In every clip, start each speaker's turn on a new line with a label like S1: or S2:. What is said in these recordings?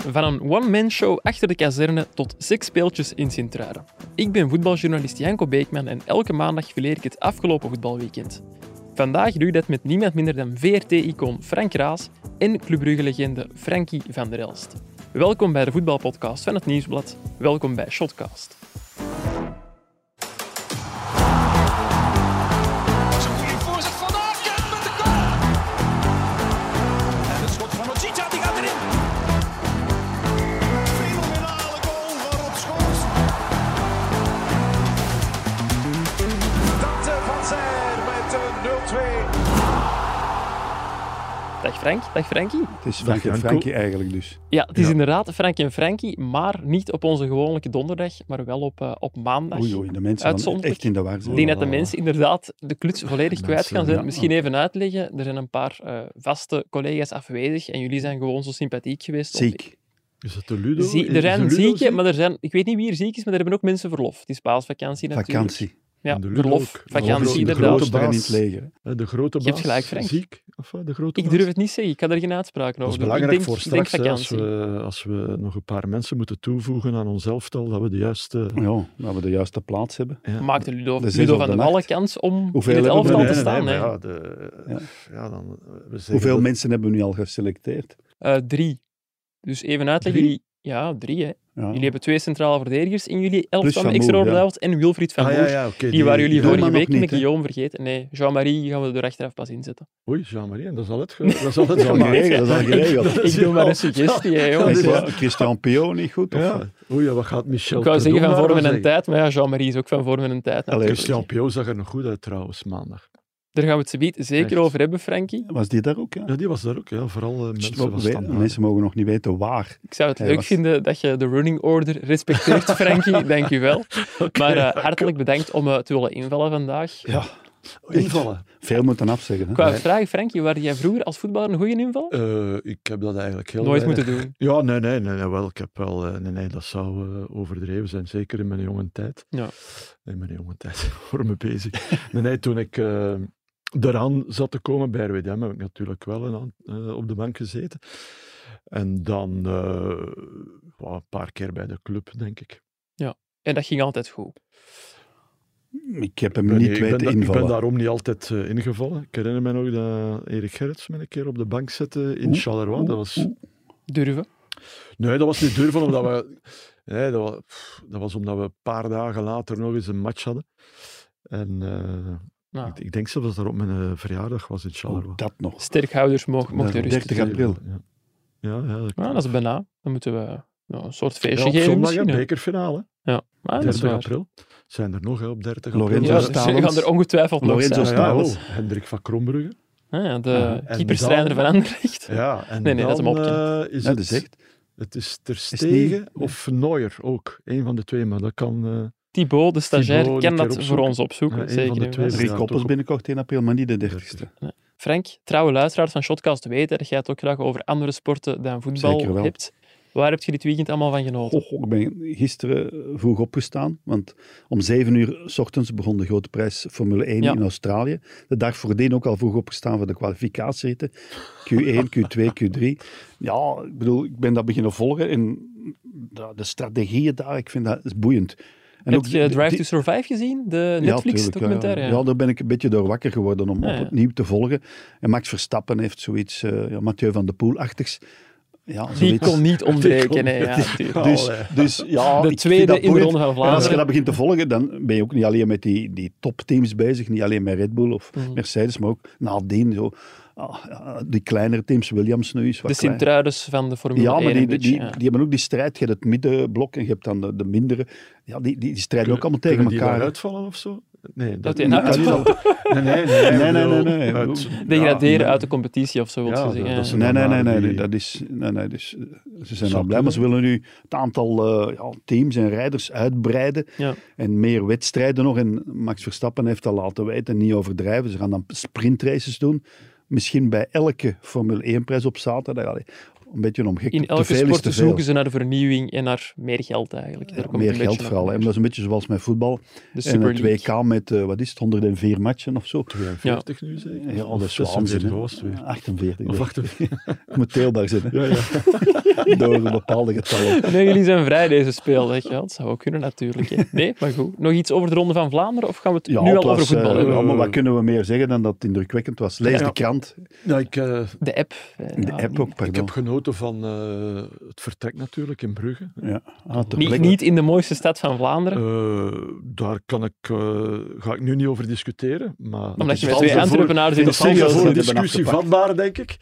S1: Van een one-man-show achter de kazerne tot seks speeltjes in Sint-Truiden. Ik ben voetbaljournalist Janko Beekman en elke maandag fileer ik het afgelopen voetbalweekend. Vandaag doe ik dat met niemand minder dan VRT-icoon Frank Raas en Club Brugge-legende Frankie van der Elst. Welkom bij de voetbalpodcast van het Nieuwsblad. Welkom bij Shotcast.
S2: Goeie voorzet van Aken met de goal. En het schot van Ochita, die gaat erin. Fenomenale goal van Rob Schoors. Dante eh, van Zijl met eh, een 0-2.
S1: Dag Frank, dag Frankie.
S3: Het is
S4: Dag,
S3: Frankie en
S4: Janko.
S3: Frankie eigenlijk dus.
S1: Ja, het is
S3: Ja.
S1: inderdaad Frankie en Frankie, maar niet op onze gewone donderdag, maar wel op, eh, op maandag.
S3: Oei, oei, de mensen van
S1: Uitzonderlijk.
S3: echt in de war zijn.
S1: Ik denk dat de mensen inderdaad de kluts volledig
S4: Mensen,
S1: kwijt gaan zijn.
S3: ja.
S1: Misschien even uitleggen, er zijn een paar eh, vaste collega's afwezig en jullie zijn gewoon zo sympathiek geweest. om-
S3: Ziek.
S4: Is dat de Ludo?
S1: Zie-
S4: Is
S1: er
S4: de
S1: zijn
S4: Ludo
S1: zieken,
S4: ziek?
S1: maar er zijn, ik weet niet wie er ziek is, maar er hebben ook mensen verlof. Het is paasvakantie natuurlijk.
S3: Vakantie.
S1: Ja,
S4: En de Ludo
S1: verlof,
S4: ook.
S1: vakantie,
S4: Verlof is de
S1: inderdaad.
S4: grote-
S3: Klooster in het leger.
S4: Hè, Eh, De grote
S1: Je
S4: baas.
S1: hebt gelijk, Frank.
S4: Ziek? Of wat, de grote
S1: Ik
S4: baas?
S1: durf het niet zeggen, ik kan er geen uitspraak over
S4: Dat is
S1: doen. Ik
S4: belangrijk
S1: denk-
S4: voor
S1: ik denk
S4: straks, hè, als,
S1: vakantie.
S4: we, als we nog een paar mensen moeten toevoegen aan ons elftal, dat we de juiste...
S3: Ja, dat we de juiste plaats hebben.
S4: Ja.
S1: Maakte Ludo,
S3: De zes
S1: Ludo
S3: op
S1: van
S3: de
S1: de Wallen
S3: nacht.
S1: kans om
S3: Hoeveel
S1: in het
S3: hebben we
S1: elftal
S3: er?
S1: te
S3: Nee,
S1: staan?
S4: maar
S1: hè?
S4: ja, de,
S3: Ja.
S4: ja. dan, eh, we zeggen
S3: Hoeveel
S4: dat-
S3: mensen hebben we nu al geselecteerd?
S1: Eh, drie. Dus even uitleggen,
S3: Drie?
S1: jullie... Ja, drie hè.
S3: Ja.
S1: Jullie hebben twee centrale verdedigers in jullie elftal
S3: Van
S1: met
S3: Moer,
S1: extra
S3: ja.
S1: Ordelaert en Wilfried van
S4: Ah,
S1: Moer.
S4: ja, ja, oké,
S1: Die waren jullie
S3: die
S1: vorige
S3: man nog
S1: week
S3: niet,
S1: met
S3: hè?
S1: Guillaume vergeten. Nee, Jean-Marie gaan we er achteraf pas inzetten.
S4: Oei, Jean-Marie, en dat is al het, ge- dat is al het
S3: Dat is al
S4: gemaakt.
S3: geregeld, dat is al geregeld.
S1: Ik doe maar een suggestie, hè, jongens.
S3: Is,
S1: Ik
S3: eh, Christian Pio niet goed? Of?
S4: Ja. Oei, ja, wat gaat
S1: wou
S4: Michel Perdom
S1: zeggen van
S4: daarvan
S1: vorm en een
S4: zeggen?
S1: tijd, maar ja, Jean-Marie is ook van vorm en een tijd.
S3: Allee, eh,
S1: natuurlijk.
S4: Christian Pio zag er nog goed uit trouwens, maandag.
S1: Daar gaan we het subiet zeker
S4: Echt.
S1: over hebben, Frankie.
S3: Was die daar ook? Ja?
S4: Ja, die was daar ook, ja. vooral eh, mensen
S3: Wel,
S4: van
S3: we-
S4: standaard.
S3: mensen mogen nog niet weten waar.
S1: Ik zou het
S3: Hij
S1: leuk
S3: was-
S1: vinden dat je de running order respecteert, Frankie. Dankjewel.
S4: Oké.
S1: Maar eh, hartelijk bedankt om eh, te willen invallen vandaag.
S3: Ja,
S4: Invallen.
S3: veel moeten afzeggen. Hè?
S1: Ik wou vragen, Frankie, waar jij vroeger als voetballer een goede inval?
S4: Eh, ik heb dat eigenlijk heel
S1: Nooit
S4: weinig-
S1: moeten doen.
S4: Ja, nee, nee, nee, nee, wel, ik heb wel, eh, nee, nee, dat zou eh, overdreven zijn, zeker in mijn jonge tijd.
S1: Ja.
S4: In mijn jonge tijd, voor me bezig. nee, nee, toen ik eh eraan zat te komen bij RWDM, heb ik natuurlijk wel een, aan- eh, op de bank gezeten. En dan eh, wel een paar keer bij de club, denk ik.
S1: En dat ging altijd goed.
S3: Ik heb hem
S4: ben
S3: niet
S4: niet- ik, ben
S3: weten
S4: da- ik ben
S3: invallen.
S4: daarom niet altijd eh, ingevallen. Ik herinner me nog dat Erik Gerrits me een keer op de bank zette in
S3: Oeh,
S4: Charleroi.
S3: oeh,
S4: Dat was
S3: oeh.
S1: Durven.
S4: Nee, dat was niet durven, omdat we... Nee, dat, was, dat was omdat we een paar dagen later nog eens een match hadden. En eh,
S1: Nou,
S4: ik, ik denk zelfs dat dat op mijn eh, verjaardag was in Charleroi.
S3: Oeh, dat nog.
S1: sterkhouders mogen,
S4: Daarom.
S1: mochten rusten.
S3: 30 april.
S4: Ja, ja, ja, dat,
S1: Ah, dat is bijna. Dan moeten we nou, een soort
S4: Ja,
S1: feestje
S4: op
S1: geven.
S4: zondag, hè,
S1: misschien, hè.
S4: bekerfinale.
S1: Ja, maar dat is
S4: 30
S1: waar.
S4: april. Zijn er nog, hè, op 30 april.
S3: Lorenzo
S1: Ja, ze
S3: Stalens.
S1: gaan er ongetwijfeld nog
S3: Lorenzo
S1: zijn.
S4: Ja, ja,
S3: Stalens.
S4: oh, Hendrik van Krombrugge.
S1: Ah, ja, de
S4: Ja, en
S1: keeperstreiner
S4: dan-
S1: van Anderlecht.
S4: Ja, en
S1: Nee, nee, dat
S4: dan,
S1: hem opkent.
S4: eh, is
S3: Ja, dat is
S4: het,
S3: echt.
S4: het is Ter
S3: niet-
S4: Stegen
S3: nee.
S4: of Neuer ook. Eén van de twee, maar dat kan... eh,
S1: Thibaut, de stagiair,
S4: Thibaut,
S1: kan
S4: een keer
S1: dat voor
S4: opzoeken.
S1: ons opzoeken.
S4: Ja, een
S1: zeker.
S4: van de
S1: en
S4: twee.
S1: vast.
S3: Drie
S4: Ja,
S3: koppels
S4: toch.
S3: binnenkort 1 april, maar niet de 30ste.
S1: Frank, trouwe luisteraars van Shotcast weten dat jij het ook graag over andere sporten dan
S3: Zeker
S1: voetbal
S3: wel.
S1: hebt. Waar heb je dit weekend allemaal van genoten?
S3: Och, ik ben gisteren eh, vroeg opgestaan, want om 7 uur s ochtends begon de grote prijs Formule 1
S1: Ja.
S3: in Australië. De dag voordien ook al vroeg opgestaan voor de kwalificatieritten. Q1, Q2, Q3. Ja, ik bedoel, ik ben dat beginnen volgen en de, de strategieën daar, ik vind dat is boeiend. En
S1: Heb je eh,
S3: de-
S1: Drive
S3: die-
S1: to Survive gezien? De
S3: tuurlijk, ja.
S1: Netflix-documentaire?
S3: ja, daar ben ik een beetje door wakker geworden om
S1: Ah, Ja, ja.
S3: op opnieuw te volgen. En Max Verstappen heeft zoiets, eh, ja, Mathieu van de Poel-achtigs. Ja,
S1: Die
S3: zoiets.
S1: kon niet ontbreken.
S4: kon-
S1: nee, ja,
S4: die-
S1: natuurlijk.
S3: Dus,
S4: Allee.
S3: dus ja,
S1: de
S3: ik vind dat
S1: tweede in de
S3: boeiend.
S1: Ronde van
S3: En als je
S1: Vlaanderen.
S3: dat begint te volgen, dan ben je ook niet alleen met die, die topteams bezig, niet alleen met Red Bull of
S1: Mhm.
S3: Mercedes, maar ook nadien zo, ah, ah, die kleinere teams, Williams nu is wat
S1: De
S3: klein.
S1: Sint-Truiders van de Formule
S3: Ja,
S1: 1.
S3: maar die,
S1: een
S3: die,
S1: beetje,
S3: die,
S1: ja.
S3: die hebben ook die strijd. Je hebt het middenblok en je hebt dan de, de mindere. Ja, die, die, die strijden ook allemaal tegen
S4: Kunnen die
S3: elkaar.
S4: uitvallen of zo? Nee,
S1: Dat
S4: dat,
S1: die
S4: kan
S1: uitvallen?
S4: niet al- Nee, nee, nee.
S3: Nee, nee,
S4: bedoel,
S3: nee, nee.
S4: uit-
S1: Degraderen
S3: Ja,
S1: uit de competitie of zo, wil
S4: Ja,
S1: je
S4: dat-
S1: zeggen.
S4: dat is
S1: ja.
S4: een-
S3: Nee, nee, nee, nee,
S4: die-
S3: nee, dat is, nee, nee dus, eh, ze zijn al
S4: Zou
S3: blij, maar
S4: kunnen.
S3: ze willen nu het aantal eh, ja, teams en rijders uitbreiden
S1: Ja.
S3: en meer wedstrijden nog. En Max Verstappen heeft dat laten weten, niet overdrijven. Ze gaan dan sprintraces doen, misschien bij elke Formule 1-prijs op zaterdag. Allee, een beetje omgek.
S1: In
S3: Te
S1: elke
S3: veel is
S1: sport
S3: te veel.
S1: zoeken ze naar vernieuwing en naar meer geld eigenlijk. Daar
S3: Ja,
S1: komt
S3: meer
S1: het een beetje
S3: geld
S1: naar
S3: vooral. hè.
S1: neer.
S3: Maar dat is een beetje zoals met voetbal.
S1: De
S3: En
S1: Super
S3: het
S1: League.
S3: WK met, eh, wat is het, 104 matchen of zo.
S4: 42 nu zeker?
S3: Ja, dat is
S4: Of 46
S3: waanzin. hè. dus.
S4: was het weer.
S3: 48.
S4: Of
S3: denk ik.
S4: 48.
S3: Ik moet teelbaar zijn hè,
S4: Ja, ja.
S3: door een bepaalde getallen.
S1: Nee, jullie zijn vrij deze speeldag. Ja, dat zou ook kunnen natuurlijk. hè. Nee, maar goed. Nog iets over de Ronde van Vlaanderen of gaan we het
S3: Ja,
S1: nu
S3: het
S1: al over
S3: was,
S1: voetbal
S3: eh,
S1: hebben?
S3: ja, maar wat kunnen we meer zeggen dan dat het indrukwekkend was? Lees
S4: Ja.
S3: de krant,
S4: Ja, ik, eh,
S1: De app. eh,
S3: de
S1: ja,
S3: app ook,
S4: ik
S3: pardon.
S4: heb genoten van eh, het vertrek natuurlijk in Brugge.
S3: Ja. Ah, ter
S1: Niet,
S3: plekke.
S1: niet in de mooiste stad van Vlaanderen.
S4: Eh, daar kan ik, eh, ga ik nu niet over discussiëren. Maar
S1: Omdat je met
S4: valt
S1: twee
S4: ervoor-
S1: entrepreneurs in de
S4: Dat
S3: valt
S4: is
S1: studio
S4: zeker
S3: ervoor-
S1: zit.
S4: voor
S3: hebben
S4: discussie
S3: afgepakt.
S4: vatbaar, denk ik.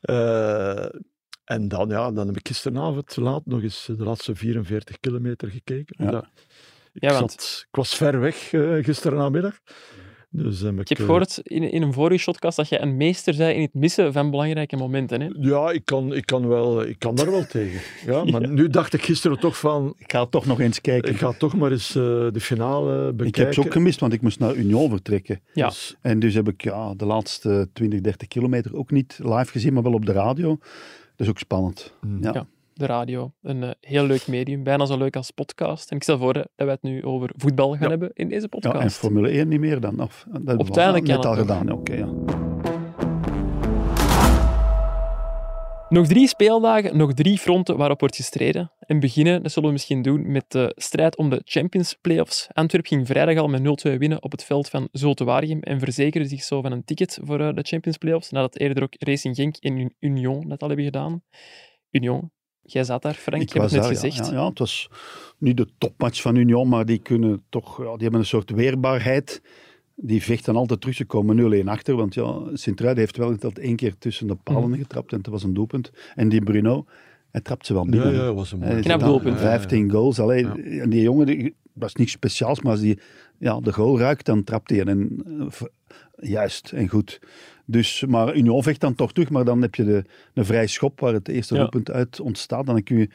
S4: Eh, en dan, ja, dan heb ik gisteravond laat nog eens de laatste 44 kilometer gekeken.
S3: Ja.
S4: Omdat ik,
S1: Ja, want-
S4: zat, ik was ver weg eh gisteravond. Dus heb
S1: Ik heb
S4: eh,
S1: gehoord in, in een vorige shotcast dat jij een meester zei in het missen van belangrijke momenten. Hè?
S4: Ja, ik kan, ik, kan wel, ik kan daar wel tegen. Ja, maar nu dacht ik gisteren toch van,
S3: Ik ga toch nog eens kijken.
S4: ik
S3: Ik,
S4: ga toch maar eens eh, de finale bekijken.
S3: heb ze ook gemist, want ik moest naar Union vertrekken.
S1: Ja.
S4: Dus
S3: En dus heb ik ja, de laatste 20, 30 kilometer ook niet live gezien, maar wel op de radio. Dat is ook spannend.
S4: Mm.
S3: Ja.
S1: Hmm. Ja. De radio. Een eh, heel leuk medium. Bijna zo leuk als podcast. En ik stel voor eh, dat we het nu over voetbal gaan
S4: Ja.
S1: hebben in deze
S3: Ja, en
S1: podcast.
S3: Formule 1 niet meer dan? Of, dat hebben we
S1: het einde
S3: al-
S1: kan
S3: net
S1: het
S3: al
S1: nog.
S3: gedaan. Oké, ja.
S1: nog drie speeldagen, nog drie fronten waarop wordt gestreden. En beginnen, dat zullen we misschien doen, met de strijd om de Champions Playoffs. Antwerp ging vrijdag al met 0-2 winnen op het veld van Zultuarium en verzekerde zich zo van een ticket voor eh, de Champions Playoffs, nadat eerder ook Racing Genk en Un- Union dat al hebben gedaan. Union, jij zat daar, Frank, je hebt het net
S3: daar, ja.
S1: gezegd.
S3: Ja, ja, het was niet de topmatch van Union, maar die, kunnen toch, ja, die hebben een soort weerbaarheid. Die vechten altijd terug. Ze komen 0-1 achter, want ja, Sint-Truiden heeft wel dat één keer tussen de
S1: Mm.
S3: palen getrapt en het was een doelpunt. En die Bruno, hij trapt ze wel
S4: Ja,
S3: binnen.
S4: ja, was een eh,
S3: Hij
S4: mooi.
S3: heeft
S1: Knap
S3: gedaan
S1: doelpunt.
S3: 15 goals. Allee,
S4: Ja.
S3: en die jongen, die, dat is niks speciaals, maar als die ja, de goal raakt, dan trapt hij. En, eh, v- juist en goed. Dus, maar Union vecht dan toch terug, maar dan heb je de, een vrij schop waar het eerste
S1: Ja.
S3: doelpunt uit ontstaat. Dan kun je,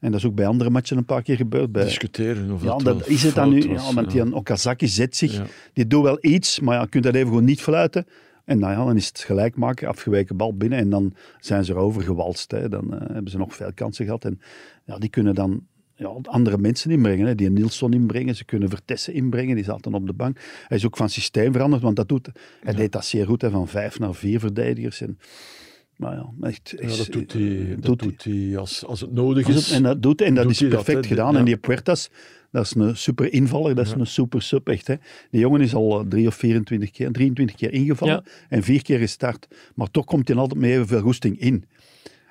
S3: en dat is ook bij andere matchen een paar keer gebeurd. Bij,
S4: Discussiëren of
S3: ja,
S4: dat,
S3: dat
S4: wel
S3: is het dan
S4: fout
S3: nu.
S4: was,
S3: ja, want die een Okazaki zet zich,
S4: Ja.
S3: die doet wel iets, maar ja, je kunt dat even gewoon niet fluiten. En nou ja, dan is het gelijk maken, afgeweken bal binnen en dan zijn ze erover gewalst. Hè. Dan eh, hebben ze nog veel kansen gehad. En ja, die kunnen dan ja, andere mensen inbrengen. Hè. Die Nielsen inbrengen, ze kunnen Vertessen inbrengen, die zaten op de bank. Hij is ook van systeem veranderd, want dat doet, hij deed dat zeer goed, hè, van vijf naar vier verdedigers. En, nou ja, echt,
S4: Ja,
S3: is- eh,
S4: dat doet hij, dat
S3: doet hij.
S4: doet hij als, als het nodig
S3: Als
S4: is.
S3: het- en dat doet, en dat
S4: doet
S3: is
S4: hij dat,
S3: perfect
S4: hè.
S3: gedaan.
S4: Ja.
S3: En die Puertas, dat is een super invaller, dat is
S4: Ja.
S3: een super sub echt. Hè. Die jongen is al eh, drie of 24 keer, 23 keer ingevallen en vier keer gestart. Maar toch komt hij altijd met evenveel roesting in.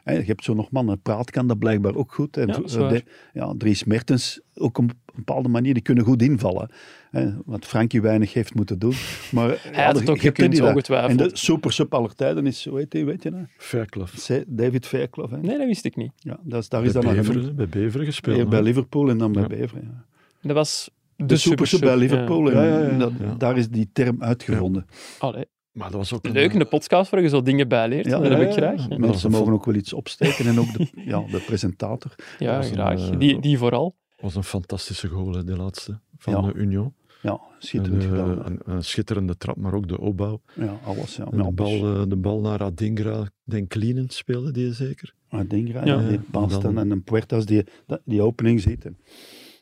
S3: Hè, je hebt zo nog mannen, praat kan dat blijkbaar ook goed. En
S1: Ja,
S3: v-
S1: dat is waar.
S3: eh, de- ja, Dries Mertens, ook op een bepaalde manier, die kunnen goed invallen. Hè, wat Frankie weinig heeft moeten doen. Maar,
S1: Hij had het ook gekund,
S3: En
S1: ongetwijfeld.
S3: de super sub aller tijden is, hoe heet die, weet je nou?
S4: Fairclough.
S3: David Fairclough. Hè?
S1: Nee, dat wist ik niet.
S3: Ja, dat is, daar
S4: Bij
S3: is dan aan genoemd.
S4: Beveren, bij Beveren gespeeld.
S3: Eer bij
S4: hè.
S3: Liverpool en dan bij
S4: Ja.
S3: Beveren. ja.
S1: Dat was de,
S3: De, super sub bij Liverpool.
S4: Ja.
S3: En
S4: Ja, ja, ja.
S3: dat-
S4: Ja.
S3: daar is die term uitgevonden.
S1: Ja. Allee,
S4: Maar dat was ook een-
S1: Leuk, in de podcast waar je zo dingen bij leert.
S3: Mhm. Ja,
S1: dat heb
S4: ja,
S1: ik
S4: ja.
S1: graag. Ja,
S4: Ja, dat
S3: Mensen
S4: vond-
S3: mogen ook wel iets opsteken en ook de, ja, de presentator.
S1: Ja,
S4: was een,
S1: graag.
S4: eh,
S1: Die, die vooral.
S4: was een fantastische goal, hè, de laatste van
S3: Ja.
S4: de Union.
S3: Ja, schitterend
S4: Een, eh,
S3: gedaan. hè.
S4: een, een schitterende trap, maar ook de opbouw.
S3: Ja, alles. Ja.
S4: En
S3: Ja,
S4: de, bal, eh, de bal naar Adingra, ik denk Cleanen speelde die zeker.
S3: Adingra,
S1: Ja.
S3: ja, die
S4: Ja,
S3: past
S4: dan-
S3: dan en een Puertas die dat- die opening ziet. En-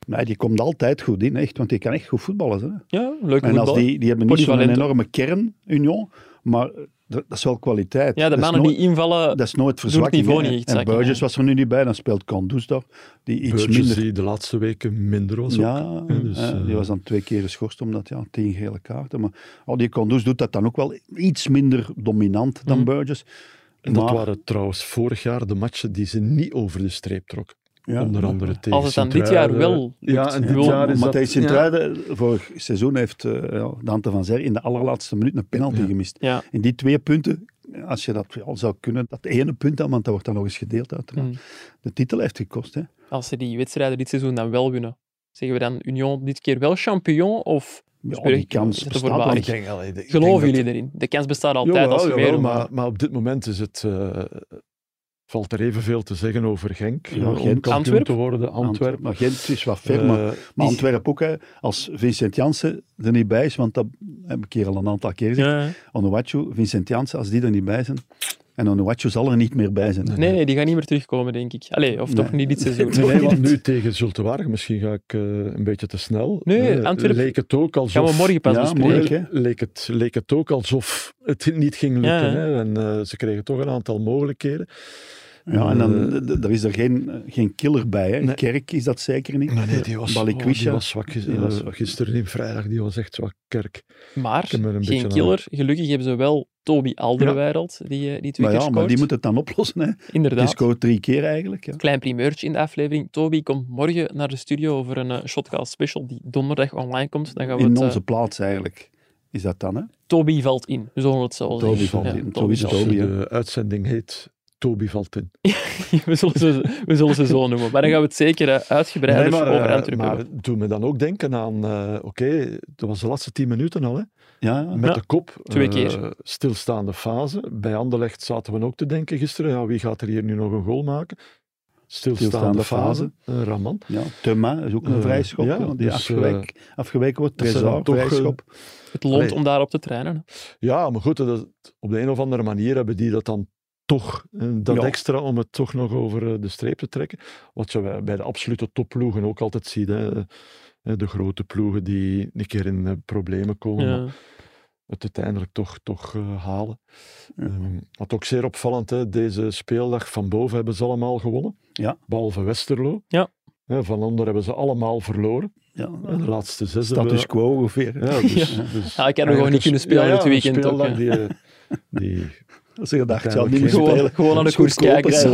S3: Nee, die komt altijd goed in, echt, want die kan echt goed voetballen. Hè.
S1: Ja, leuke
S3: En als
S1: voetbal.
S3: die, die hebben niet zo'n
S1: Polyvalent.
S3: enorme kern, Union, maar eh, dat, dat is wel kwaliteit.
S1: Ja, de
S3: Dat is
S1: mannen
S3: nooit-
S1: die invallen,
S3: Dat is nooit verzwakking.
S1: niveau
S3: hè.
S1: niet echt
S3: en
S1: zakken,
S3: Burgess
S1: ja.
S3: was er nu niet bij, dan speelt Condus daar, die iets
S4: Burgess
S3: minder
S4: die de laatste weken minder was ook.
S3: Ja,
S4: Ja, dus,
S3: eh, die
S4: eh,
S3: was dan twee keer geschorst omdat ja, tien gele kaarten. Maar oh, die Condus doet dat dan ook wel iets minder dominant dan
S1: Mhm.
S3: Burgess.
S4: En dat
S3: Maar-
S4: waren trouwens vorig jaar de matchen die ze niet over de streep trok.
S3: Ja.
S4: Onder andere tegen
S1: als het dan dit jaar
S4: Sint-Truiden.
S1: wel lukt,
S4: Ja, en
S1: ik
S4: dit
S1: bedoel,
S4: jaar is dat...
S3: Matthijs
S4: ja.
S3: Sint-Truiden, vorig seizoen heeft eh, ja, Dante van Zer in de allerlaatste minuut een penalty
S4: Ja.
S3: gemist.
S1: Ja.
S3: In die twee punten, als je dat al zou kunnen, dat ene punt dan, want dat wordt dan nog eens gedeeld uiteraard.
S1: Mhm.
S3: De titel heeft gekost, hè.
S1: als ze die wedstrijden dit seizoen dan wel winnen, zeggen we dan Union dit keer wel champion of
S3: Ja,
S1: Spreek-
S3: die kans
S1: is het
S3: bestaat
S1: voorbarig?
S3: wel.
S4: Ik denk, allee, ik denk
S1: geloven
S4: dat-
S1: jullie erin? De kans bestaat altijd als je
S4: Jawel,
S1: meer
S4: jawel, maar, maar op dit moment is het, eh, valt er evenveel te zeggen over Genk.
S3: Ja,
S4: eh, om
S3: Gent.
S4: kampioen
S1: Antwerp?
S4: te worden, Antwerpen.
S3: Maar Gent is wat ver, maar
S4: Eh,
S3: Maar
S1: Die-
S3: Antwerpen ook, hè, als Vincent Jansen er niet bij is, want dat heb ik hier al een aantal keer gezegd.
S1: Ja, ja.
S3: Onuwachu, Vincent Jansen, als die er niet bij zijn, En Onuachu zal er niet meer bij zijn. hè.
S1: Nee, nee, die gaan niet meer terugkomen, denk ik. Allee, of toch
S3: Nee.
S1: niet dit seizoen.
S4: Nee, nee, want nu tegen Zulte Waregem, misschien ga ik eh, een beetje te snel.
S1: Nee,
S4: Eh,
S1: Antwerpen-
S4: Leek het ook alsof...
S1: Gaan we morgen pas
S3: Ja,
S1: bespreken.
S3: moeilijk, hè?
S4: leek het, leek het ook alsof het niet ging lukken.
S1: Ja.
S4: Hè? En eh, ze kregen toch een aantal mogelijkheden.
S3: Ja, en dan
S4: Eh,
S3: d- d- er is er geen, eh, geen killer bij. Hè.
S4: Nee.
S3: Kerk is dat zeker niet.
S4: maar nee, die was, oh,
S3: Balikwisha.
S4: die was zwak.
S3: Die was
S4: eh,
S3: zwak.
S4: gisteren in vrijdag, die was echt zwak. Kerk.
S1: Maar
S4: Ik heb er een beetje
S1: geen
S4: aan-
S1: killer. Gelukkig hebben ze wel Toby Alderweireld, die, eh, die twee
S3: Maar ja,
S1: keer
S3: maar
S1: scoort.
S3: die moet het dan oplossen. Hè. Die
S1: Inderdaad.
S3: scoort drie keer eigenlijk. Ja.
S1: Klein primeurtje in de aflevering. Toby komt morgen naar de studio voor een eh, Shotcast special die donderdag online komt. Dan gaan we
S3: In
S1: het, eh,
S3: onze plaats eigenlijk. Is dat dan, hè?
S1: Toby valt in. We zullen het zo wel
S3: Toby
S1: zeggen.
S3: valt
S1: Ja,
S3: in. Zo
S1: Toby
S3: is
S4: Dus
S3: het
S1: valt
S3: ook. Toby,
S4: de
S3: hè.
S4: uitzending heet Toby valt in.
S1: in. We zullen, ze, we zullen ze zo noemen. Maar dan gaan we het zeker eh, uitgebreider
S4: Nee, maar, eh,
S1: over Antwerpen
S4: maar
S1: hebben.
S4: het doet me dan ook denken aan... eh, Oké, dat was de laatste tien minuten al. Hè?
S3: Ja, ja.
S4: Met
S1: Ja.
S4: de kop.
S1: Twee
S4: eh,
S1: keer.
S4: stilstaande fase. Bij Anderlecht zaten we ook te denken gisteren. Ja, wie gaat er hier nu nog een goal maken? Stilstaande,
S3: Stilstaande
S4: fase. Eh, Raman.
S3: ja. Thema is ook een
S4: Eh,
S3: vrijschop.
S4: ja,
S3: ja, die
S4: dus,
S3: afgeweken, afgeweken wordt.
S4: dat zijn
S3: Trezor,
S4: dan toch, eh,
S3: vrijschop.
S1: Het loont
S4: Allee.
S1: om daarop te trainen.
S4: Ja, maar goed, dat, op de een of andere manier hebben die dat dan toch, eh, dat
S3: Ja.
S4: extra om het toch nog over eh, de streep te trekken. Wat je bij- bij de absolute topploegen ook altijd ziet. Hè. Eh, De grote ploegen die een keer in eh, problemen komen, maar
S1: Ja. Ah,
S4: het uiteindelijk toch, toch eh, halen.
S3: Ja.
S4: Ehm, wat ook zeer opvallend, hè, deze speeldag van boven hebben ze allemaal gewonnen.
S3: Ja.
S4: Behalve Westerlo.
S1: Ja.
S4: Eh, van onder hebben ze allemaal verloren.
S3: ja.
S4: En de laatste zes hebben
S3: Status quo ongeveer.
S4: Ja, dus,
S1: Ja.
S4: dus
S1: Ah, ik heb nog gewoon niet kunnen spelen dit weekend. Ook,
S4: speeldag
S1: ja.
S4: die, eh, die,
S3: Als je dacht, ik zal niet meer
S4: Uiteindelijk
S1: gewoon,
S3: spelen.
S1: gewoon aan de
S3: Dat is
S1: koers
S3: goedkoop,
S1: kijken. zo.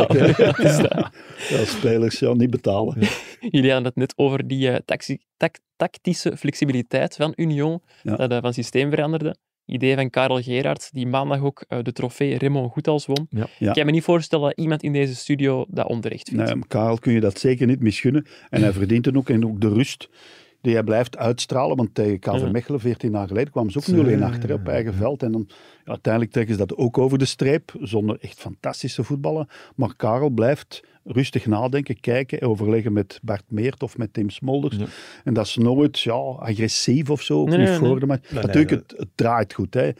S3: eigenlijk, hè.
S1: Dat is dat.
S3: Ja, spelers, ja, niet betalen.
S1: Jullie hadden het net over die eh, taxi- tac- tactische flexibiliteit van Union,
S3: Ja.
S1: dat eh, van systeem veranderde. Idee van Karel Gerards, die maandag ook eh, de trofee Raymond Goethals won.
S4: Ja.
S3: Ja.
S1: Ik kan me niet voorstellen dat iemand in deze studio dat onterecht vindt.
S3: Nee, maar Karel kun je dat zeker niet misgunnen. En hij verdient het ook. En ook de rust die hij blijft uitstralen. Want tegen KV
S1: Ja.
S3: Mechelen, 14 jaar geleden, kwamen ze
S4: Ja,
S3: ook 0-1
S4: ja,
S3: achter hè, op
S4: ja,
S3: eigen veld. En dan, ja, uiteindelijk trekken ze dat ook over de streep. Zonder echt fantastische voetballen. Maar Karel blijft rustig nadenken, kijken en overleggen met Bart Meert of met Tim Smolders.
S4: Ja.
S3: En dat is nooit ja, agressief of zo. Of
S1: Nee,
S3: niet
S1: nee,
S3: voor
S1: nee.
S3: de match.
S4: Nee,
S3: Natuurlijk,
S4: nee,
S3: het, het draait goed. Hè.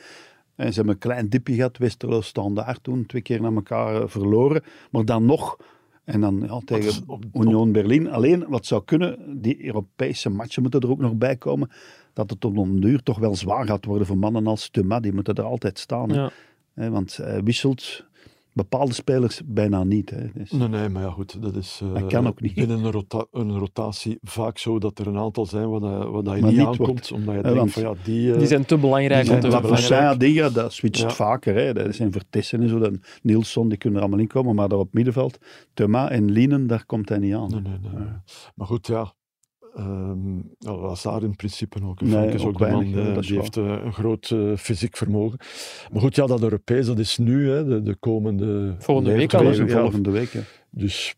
S3: En ze hebben een klein dipje gehad, Westerlo standaard toen, twee keer naar elkaar eh, verloren. Maar dan nog, en dan ja, tegen Union Berlin. Alleen, wat zou kunnen, die Europese matchen moeten er ook nog bij komen, dat het op een duur toch wel zwaar gaat worden voor mannen als Tuma. Die moeten er altijd staan. hè.
S1: Ja.
S3: Hè, want hij wisselt bepaalde spelers bijna niet. Hè. Dus,
S4: Nee, nee, maar ja, goed, dat is eh,
S3: Dat kan ook niet.
S4: binnen een, rota- een rotatie vaak zo dat er een aantal zijn waar, dat- waar dat je
S3: Maar
S4: niet,
S3: niet
S4: aankomt,
S3: wordt.
S4: omdat je
S3: Eh,
S4: denkt
S3: want
S4: van ja, die... eh,
S1: Die zijn te belangrijk
S4: die
S1: om te
S4: zijn
S3: dat
S4: te
S1: vervangen.
S4: belangrijk.
S3: Moussa, Dingra, dat switcht
S4: Ja.
S3: vaker. Hè. Dat zijn Vertessen en zo. Dan Nielsen, die kunnen er allemaal in komen. Maar daar op middenveld, Tuma en Lienen, daar komt hij niet aan.
S4: Nee, nee, nee. nee. Maar goed, ja. Ehm ja, Lazar in principe ook.
S3: Nee,
S4: Frank is ook,
S3: ook
S4: de man,
S3: weinig, hè,
S4: eh,
S3: dat is
S4: die
S3: waar.
S4: heeft eh, een groot eh, fysiek vermogen. Maar goed, ja, dat Europees, dat is nu, hè, de, de komende...
S1: Volgende week
S4: leeftijd,
S1: al, hè?
S3: Twee
S4: ja.
S3: volgende week. hè.
S4: Dus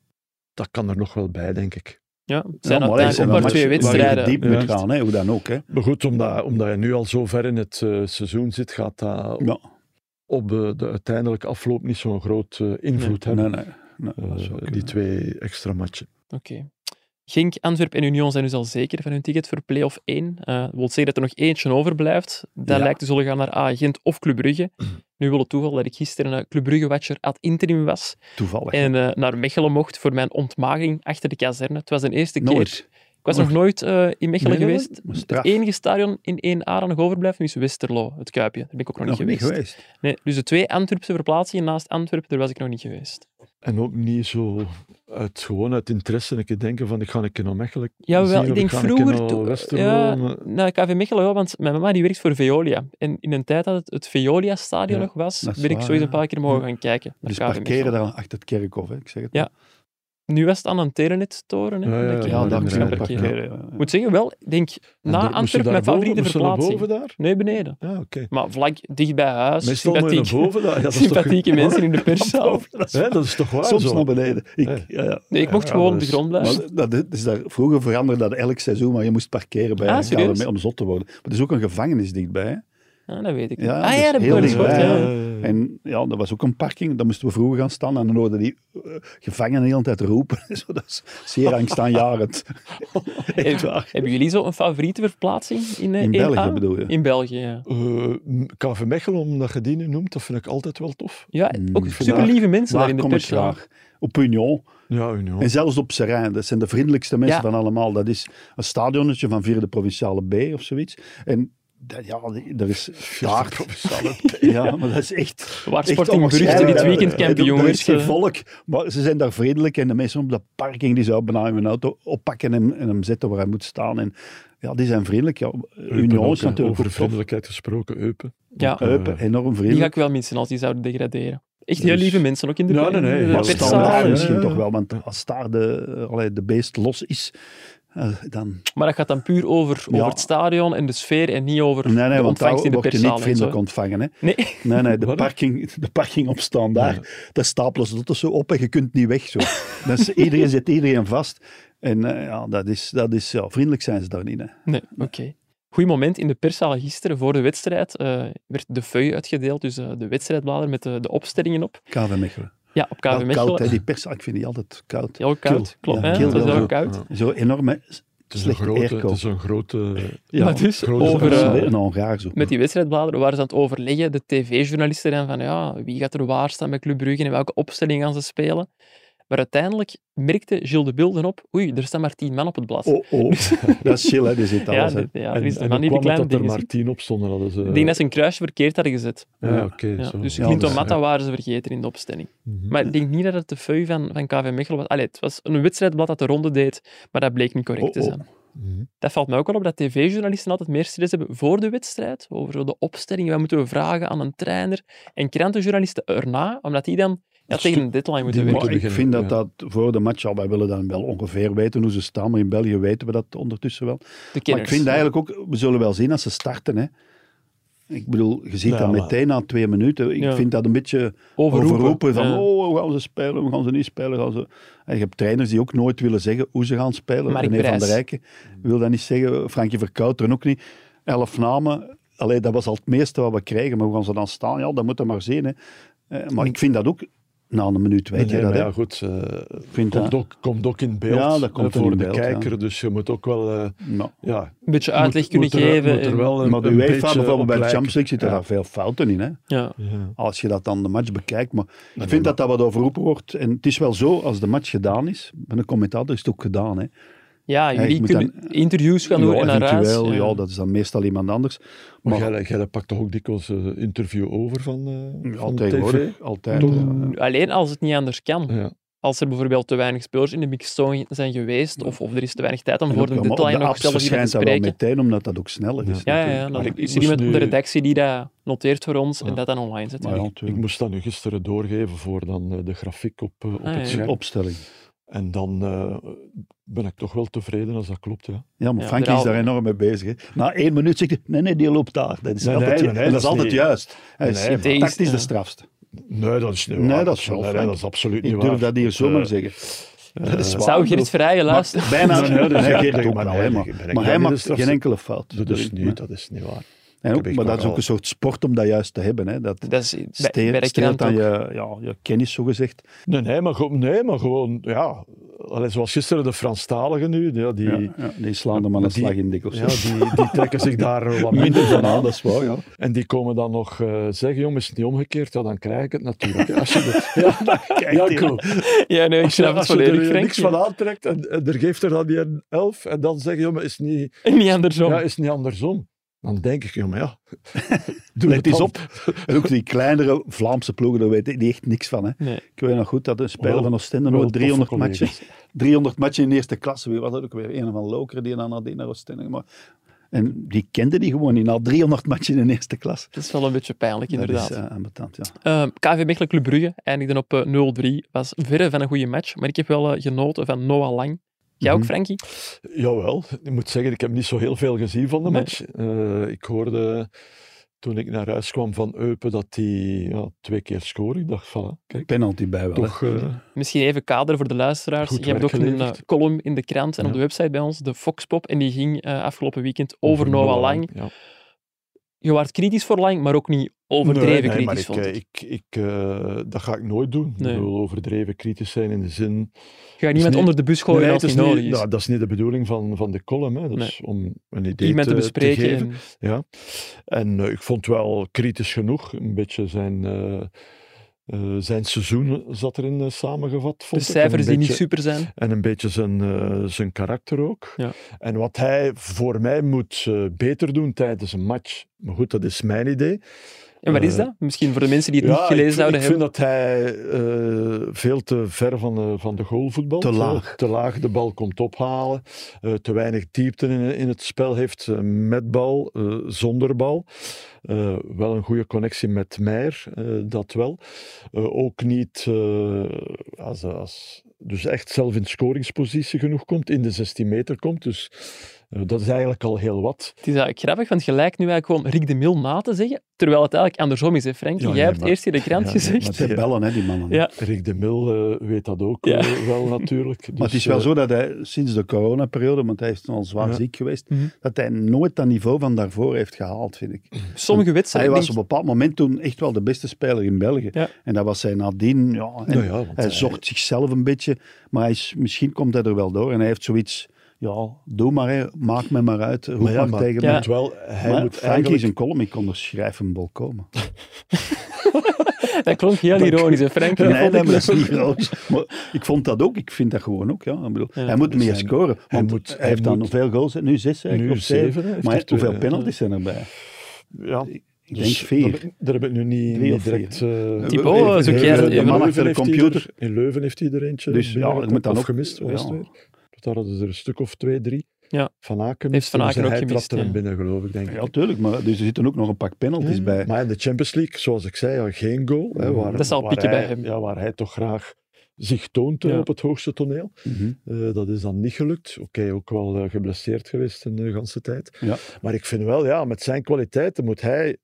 S4: dat kan er nog wel bij, denk ik.
S1: Ja, het zijn
S3: Ja, maar
S1: uiteindelijk
S3: zijn
S1: ook
S3: dan
S1: maar twee
S3: matchen waar je
S1: wedstrijden.
S3: diep moet
S4: Ja.
S3: gaan, hè, hoe dan ook. Hè.
S4: Maar goed, omdat, omdat je nu al zo ver in het eh, seizoen zit, gaat dat
S3: Ja,
S4: op eh, de uiteindelijke afloop niet zo'n groot eh, invloed
S3: nee,
S4: hebben.
S3: nee. nee,
S4: Eh,
S3: dat zou
S4: die
S3: kunnen.
S4: twee extra matchen.
S1: Oké. Genk, Antwerp en Union zijn dus al zeker van hun ticket voor play-off 1. Eh dat wil zeggen dat er nog eentje overblijft. Dat
S3: Ja.
S1: lijkt te zullen gaan naar A, Gent of Club Brugge. Nu wil het toeval dat ik gisteren eh, Club Brugge-watcher ad interim was.
S3: Toevallig.
S1: en eh, naar Mechelen mocht voor mijn ontmaging achter de kazerne. Het was de eerste keer.
S3: Nooit.
S1: Ik was nog nooit eh, in Mechelen
S4: Nee, nee,
S1: geweest.
S3: Maar
S1: Het
S3: straf.
S1: enige stadion in 1A dat nog overblijft nu is Westerlo, het Kuipje. Daar ben ik ook nog,
S3: Nog
S1: niet geweest. Nee, dus de twee Antwerpse verplaatsingen naast Antwerpen, daar was ik nog niet geweest.
S4: En ook niet zo uit, gewoon uit interesse een keer denken van ik ga een keer naar Mechelen. zien
S1: Jawel,
S4: of
S1: ik denk
S4: ga een keer
S1: vroeger...
S4: naar
S1: toe-
S4: Westerlo, eh,
S1: ja,
S4: maar-
S1: naar KV Mechelen wel, want mijn mama die werkt voor Veolia. En in een tijd dat het, het Veolia-stadion
S4: Ja,
S1: nog was, ben
S3: dat is
S1: ik
S3: waar,
S1: sowieso een
S3: ja.
S1: paar keer mogen gaan kijken. naar
S3: Dus
S1: KV
S3: parkeren
S1: Mechelen.
S3: daar achter het kerkhof, hè. ik zeg het.
S1: Ja, Nu was het aan een telenet-toren. hè,
S4: Ja, ja,
S1: dat je
S4: ja,
S1: daar
S4: daar
S1: moest
S4: moet
S1: gaan
S4: je gaan
S1: parkeren.
S4: parkeren.
S1: Ik moet zeggen, wel, ik denk na
S4: En daar- moest je
S1: Antwerpen mijn
S4: daarboven?
S1: favoriete
S4: Moest je naar
S1: verplaatsing.
S4: boven daar?
S1: Nee, beneden.
S4: Ja, oké.
S1: Maar vlak dicht bij huis.
S4: Meestal moet je
S1: sympathiek.
S4: naar boven daar. Ja, dat is toch-
S1: sympathieke mensen in de perszaal.
S4: Hè, dat is toch waar
S3: Soms
S4: zo?
S3: naar beneden. Ik, ja, ja.
S1: Nee, ik mocht
S4: Ja,
S1: gewoon
S4: dat
S1: op de
S4: is-
S1: grond blijven.
S3: Maar dat, dat is daar, vroeger veranderde dat elk seizoen, maar je moest parkeren bij
S1: Ah,
S3: een
S1: serieus?
S3: om zot te worden. Maar er is ook een gevangenis dichtbij. hè.
S1: Ah, dat weet ik niet.
S3: Ja,
S1: ah
S3: dus
S1: ja, dat
S3: heel
S1: heb ik wel eens
S3: dichtbij,
S1: gehoord, ja.
S3: En ja, dat was ook een parking. Daar moesten we vroeger gaan staan. En dan hoorden die eh, gevangenen de hele tijd roepen. Zo, dat is zeer angstaanjarend. Echt waar.
S1: Hebben jullie zo een favoriete verplaatsing in, eh,
S3: In
S1: 1A?
S3: België bedoel je?
S1: In België, ja.
S4: Eh, KV Mechelen, omdat je die nu noemt, dat vind ik altijd wel tof.
S1: Ja, ook
S4: vandaag-
S1: super lieve mensen daar
S3: Hmm, Waar
S1: in de
S3: kom ik
S1: pers. ja.
S3: graag? Op Union.
S4: Ja, Union.
S3: En zelfs op Serijn. Dat zijn de vriendelijkste mensen
S1: Ja.
S3: van allemaal. Dat is een stadionnetje van vierde provinciale B of zoiets. En dat, ja, die- er is daar...
S4: provinciale
S3: Ja, maar dat is echt...
S1: Waar
S3: echt
S1: Sporting Brugge
S3: onwaarschijnlijk.
S1: dit weekend kampioen
S3: Er is
S1: werd.
S3: geen
S1: eh,
S3: volk, maar ze zijn daar vriendelijk. En de mensen op de parking die zouden bijna hun auto oppakken en, en hem zetten waar hij moet staan. En ja, die zijn vriendelijk. Ja, Union is natuurlijk
S4: Over
S3: ook tof.
S4: vriendelijkheid gesproken, Eupen.
S1: Ja,
S4: eh,
S3: Eupen, enorm
S1: die ga
S3: vriendelijk.
S1: ik wel missen als die zouden degraderen. Echt heel
S3: Dus-
S1: lieve mensen, ook in de
S4: Ja, nee, nee,
S1: in de
S4: heel
S1: perszaal.
S4: standaard,
S3: Standaard
S4: ja,
S3: misschien
S4: ja, ja.
S3: toch wel, want als daar de, eh, allee, de beest los is, eh, dan...
S1: Maar dat gaat dan puur over,
S3: Ja.
S1: over het stadion en de sfeer en niet over
S3: Nee, nee,
S1: de
S3: want
S1: ontvangst
S3: daar
S1: in de
S3: wordt je niet
S1: perszaal. en zo.
S3: vriendelijk ontvangen. Hè.
S1: Nee,
S3: Nee, nee, de
S4: Wat?
S3: parking, de parking op standaard, daar stapelen ze dat zo op en je kunt niet weg. Zo. Dat is- iedereen zit iedereen vast. En eh, ja, dat is, dat is, ja, vriendelijk zijn ze daar niet. Hè.
S1: nee oké. Goed moment in de perszaal gisteren voor de wedstrijd eh, werd de feuille uitgedeeld, dus eh, de wedstrijdblader met de, de opstellingen op.
S3: KV Mechelen.
S1: Ja, op KV
S3: Wel
S1: Mechelen.
S3: koud, hè, die pers, ah, ik vind die altijd koud.
S1: Heel koud, klopt.
S3: Ja,
S1: hè?
S3: kil
S1: dat is
S3: wel
S1: heel
S3: zo.
S1: koud.
S4: Ja.
S3: Zo enorm, hè.
S4: Het is, een
S3: Slechte
S4: grote,
S3: airco.
S4: het is een grote...
S3: Ja,
S1: Maar dus,
S4: grote
S1: over,
S4: verschil,
S1: eh,
S4: hè.
S3: een Hongaar Nou, zo.
S1: met die wedstrijdbladeren waren ze aan het overleggen, de tv-journalisten, en van ja, wie gaat er waar staan bij Club Brugge en welke opstelling gaan ze spelen. Maar uiteindelijk merkte Gilles de Bilden op, oei, er staan maar tien man op het blad.
S3: Oh, oh, dat is chill, hè, die zit
S1: ja,
S3: alles. hè.
S1: dit- ja, er
S4: en
S1: is de
S4: en
S1: man
S4: hoe
S1: die de
S4: kwam het
S1: kleine
S4: dat er
S1: dingen
S4: maar
S1: ziet.
S4: tien op stonden? Hadden
S3: eh,
S4: ze...
S1: Ik denk dat ze een kruisje verkeerd hadden gezet.
S4: eh, Ja, oké.
S1: Ja,
S4: zo.
S1: dus
S3: Ja,
S1: Clinton
S3: dus,
S1: Matta waren ze vergeten in de opstelling.
S4: Mhm.
S1: Maar ik denk niet dat het de feu van, van KV Mechelen was. Allee, het was een wedstrijdblad dat de ronde deed, maar dat bleek niet correct
S3: Oh,
S1: te
S3: oh.
S1: zijn.
S4: Mhm.
S1: Dat valt mij ook al op, dat tv-journalisten altijd meer stress hebben voor de wedstrijd, over zo de opstelling, wat moeten we vragen aan een trainer, en krantenjournalisten erna, omdat die dan ja,
S4: Dat
S1: tegen
S4: stuk-
S1: een deadline moeten
S4: die
S1: werken.
S3: Maar ik
S4: beginnen,
S3: vind dat
S4: ja.
S3: dat voor de match, al, wij willen dan wel ongeveer weten hoe ze staan, maar in België weten we dat ondertussen wel.
S1: De
S3: Maar ik
S1: kenners.
S3: vind eigenlijk ook, we zullen wel zien als ze starten. Hè. Ik bedoel, je ziet
S4: Ja,
S3: dat
S4: maar-
S3: meteen na twee minuten. Ik
S1: Ja.
S3: vind dat een beetje
S1: Overroepen.
S3: overroepen. van,
S1: Ja.
S3: oh, hoe gaan ze spelen, hoe gaan ze niet spelen. Gaan ze... En je hebt trainers die ook nooit willen zeggen hoe ze gaan spelen.
S1: Mark
S3: René van
S1: Brijs.
S3: der Rijken wil dat niet zeggen. Frankie Verkouteren ook niet. Elf namen. Allee, dat was al het meeste wat we kregen. Maar hoe gaan ze dan staan? Ja, dat moet je maar zien. Hè. Eh, Maar ik vind dat ook... Na een minuut weet
S4: Nee,
S3: je
S4: nee,
S3: dat,
S4: maar
S3: hè.
S4: ja, goed. eh,
S3: vind
S4: komt,
S3: dat-
S4: ook, komt ook in beeld
S3: Ja, dat
S4: eh,
S3: komt
S4: voor
S3: in
S4: de
S3: beeld,
S4: kijker. Dus je moet ook wel... eh,
S3: Nou.
S4: ja,
S1: Een beetje uitleg
S4: moet-
S1: kunnen
S4: moet er-
S1: geven.
S4: moet er
S1: en-
S4: wel een-
S3: Maar de
S4: een
S3: UEFA
S4: beetje
S3: bijvoorbeeld bij de
S4: op
S3: Champions League zitten
S4: Ja.
S3: daar veel fouten in, hè.
S1: ja.
S4: lijken.
S3: als je dat dan de match bekijkt. Maar ik vind dat dat wat overroepen wordt. En het is wel zo, als de match gedaan is, met een commentator is het ook gedaan. Hè.
S1: ja,
S3: Ja, je
S1: jullie
S3: moet
S1: kunnen
S3: dan-
S1: interviews gaan doen en naar huis.
S3: eventueel, ja.
S1: ja.
S3: dat is dan meestal iemand anders.
S4: Maar
S3: Maar
S4: jij, jij pakt toch ook dikwijls een interview over van, eh
S3: ja,
S4: van
S3: tegenwoordig,
S4: tv?
S3: altijd.
S4: Toch?
S3: ja.
S1: Alleen als het niet anders kan.
S4: Ja.
S1: Als er bijvoorbeeld te weinig spelers in de Big Zone zijn geweest, of, of er is te weinig tijd om
S3: En
S1: voor
S3: ook,
S1: de
S3: ja, maar op
S1: deadline
S3: de
S1: nog
S3: apps
S1: zelf iemand te
S3: verschijnt dat wel
S1: spreken.
S3: meteen, omdat dat ook sneller is.
S1: Ja, ja, ja.
S3: natuurlijk.
S1: Dan
S4: ik
S1: is
S4: moest
S1: er iemand op de
S4: nu-
S1: redactie die dat noteert voor ons en
S4: Ja.
S1: dat dan online zet.
S3: Maar ja,
S4: Ik
S3: natuurlijk.
S4: moest dat nu gisteren doorgeven voor dan eh, de grafiek op, eh, op
S1: Ah, ja.
S4: het
S3: Een
S4: scherm.
S3: opstelling.
S4: En dan eh, ben ik toch wel tevreden als dat klopt, ja.
S3: Ja, maar
S1: Ja,
S3: Frank
S1: er
S3: is
S1: al-
S3: daar enorm mee bezig. Hè. Na één minuut zegt hij, nee, nee, die loopt daar. Dat is
S4: Nee,
S3: altijd,
S4: nee,
S3: ju-
S4: nee, nee,
S3: en dat
S4: dat
S3: is
S4: is
S3: altijd
S4: niet-
S3: juist. Hij
S4: Nee,
S3: is
S4: nee,
S1: maar-
S3: tactisch
S1: Ja.
S3: de strafste.
S4: Nee, dat is niet
S3: Nee,
S4: waar.
S3: dat is wel
S4: nee, nee,
S3: Frank.
S4: dat is absoluut niet
S3: Ik
S4: waar.
S3: durf dat hier zomaar
S4: Eh,
S3: zeggen. Dat is waar.
S1: Zou Gerrit Vrijen luisteren?
S3: Bijna.
S4: Nee, nee, dat is
S3: Nee,
S4: echt
S3: Geert
S4: niet.
S3: ook
S4: Maar
S3: wel,
S4: nee,
S3: hè,
S4: ik
S3: maar,
S4: ben- ik
S3: maar
S4: ben
S3: hij
S4: niet de
S3: maakt
S4: strafste.
S3: geen enkele fout.
S4: Dat is niet, dat is niet waar.
S3: En
S4: heb
S3: ook,
S4: ik
S3: maar
S4: nog
S3: dat is ook
S4: al.
S3: een soort sport om dat juist te hebben. Hè. Dat
S1: Dat is bij,
S3: steelt,
S1: bij de
S3: steelt
S1: krant
S3: aan
S1: ook.
S3: je, ja, je kennis, zogezegd.
S4: Nee, nee, maar, gewoon- nee, maar gewoon, ja. Allee, zoals gisteren de Franstaligen nu, ja, die,
S3: Ja,
S4: ja.
S3: ja, die slaan er maar een
S4: Die-
S3: slag in dikwijls.
S4: die, die trekken zich daar wat
S3: Minder
S4: minder
S3: van aan, dat is waar. Ja.
S4: En die komen dan nog eh, zeggen, jongens, is het niet omgekeerd? Ja, dan krijg ik het natuurlijk. hè. Als je de, ja, ja,
S3: die.
S4: cool.
S1: Ja, nee, ik
S4: Als je,
S1: snap het
S4: als je
S1: volledig,
S4: er
S1: Frank.
S4: niks van aantrekt en, en er geeft er dan die een elf en dan zeg je, jongen, is het niet,
S1: En niet andersom.
S4: ja, is het niet andersom? Dan denk ik, jongen, ja. Doe
S3: Let
S4: het
S3: eens
S4: dan.
S3: op. En ook die kleinere Vlaamse ploegen, daar weten die echt niks van. Hè.
S1: Nee.
S3: Ik weet nog goed dat een speler
S4: Wel-
S3: van Oostende
S4: wel
S3: nooit
S4: toffe
S3: 300
S4: collega's.
S3: matchen, 300 matchen in de eerste klasse. Wie was dat ook weer? Een van Lokeren die dan nadien naar Oostende. Maar, en die kende die gewoon niet. Na 300 matchen in de eerste klasse.
S1: Dat is wel een beetje pijnlijk, inderdaad.
S3: Dat is eh, ambetant, ja.
S1: Eh, KV Mechelen Club Brugge eindigde op eh, 0-3. Was verre van een goede match, maar ik heb wel eh, genoten van Noah Lang. Jij ook,
S3: Mhm.
S1: Frankie?
S4: Jawel, ik moet zeggen, ik heb niet zo heel veel gezien van de
S1: Nee.
S4: match. Eh, ik hoorde toen ik naar huis kwam van Eupen dat hij ja, twee keer scoorde. Ik dacht, voilà, kijk,
S3: Penalty bij wel.
S4: toch... eh,
S1: Misschien even kader voor de luisteraars.
S4: Goed
S1: Je hebt ook
S4: werk
S1: een
S4: geleverd.
S1: eh, column in de krant en op
S4: Ja.
S1: de website bij ons, de Foxpop. En die ging eh, afgelopen weekend over, Noah Lang.
S4: Ja.
S1: je waart kritisch voor lang, maar ook niet overdreven
S4: Nee, nee,
S1: kritisch,
S4: maar
S1: vond ik.
S4: ik, ik, eh, dat ga ik nooit doen.
S1: Nee.
S4: Ik bedoel, overdreven kritisch zijn in de zin...
S1: Je gaat niemand
S4: niet-
S1: onder de bus gooien
S4: Nee,
S1: als
S4: het
S1: het
S4: is
S1: niet
S4: niet-
S1: nodig is.
S4: nou, dat is niet de bedoeling van, van de column. Hè. Dus om een idee
S1: Iemand te
S4: eh, te
S1: bespreken.
S4: geven.
S1: en-
S4: Ja. En eh, ik vond wel kritisch genoeg. Een beetje zijn, eh, eh, zijn seizoen zat erin eh, samengevat.
S1: de
S4: Vond ik. En
S1: cijfers
S4: een
S1: die niet
S4: beetje-
S1: super zijn.
S4: En een beetje zijn, eh, zijn karakter ook.
S1: Ja.
S4: En wat hij voor mij moet eh, beter doen tijdens een match. Maar goed, dat is mijn idee.
S1: En wat is
S4: Eh,
S1: dat? Misschien voor de mensen die het niet
S4: ik-
S1: gelezen
S4: ik,
S1: zouden hebben.
S4: vind dat hij eh, veel te ver van de, van de goal voetbalt.
S3: Te
S4: Eh,
S3: laag.
S4: te laag de bal komt ophalen. eh, te weinig diepte in, in het spel heeft eh, met bal, eh, zonder bal. Eh, wel een goede connectie met Meijer, eh, dat wel. Eh, ook niet eh, als, als dus echt zelf in scoringspositie genoeg komt, in de 16 meter komt. Dus eh, dat is eigenlijk al heel wat.
S1: Het is eigenlijk grappig, want gelijk nu eigenlijk gewoon Rick de Mil na te zeggen, terwijl het eigenlijk andersom is, hè, Frank.
S4: Ja,
S1: Jij
S4: nee,
S1: hebt
S4: maar-
S1: eerst in de krant
S4: Ja, nee,
S1: gezegd.
S3: Maar ze bellen, hè, die mannen.
S1: Ja.
S4: Rick de Mil eh, weet dat ook
S1: Ja.
S4: eh, wel natuurlijk.
S3: Maar
S4: Dus,
S3: het is wel
S4: eh,
S3: zo dat hij sinds de coronaperiode, want hij is al zwaar
S4: Ja.
S3: ziek geweest,
S1: Mhm.
S3: dat hij nooit dat niveau van daarvoor heeft gehaald, vind ik.
S1: Sommige
S3: Hij
S1: wedstrijden...
S3: was op
S1: denk
S3: een bepaald moment toen echt wel de beste speler in België.
S1: Ja.
S3: En dat was hij nadien. Ja, en
S4: Nou ja, want
S3: hij
S4: hij-
S3: zocht zichzelf een beetje, maar hij is, misschien komt hij er wel door. En hij heeft zoiets, ja, doe maar, hè, maak me maar uit. Hoe
S4: Maar
S3: maar
S4: ja, maar-
S3: tegen
S1: Ja.
S3: mij.
S4: moet wel, hij
S3: Maar
S4: moet
S3: Frankie
S4: eigenlijk...
S3: is een column, ik kon er schrijvenbol komen.
S1: ik- Dat klonk heel ironisch, hè, Frank.
S3: Nee,
S1: Dat
S3: nee,
S1: vond
S3: maar
S1: ik
S3: dat is
S1: leuk.
S3: niet groot. Maar ik vond dat ook, ik vind dat gewoon ook. Ja. Ik bedoel, hij moet meer
S4: hij-
S3: scoren, want hij,
S4: moet- hij
S3: heeft dan
S4: moet-
S3: veel goals, hè? nu zes hè,
S4: Nu
S3: of zeven.
S4: zeven, hè, heeft
S3: Maar
S4: er twee,
S3: hoeveel
S4: hè.
S3: penalties zijn erbij?
S4: Ja,
S3: Ik denk vier.
S4: Daar, daar heb ik nu niet,
S3: Drie
S4: niet
S3: of
S4: direct... eh,
S1: Thibaut,
S4: in
S1: eh,
S4: Leuven-
S1: zoek jij
S4: in
S1: het even.
S4: Leuven
S3: Man achter de
S4: heeft hij
S3: computer.
S4: er- in Leuven heeft hij er eentje.
S3: Dus ja,
S4: binnengetapt
S3: je moet dan
S4: of
S3: ook-
S4: gemist, wat was
S3: ja.
S4: het weer? Dat hadden ze er een stuk of twee, drie.
S1: Ja.
S4: Van Aken
S1: Heeft Van Aken ook
S4: hij
S1: gemist,
S4: trapte
S1: ja.
S4: hem binnen, geloof ik, denk ik.
S3: Ja, tuurlijk, maar dus er zitten ook nog een pak penalties
S4: Ja.
S3: bij.
S4: Maar in de Champions League, zoals ik zei, ja, geen goal. Hè, waar,
S1: Dat zal
S4: waar
S1: pikken bij
S4: hij-
S1: hem.
S4: Ja, waar hij toch graag zich toont eh,
S1: Ja.
S4: op het hoogste toneel.
S3: Mhm.
S4: Eh, dat is dan niet gelukt. Oké, ook wel eh, geblesseerd geweest in de ganse tijd.
S3: Ja.
S4: Maar ik vind wel, ja, met zijn kwaliteiten moet hij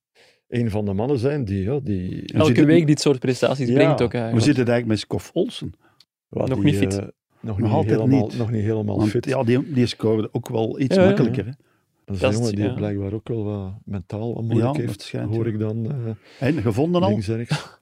S4: een van de mannen zijn die... Ja, die
S3: Hoe zit
S1: Elke
S3: het-
S1: week dit soort prestaties
S4: Ja.
S1: brengt ook
S3: Hoe
S1: eigenlijk.
S3: zit het eigenlijk met Skof Olsen?
S4: ja,
S1: Nog
S4: die,
S1: niet fit.
S4: eh, nog, niet
S3: altijd
S4: helemaal,
S3: niet.
S4: nog niet helemaal
S3: Want
S4: fit.
S3: ja, die, die scoorde ook wel iets
S1: Ja, ja.
S3: makkelijker. Hè?
S4: dat is
S1: dat
S4: een
S1: is-
S4: jongen die
S1: ja.
S4: blijkbaar ook wel wat mentaal wat moeilijk
S3: Ja, dat
S4: heeft.
S3: schijnt,
S4: hoor
S3: ja.
S4: ik dan eh
S3: En gevonden al?
S4: links en rechts.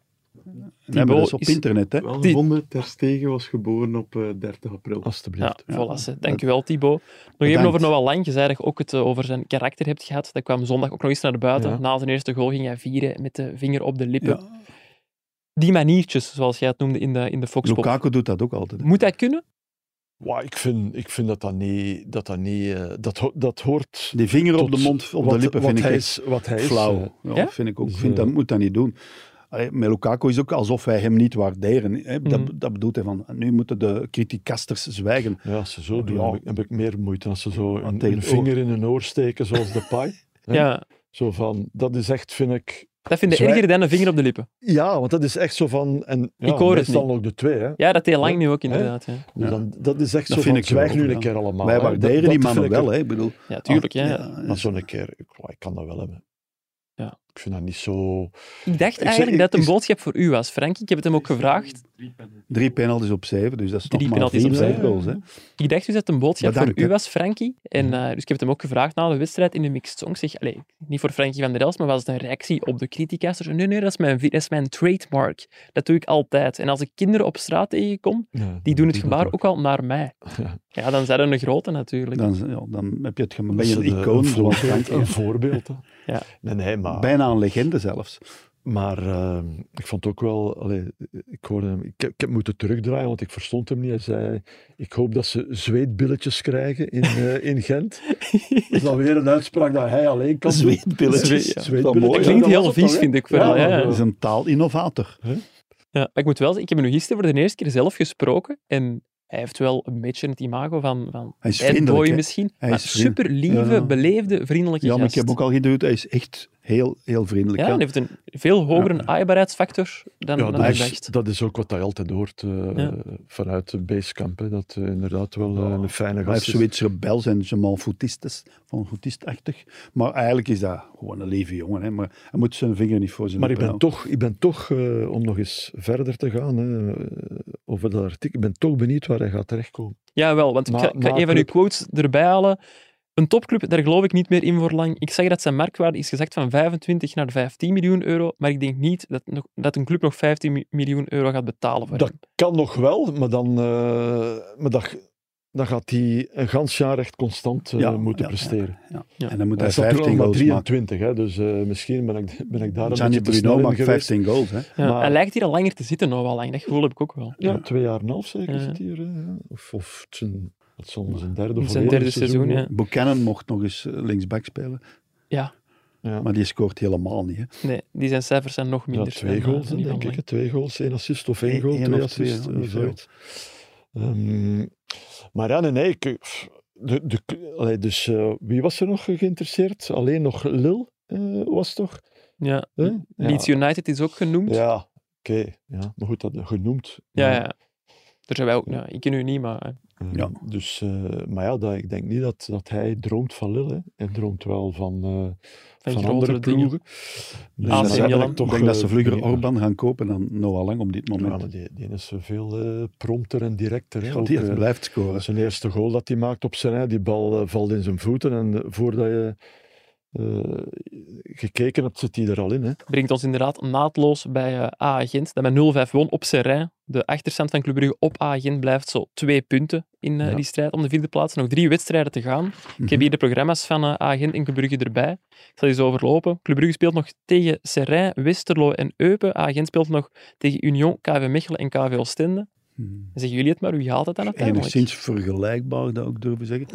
S3: We hebben dat op
S1: is-
S3: internet. Hè?
S5: Wel
S1: Die-
S5: gevonden, Ter Stegen was geboren op eh, 30 april.
S1: Ja,
S4: Alsjeblieft.
S3: Ja.
S1: voilà. ze. Dankjewel, Thibaut. Nog even
S3: Bedankt.
S1: over Noah Lang. Je zei dat je ook het eh, over zijn karakter hebt gehad. Dat kwam zondag ook nog eens naar buiten.
S4: Ja.
S1: Na zijn eerste goal ging hij vieren met de vinger op de lippen.
S3: Ja.
S1: Die maniertjes, zoals jij het noemde in de, in de Foxpop.
S3: Lukaku doet dat ook altijd. hè.
S1: Moet hij kunnen?
S4: Wauw, ik, vind, ik vind dat dat niet... Dat, dat, niet, eh, dat, ho- dat hoort...
S3: Die vinger op
S4: tot
S3: de mond, op de
S4: wat-
S3: lippen
S4: wat
S3: vind ik
S4: hij
S3: echt
S4: is, Wat hij is... eh,
S3: flauw. Ja,
S1: Ja?
S3: Vind ik ook. Ik
S4: Dus,
S3: vind dat
S4: eh,
S3: moet dat niet doen. Allee, Met Lukaku is ook alsof wij hem niet waarderen. Hè? Dat,
S1: Mhm.
S3: dat bedoelt hij van, nu moeten de criticasters zwijgen.
S4: Ja, als ze zo doen,
S3: Ja.
S4: heb, ik, heb ik meer moeite. Als ze zo
S3: Ah,
S4: een,
S3: tegen
S4: een
S3: het oor.
S4: vinger in een oor steken, zoals de paai.
S1: Ja.
S4: Ja. Zo van, dat is echt, vind ik...
S1: Dat vind ik
S4: Zwaar-
S1: erger dan een vinger op de lippen.
S4: Ja, want dat is echt zo van... En ja,
S1: Ik hoor het
S4: meestal
S1: niet.
S4: ook de twee, hè.
S1: Ja, dat deed Lang
S4: Ja.
S1: nu ook inderdaad. Ja,
S4: Dus
S3: Ja.
S4: dan, dat is echt
S3: Dat
S4: zo
S3: vind
S4: van,
S3: ik zo
S4: zwijg nu
S3: ook,
S4: een
S3: ja.
S4: keer allemaal.
S3: Wij
S4: hè. Dat-
S3: waarderen
S4: dat
S3: die
S4: vind
S3: mannen
S4: ik
S3: wel.
S4: er-
S3: Hè? Ik bedoel,
S1: ja tuurlijk. Ja.
S4: Maar zo'n keer, ik, ik kan dat wel hebben.
S1: Ja.
S4: Ik vind dat niet zo...
S1: Ik dacht
S4: zeg-
S1: eigenlijk
S4: ik-
S1: dat het een
S4: is-
S1: boodschap voor u was, Frank. Ik heb het hem ook gevraagd.
S3: Drie penalties op zeven, dus dat is
S1: Drie
S3: nog maar
S1: penalties
S3: vier
S1: op
S3: vijf
S1: zeven.
S3: goals. Hè?
S1: Ik dacht dus dat het een boodschap
S3: Bedankt,
S1: voor u
S3: hè. Mhm.
S1: was, Frankie. En, eh, dus ik heb het hem ook gevraagd na de wedstrijd in de mixed song. Ik Zeg, allee, niet voor Frankie van der Elst, maar was het een reactie op de criticasters? Nee, nee, dat is, mijn, vi- dat is mijn trademark. Dat doe ik altijd. En als ik kinderen op straat tegenkom,
S4: Ja,
S1: die doen het
S4: dat
S1: gebaar
S4: ook.
S1: ook al naar mij.
S4: Ja.
S1: Ja, dan zijn er een grote natuurlijk.
S3: Dan, ja, dan heb je het gem-
S4: Dat
S3: ben je
S4: is
S3: een
S4: een-
S3: icoon.
S4: een
S3: Zoals
S4: voorbeeld,
S3: Frank,
S4: Een voorbeeld, hè.
S1: Ja.
S4: Nee, nee, maar...
S3: Bijna een legende zelfs.
S4: Maar ehm, ik vond ook wel, allee, ik, hoorde hem, ik, heb- ik heb moeten terugdraaien, want ik verstond hem niet. Hij zei, ik hoop dat ze zweetbilletjes krijgen in, eh, in Gent. Dat is dan weer een uitspraak dat hij alleen kan doen.
S3: Zweetbilletjes.
S1: Zweet- ja.
S3: Dat
S4: mooi,
S3: klinkt
S4: hè?
S1: heel
S4: was het
S1: vies,
S4: toch, hè?
S1: vind ik wel, ja.
S4: maar,
S3: Dat is een taalinnovator.
S1: Ja, maar ik moet wel zeggen, ik heb hem nu gisteren voor de eerste keer zelf gesproken. En hij heeft wel een beetje het imago van, van
S3: Hij is
S1: bad boy
S3: vriendelijk, hè.
S1: misschien.
S3: Hij
S1: maar
S3: is vriendelijk.
S1: super lieve,
S3: Ja.
S1: beleefde, vriendelijke
S3: Ja, maar ik
S1: gast.
S3: heb ook al geduwd. Hij is echt heel, heel vriendelijk.
S1: ja,
S3: ja.
S1: hij heeft een veel hogere aaibaarheidsfactor dan,
S4: Ja,
S1: dan ik
S4: dat, is,
S1: dacht.
S4: dat is ook wat hij altijd hoort eh,
S1: Ja.
S4: vanuit de basecamp. Hè, dat eh, inderdaad wel eh, een fijne
S3: Hij heeft
S4: gast is.
S3: zoiets rebels en ze mal foutistisch, van foutistachtig. Maar eigenlijk is dat gewoon een lieve jongen. Hè. Maar hij moet zijn vinger niet voor zijn
S4: Maar ik
S3: lippen
S4: ben toch, ik ben toch eh, om nog eens verder te gaan hè, eh, over dat artikel, ik ben toch benieuwd waar hij gaat terechtkomen.
S1: Ja, wel, want ik
S4: Na-
S1: ga, ik ga
S4: na
S1: een van uw
S4: club.
S1: quotes erbij halen. Een topclub, daar geloof ik niet meer in voor lang. Ik zeg dat zijn marktwaarde is gezakt van 25 naar 15 miljoen euro, maar ik denk niet dat, nog- dat een club nog 15 mi- miljoen euro gaat betalen voor
S4: Dat
S1: hem.
S4: kan nog wel, maar dan, eh, maar dat, dan gaat hij een gans jaar echt constant eh,
S3: Ja,
S4: moeten
S3: ja, ja.
S4: presteren.
S1: Ja.
S3: En dan moet
S4: Hij
S3: hij
S4: staat er al
S3: 15
S4: maar
S3: goals maken.
S4: 23, hè, dus eh, misschien ben ik, ben ik daar een
S3: Gianni
S4: beetje te
S3: Bruno
S4: snel in
S3: maakt
S4: geweest.
S3: 15 goals. Hè.
S1: Ja,
S4: maar-
S1: Hij lijkt hier al langer te zitten, nou wel lang. Dat gevoel heb ik ook wel.
S4: Ja,
S3: Ja.
S4: twee jaar en een half zeker
S1: Ja.
S4: zit hier. eh, ja. Of, of het zijn, het zal zijn derde
S1: In
S4: of
S1: zijn
S4: vierde
S1: derde seizoen, ja.
S3: Buchanan mocht nog eens eh, linksback spelen,
S1: ja.
S4: Ja.
S3: maar die scoort helemaal niet. Hè.
S1: Nee, die zijn cijfers zijn nog
S4: Ja,
S1: minder.
S4: twee
S1: dan, eh,
S4: goals,
S1: dan
S4: hè,
S1: die van
S4: denk ik.
S1: Lang.
S4: hè. Twee goals, één assist of één
S3: Eén-
S4: goal,
S3: één
S4: twee
S3: of twee,
S4: assists.
S3: ja,
S4: eh,
S3: niet veel.
S4: zoiets. Ehm, maar ja, nee, nee. Ik, pff, de, de, allee, dus eh, wie was er nog geïnteresseerd? Alleen nog Lille eh, was het toch?
S1: Ja.
S4: Huh?
S1: Leeds United is ook genoemd. Ja,
S4: Ja, oké. ja. Maar goed, dat genoemd.
S1: ja.
S4: Maar,
S1: Daar zijn wij ook. Ja, ik ken u niet, maar eh,
S4: eh,
S3: Ja.
S4: Dus, eh, maar ja, dat, ik denk niet dat, dat hij droomt van Lille. hè. Hij droomt wel van, eh
S1: van,
S4: van andere
S1: grotere dingen.
S4: ploegen. Dus
S1: AC
S4: dat zijn
S1: Milan.
S4: eigenlijk
S3: Ik denk dat ze
S4: eh,
S3: vlugger
S4: prima.
S3: Orban gaan kopen dan Noah Lang op dit
S4: Ja,
S3: moment.
S4: maar die, die is eh, veel eh, prompter en directer. Hè?
S3: Want
S4: Ook,
S3: die
S4: eh,
S3: blijft scoren.
S4: zijn eerste goal dat hij maakt op zijn rij, die bal eh, valt in zijn voeten. En eh, voordat je eh, gekeken hebt, zit hij er al in. Hè?
S1: Brengt ons inderdaad naadloos bij eh A-agent. Dat met 0-5 won op Serrain. De achterstand van Club Brugge op A-agent blijft zo twee punten in eh,
S4: Ja.
S1: die strijd om de vierde plaats. Nog drie wedstrijden te gaan. Ik
S3: Mhm.
S1: heb hier de programma's van eh A-agent en Club Brugge erbij. Ik zal die zo overlopen. Club Brugge speelt nog tegen Serrain, Westerlo en Eupen. A-agent speelt nog tegen Union, KV Mechelen en KV Oostende.
S3: Mhm.
S1: Zeggen jullie het maar, wie haalt het dan uiteindelijk?
S3: Enigszins vergelijkbaar, dat ook durven zeggen.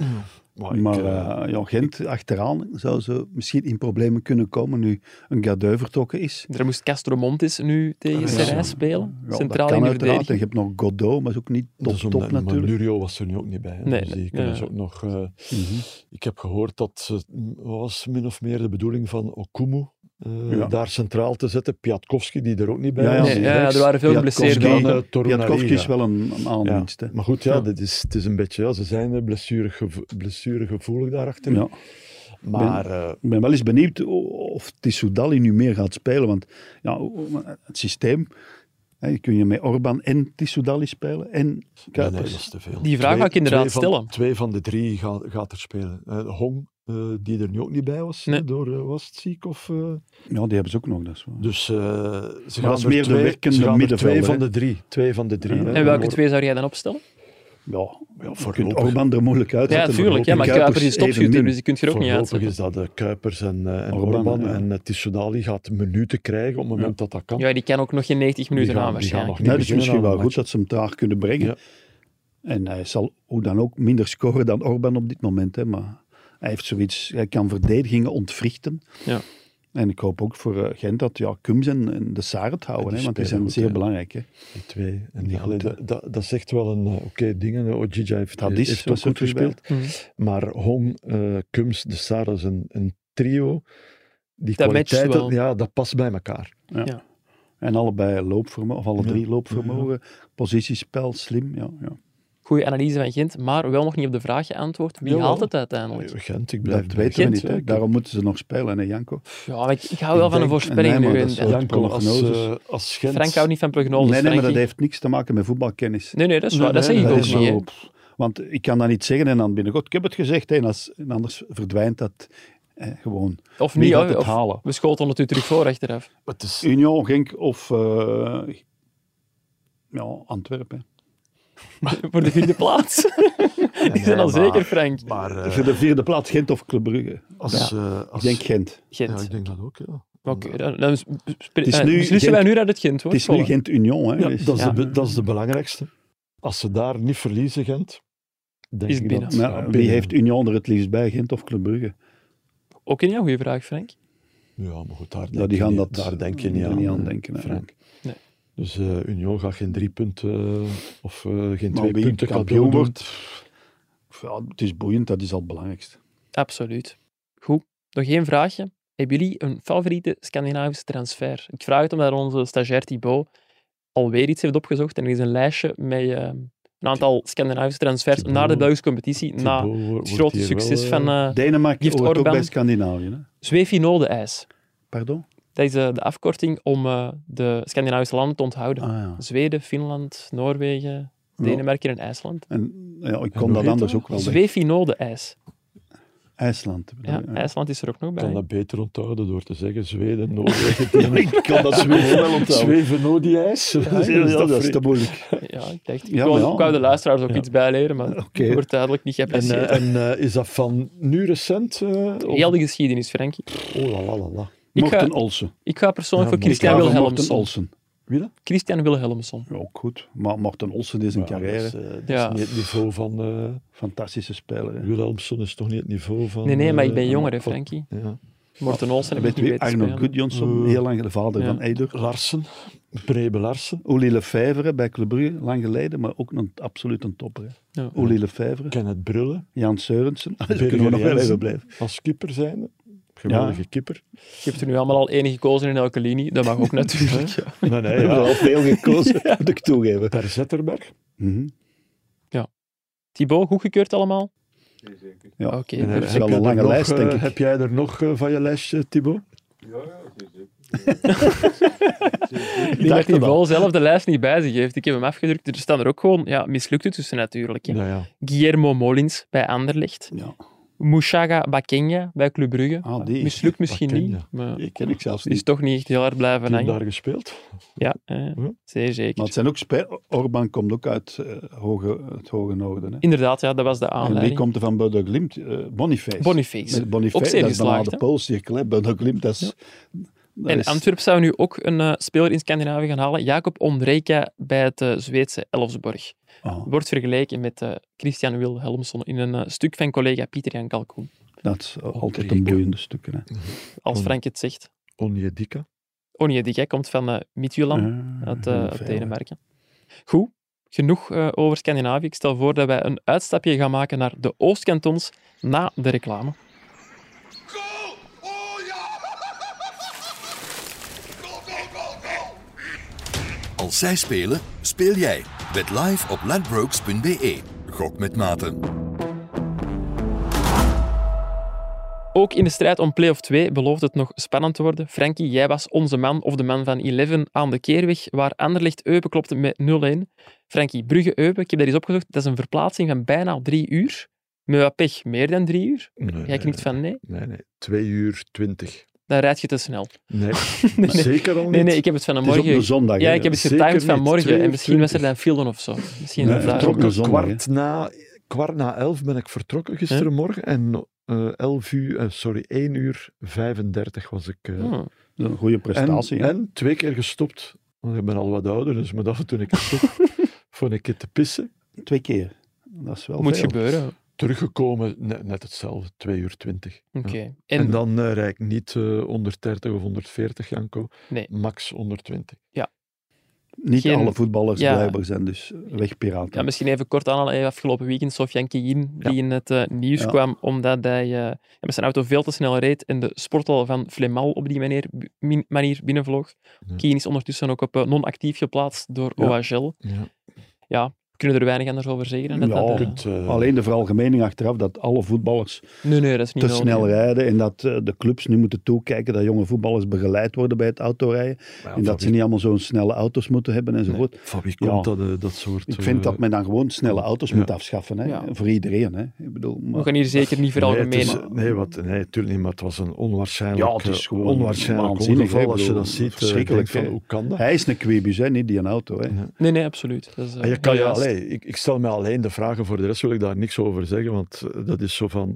S4: Maar, ik,
S3: maar
S4: eh,
S3: eh, ja, Gent achteraan zou ze misschien in problemen kunnen komen nu een Gadeu vertrokken is.
S1: Er moest Castro Montis nu tegen
S3: Ja.
S1: Serrain spelen.
S3: Ja, dat
S1: Centraal
S3: kan
S1: in de
S3: uiteraard. En
S1: verdediging.
S3: je hebt nog Godot, maar is ook niet top,
S4: dus
S3: top
S4: omdat- maar
S3: natuurlijk.
S4: Nurio was er nu ook niet bij. Hè?
S1: Nee,
S4: dus
S1: nee,
S4: die kunnen
S1: ja.
S4: ze ook nog, eh,
S3: Mhm.
S4: ik heb gehoord dat het was min of meer de bedoeling van Okumu eh,
S3: Ja.
S4: daar centraal te zetten. Piatkowski, die er ook niet bij
S3: Ja, ja.
S4: was.
S1: Nee,
S4: die
S1: ja,
S4: rechts.
S1: er waren veel
S3: Piatkowski.
S1: geblesseerden.
S4: Dan, eh,
S3: Piatkowski is
S4: Torunariga.
S3: wel een, een aanwinst.
S4: Ja.
S3: hè.
S4: Maar goed, ja,
S1: Ja.
S4: Dit is, het is een beetje, ja, ze zijn eh, blessuregevo- blessuregevoelig daarachter.
S3: Ja.
S4: Maar eh,
S3: Ik ben wel eens benieuwd o- of Tissoudali nu meer gaat spelen. Want ja, o- o- het systeem, hè, kun je met Orban en Tissoudali spelen en
S4: nee, nee, dat
S3: Kuipers.
S4: is te veel.
S1: Die vraag wou ik inderdaad
S4: dus twee van,
S1: stellen.
S4: Twee van de drie gaat, gaat er spelen. Eh, Hong, eh, die er nu ook niet bij was,
S1: Nee.
S4: eh, door eh, was het ziek of... eh,
S3: ja, die hebben ze ook nog. Dat is waar.
S4: dus eh, ze
S3: dat
S4: gaan
S3: is
S4: er
S3: meer de
S4: twee,
S3: werkende
S4: ze gaan er twee
S3: middenvelder,
S4: van
S3: hè?
S4: de drie. Twee van de drie.
S3: Ja.
S4: hè.
S1: En welke
S4: Hoor-
S1: twee zou jij dan opstellen?
S3: Ja, ja je kunt
S4: voorlopig.
S3: Orban er moeilijk uit
S1: Ja,
S3: zetten,
S1: tuurlijk. Ja, maar
S3: Kuipers
S1: Kuipers is
S3: evenmin.
S1: topschutter, dus die kunt je er ook niet
S4: Voorlopig
S1: uitzetten.
S4: is dat eh, Kuipers en, eh, en Orban.
S3: Orban, ja.
S4: En uh, gaat minuten krijgen op het moment dat dat kan.
S1: Ja, die kan ook nog geen 90 minuten
S4: gaan-
S1: aan
S4: die gaan
S1: waarschijnlijk.
S4: nog
S3: Nee, dat Nou, is
S4: beginnen
S3: misschien
S4: aan
S3: wel
S4: een
S3: goed dat ze hem daar kunnen brengen.
S4: Ja.
S3: En hij zal hoe dan ook minder scoren dan Orban op dit moment. Hè, maar hij, heeft zoiets, hij kan verdedigingen ontwrichten.
S1: Ja.
S3: En ik hoop ook voor eh, Gent dat ja, Kums en, en de Saar het houden.
S4: Ja, die
S3: hè, want die zijn
S4: spelen goed,
S3: zeer
S4: ja.
S3: belangrijk. Hè.
S4: Die twee. En
S3: Die
S4: die, allee,
S3: moeten-
S4: dat, dat, dat zegt wel een eh, oké ding. En Ojija heeft,
S3: Dat is-
S4: heeft
S3: dat
S4: ook
S3: is
S4: goed
S3: er weer bij.
S4: gespeeld. Mhm. Maar Hong, eh, Kums, De Sar is een, een trio. Die
S1: Dat matcht
S4: kwaliteit,
S1: wel.
S4: ja, dat past bij elkaar.
S3: En allebei loopvermogen, of alle
S4: Ja.
S3: drie loopvermogen. Positiespel, slim. Ja, ja.
S1: Goede analyse van Gent, maar wel nog niet op de vraag geantwoord. Wie
S4: Jawel.
S1: haalt het uiteindelijk?
S4: Gent, ik blijf
S3: Dat
S4: bij
S3: weten we
S1: Gent,
S3: niet. Hè.
S4: Ik-
S3: Daarom moeten ze nog spelen, hè, Janko.
S1: Ja, maar ik, ik hou wel
S4: Ik
S1: van een
S4: denk-
S1: voorspelling
S3: nee, maar
S1: nu.
S3: dat
S1: en-
S3: is-
S1: en-
S3: Ja,
S4: Janko, als,
S3: prognoses.
S4: eh, als Gent...
S1: Frank houdt niet van prognoses.
S3: nee, nee, maar dat
S1: Frankie.
S3: heeft niks te maken met voetbalkennis.
S1: Nee, nee, dat is
S4: Nee,
S1: waar. Dat
S4: nee,
S1: zeg ik
S4: dat
S1: ook
S4: is
S1: niet. hè.
S3: wel- pff, Want ik kan dat niet zeggen en dan binnenkort. Ik heb het gezegd hè, en, als, en anders verdwijnt dat eh, gewoon.
S1: Of
S3: Wie
S1: niet,
S3: gaat
S1: hè,
S3: het
S1: of-
S3: halen?
S1: We schoten het u terug voor achteraf.
S4: Het is,
S3: Union, Genk of eh, ja, Antwerpen.
S1: Voor de vierde plaats. Die zijn
S4: nee,
S1: al
S4: maar-
S1: zeker, Frank.
S4: maar eh,
S3: Voor de vierde plaats Gent of Club Brugge.
S4: als... eh, als
S3: Ik denk Gent.
S1: Gent.
S4: Ja, ik denk dat ook, ja.
S1: Oké, dan, dan sp- sp-
S3: is
S1: eh,
S3: nu
S1: beslissen
S3: Gent-
S1: wij nu dat het Gent
S3: Het
S1: wordt.
S3: is nu
S1: voilà.
S3: Gent-Union. hè.
S4: Ja,
S3: Dus-
S4: dat, is
S1: Ja.
S4: de, be- dat is de belangrijkste. Als ze daar niet verliezen, Gent... Denk
S1: Is
S4: ik
S1: binnen.
S4: Dat,
S3: Maar
S4: ja,
S3: wie
S4: binnen.
S3: heeft Union er het liefst bij, Gent of Club Brugge?
S1: Ook een heel goede vraag, Frank.
S4: Ja, maar goed, daar denk,
S3: Ja, Nou, die gaan
S4: je,
S3: dat
S4: niet, daar denk je
S3: er
S4: niet aan. hè,
S3: denken. hè.
S4: Frank. Dus eh, Union gaat geen drie punten eh, of eh, geen
S3: Maar
S4: twee
S3: wie kampioen
S4: punten kampioen worden.
S3: wordt, pff, ja, het is boeiend, dat is al het belangrijkste.
S1: Absoluut. Goed. Nog één vraagje. Hebben jullie een favoriete Scandinavische transfer? Ik vraag het omdat onze stagiair Thibaut alweer iets heeft opgezocht. En er is een lijstje met eh, een aantal Scandinavische transfers
S4: Thibaut-
S1: naar de Belgische competitie. na Nou, het grote succes van eh
S3: Denemarken
S1: heeft
S3: hoort ook
S1: Orban-
S3: bij Scandinavië. Hè?
S1: Zwefinode ijs.
S3: Pardon?
S1: Dat is eh, de afkorting om eh, de Scandinavische landen te onthouden.
S3: Ah, ja.
S1: Zweden, Finland, Noorwegen,
S3: Ja.
S1: Denemerken en IJsland.
S3: En, ja, ik
S4: hoe
S3: kon dat
S4: heet
S3: anders
S4: dat?
S3: ook wel zeggen.
S1: Zwefinode ijs.
S3: IJsland. bedoel
S1: Ja,
S3: je?
S1: IJsland is er ook nog
S4: Ik kan
S1: bij.
S4: dat beter onthouden door te zeggen Zweden, Noorwegen.
S3: Ik kan dat zo wel onthouden.
S4: Zweven, no die ijs. Ja,
S3: Dat is,
S4: is dat
S3: dat is
S4: vreemd.
S3: te moeilijk.
S1: Ja, ik, dacht, ik,
S3: Ja,
S1: wou,
S3: maar ja.
S1: ik wou de luisteraars ook
S4: Ja.
S1: iets bijleren, maar
S3: Oké.
S1: dat wordt duidelijk niet
S4: En,
S1: geapprecieerd.
S4: eh, en eh, is dat van nu recent? eh, of-
S1: Heel de geschiedenis, Frankie.
S4: Oh, la, la, la, la.
S1: Ik ga-
S3: Morten Olsen.
S1: Ik ga persoonlijk
S4: Ja,
S1: voor
S4: Morten.
S1: Christian
S3: Ik ga voor Morten
S1: Wilhelmsson.
S3: Olsen.
S4: Wie dat?
S1: Christian Wilhelmsson.
S3: Ja, ook goed. Maar Morten Olsen is een
S4: Ja,
S3: carrière.
S4: Dat is, eh, dat is
S1: Ja.
S4: niet het niveau van... eh
S3: Fantastische speler. hè.
S4: Wilhelmsson is toch niet het niveau van...
S1: Nee, nee, maar ik
S4: eh,
S1: ben
S4: van-
S1: jonger, hè,
S4: van-
S1: Frankie.
S4: Ja.
S1: Morten Olsen heb ik niet
S3: Ah, Weet je wie?
S1: weten
S3: Arno
S1: spelen.
S3: Gudjonsson,
S4: Eh,
S3: heel lang de vader
S1: ja.
S3: van Eider.
S4: Larsen, Prebe Larsen.
S3: Oli Lefevre bij Club Brugge, lang geleden, maar ook een, absoluut een topper. hè.
S1: Ja.
S3: Oli Lefevre,
S4: Kenneth Brullen,
S3: Jan Seurensen.
S1: Ah,
S3: Daar
S4: Birger
S3: kunnen we nog wel
S4: Jensen.
S3: even blijven.
S4: als keeper zijn. Geweldige keeper.
S1: Je hebt er nu allemaal al één gekozen in elke linie. Dat mag ook natuurlijk. ja.
S4: Nee, nee,
S3: We hebben er
S4: ja.
S3: al veel gekozen, moet ik toegeven.
S4: Per Zetterberg.
S3: Mhm.
S1: Thibaut, goedgekeurd allemaal?
S3: Ja.
S1: Oké,
S3: En
S4: En
S3: dat
S1: perfect.
S3: is wel een lange lijst, denk ik.
S4: eh, Heb jij er nog eh, van je lijstje, Thibaut?
S1: Ik denk dat
S3: dacht het al.
S1: Thibaut zelf de lijst niet bij zich heeft. Ik heb hem afgedrukt. Er staan er ook gewoon ja, mislukte tussen natuurlijk. hè.
S4: Ja, Nou ja.
S1: Guillermo Molins bij Anderlecht.
S3: Ja.
S1: Mushaga Bakenya bij Club Brugge.
S3: Ah, die.
S1: Mislukt misschien
S4: Bakenya.
S1: niet, maar
S3: Die ken ik zelfs
S1: die is
S3: niet.
S1: toch niet echt heel hard blijven
S4: Die heeft
S1: hangen.
S4: daar gespeeld.
S1: Ja, eh,
S4: Ja.
S1: zeer zeker.
S3: Hm? Maar het zijn ook spelers. Orban komt ook uit eh, hoge, het hoge noorden. Hè.
S1: Inderdaad, ja, dat was de
S3: En wie
S1: aanleiding.
S3: komt er van Bodo Glimt? Eh, Boniface.
S1: Boniface.
S3: Met Boniface,
S1: Ook zeer
S3: dat is bijna
S1: geslaagd,
S3: de
S1: hè?
S3: Poolcirkel. hè. Bodo Glimt, dat is... dat
S1: En
S3: is-
S1: Antwerp zou nu ook een eh, speler in Scandinavië gaan halen. Jacob Ondrejka bij het eh, Zweedse Elfsborg.
S3: Ah,
S1: Wordt vergeleken met eh, Christian Wilhelmsson in een eh, stuk van collega Pieter-Jan Kalkoen.
S3: dat is altijd
S4: Ondrejka.
S3: een boeiende stukken. Hè.
S1: Als
S4: On-
S1: Frank het zegt.
S4: Onjedika.
S1: Onjedika komt van eh Midtjylland.
S3: Ah,
S1: uit, eh, uit
S3: veel, hè.
S1: Denemarken. Goed, genoeg eh, over Scandinavië. Ik stel voor dat wij een uitstapje gaan maken naar de Oostkantons na de reclame.
S2: Goal! Oh ja! Goal, goal, goal, goal!
S6: Als zij spelen, speel jij. Bet live op ladbrokes.be. E. Gok met maten.
S1: Ook in de strijd om play-off 2 belooft het nog spannend te worden. Frankie, jij was onze man of de man van 11 aan de keerweg, waar Anderlecht Eupen klopte met 0-1. Frankie, Brugge-Eupen, ik heb dat eens opgezocht, dat is een verplaatsing van bijna drie uur. Met wat pech, meer dan drie uur?
S4: Nee,
S1: Jij
S3: Eh.
S1: knikt van nee,
S4: Nee, nee. Twee uur twintig.
S1: dan rijd je te snel.
S4: Nee,
S1: Nee, nee.
S4: zeker al niet.
S1: Nee, nee, ik heb het
S3: Het is op
S1: vanmorgen
S3: de zondag.
S1: Ja,
S3: hè.
S1: ik heb het
S4: Ah, Zeker
S1: getimed
S4: niet.
S1: vanmorgen en misschien was er
S4: 22.
S1: dan Fielden of zo. Misschien
S3: Nee,
S1: dat daar
S3: vertrokken.
S1: ook.
S4: vertrokken
S3: een zondag,
S4: kwart na, kwart na elf ben ik vertrokken gisterenmorgen. En eh elf uur, eh, sorry, 1 uur 35 was ik. eh,
S1: Hmm.
S3: Dat is Een goede prestatie.
S4: en,
S3: hè.
S4: en twee keer gestopt. Want ik ben al wat ouder, dus met af en toe een keer stop. voor een keer te pissen.
S3: Twee keer. Dat is wel
S1: Moet
S3: veel.
S1: gebeuren.
S4: Teruggekomen, net, net hetzelfde, 2 uur 20.
S1: Oké.
S4: En,
S1: En,
S4: dan eh, rijd ik niet eh 130 of 140, Janko.
S1: Nee.
S4: Max 120.
S3: Niet
S1: Geen-
S3: alle voetballers
S1: Ja.
S3: blijkbaar zijn dus wegpiraten.
S1: ja, misschien even kort aan, eh, afgelopen weekend Sofjan Kiyin, die in het eh, nieuws
S3: Ja.
S1: kwam omdat hij eh, met zijn auto veel te snel reed en de sporthal van Flemal op die manier, min- manier binnenvloog.
S4: Ja.
S1: Kiyin is ondertussen ook op eh, non-actief geplaatst door
S3: Ja.
S1: OHL.
S4: Ja.
S1: We kunnen er weinig anders over zeggen. en dat
S3: Ja,
S1: dat,
S4: Je
S1: eh,
S4: kunt, eh,
S3: Alleen de veralgemening achteraf dat alle voetballers
S1: nee, nee, dat is niet
S3: te
S1: nodig.
S3: snel rijden en dat eh, de clubs nu moeten toekijken dat jonge voetballers begeleid worden bij het autorijden.
S4: ja,
S3: en
S4: van
S3: dat ze niet allemaal zo'n snelle auto's moeten hebben enzovoort.
S4: Van wie
S3: Ja.
S4: komt dat, eh, dat soort...
S3: Ik vind dat
S4: eh,
S3: men dan gewoon snelle auto's
S4: Ja.
S3: moet afschaffen. Hè?
S1: Ja.
S3: Voor iedereen. Hè? Ik bedoel, maar-
S1: We gaan hier zeker niet
S4: nee,
S1: veralgemenen.
S4: het is- nee, wat, nee, natuurlijk niet, maar het was een onwaarschijnlijk,
S3: Ja, het is
S4: eh,
S3: gewoon
S4: onwaarschijnlijk
S3: waanzinnig, hè.
S4: ongeval.
S3: Ik
S4: Als je
S3: bedoel,
S4: dat ziet,
S3: verschrikkelijk,
S4: verschrikkelijk van,
S3: hè.
S4: hoe kan dat?
S3: Hij is een quibus, hè? niet die een auto. Hè?
S4: Ja.
S1: nee, nee, absoluut. Dat is, eh,
S4: En Ah, je kan je,
S1: heel juist.
S4: allee, ik, ik stel mij alleen de vragen, voor de rest wil ik daar niks over zeggen, want eh, dat is zo van...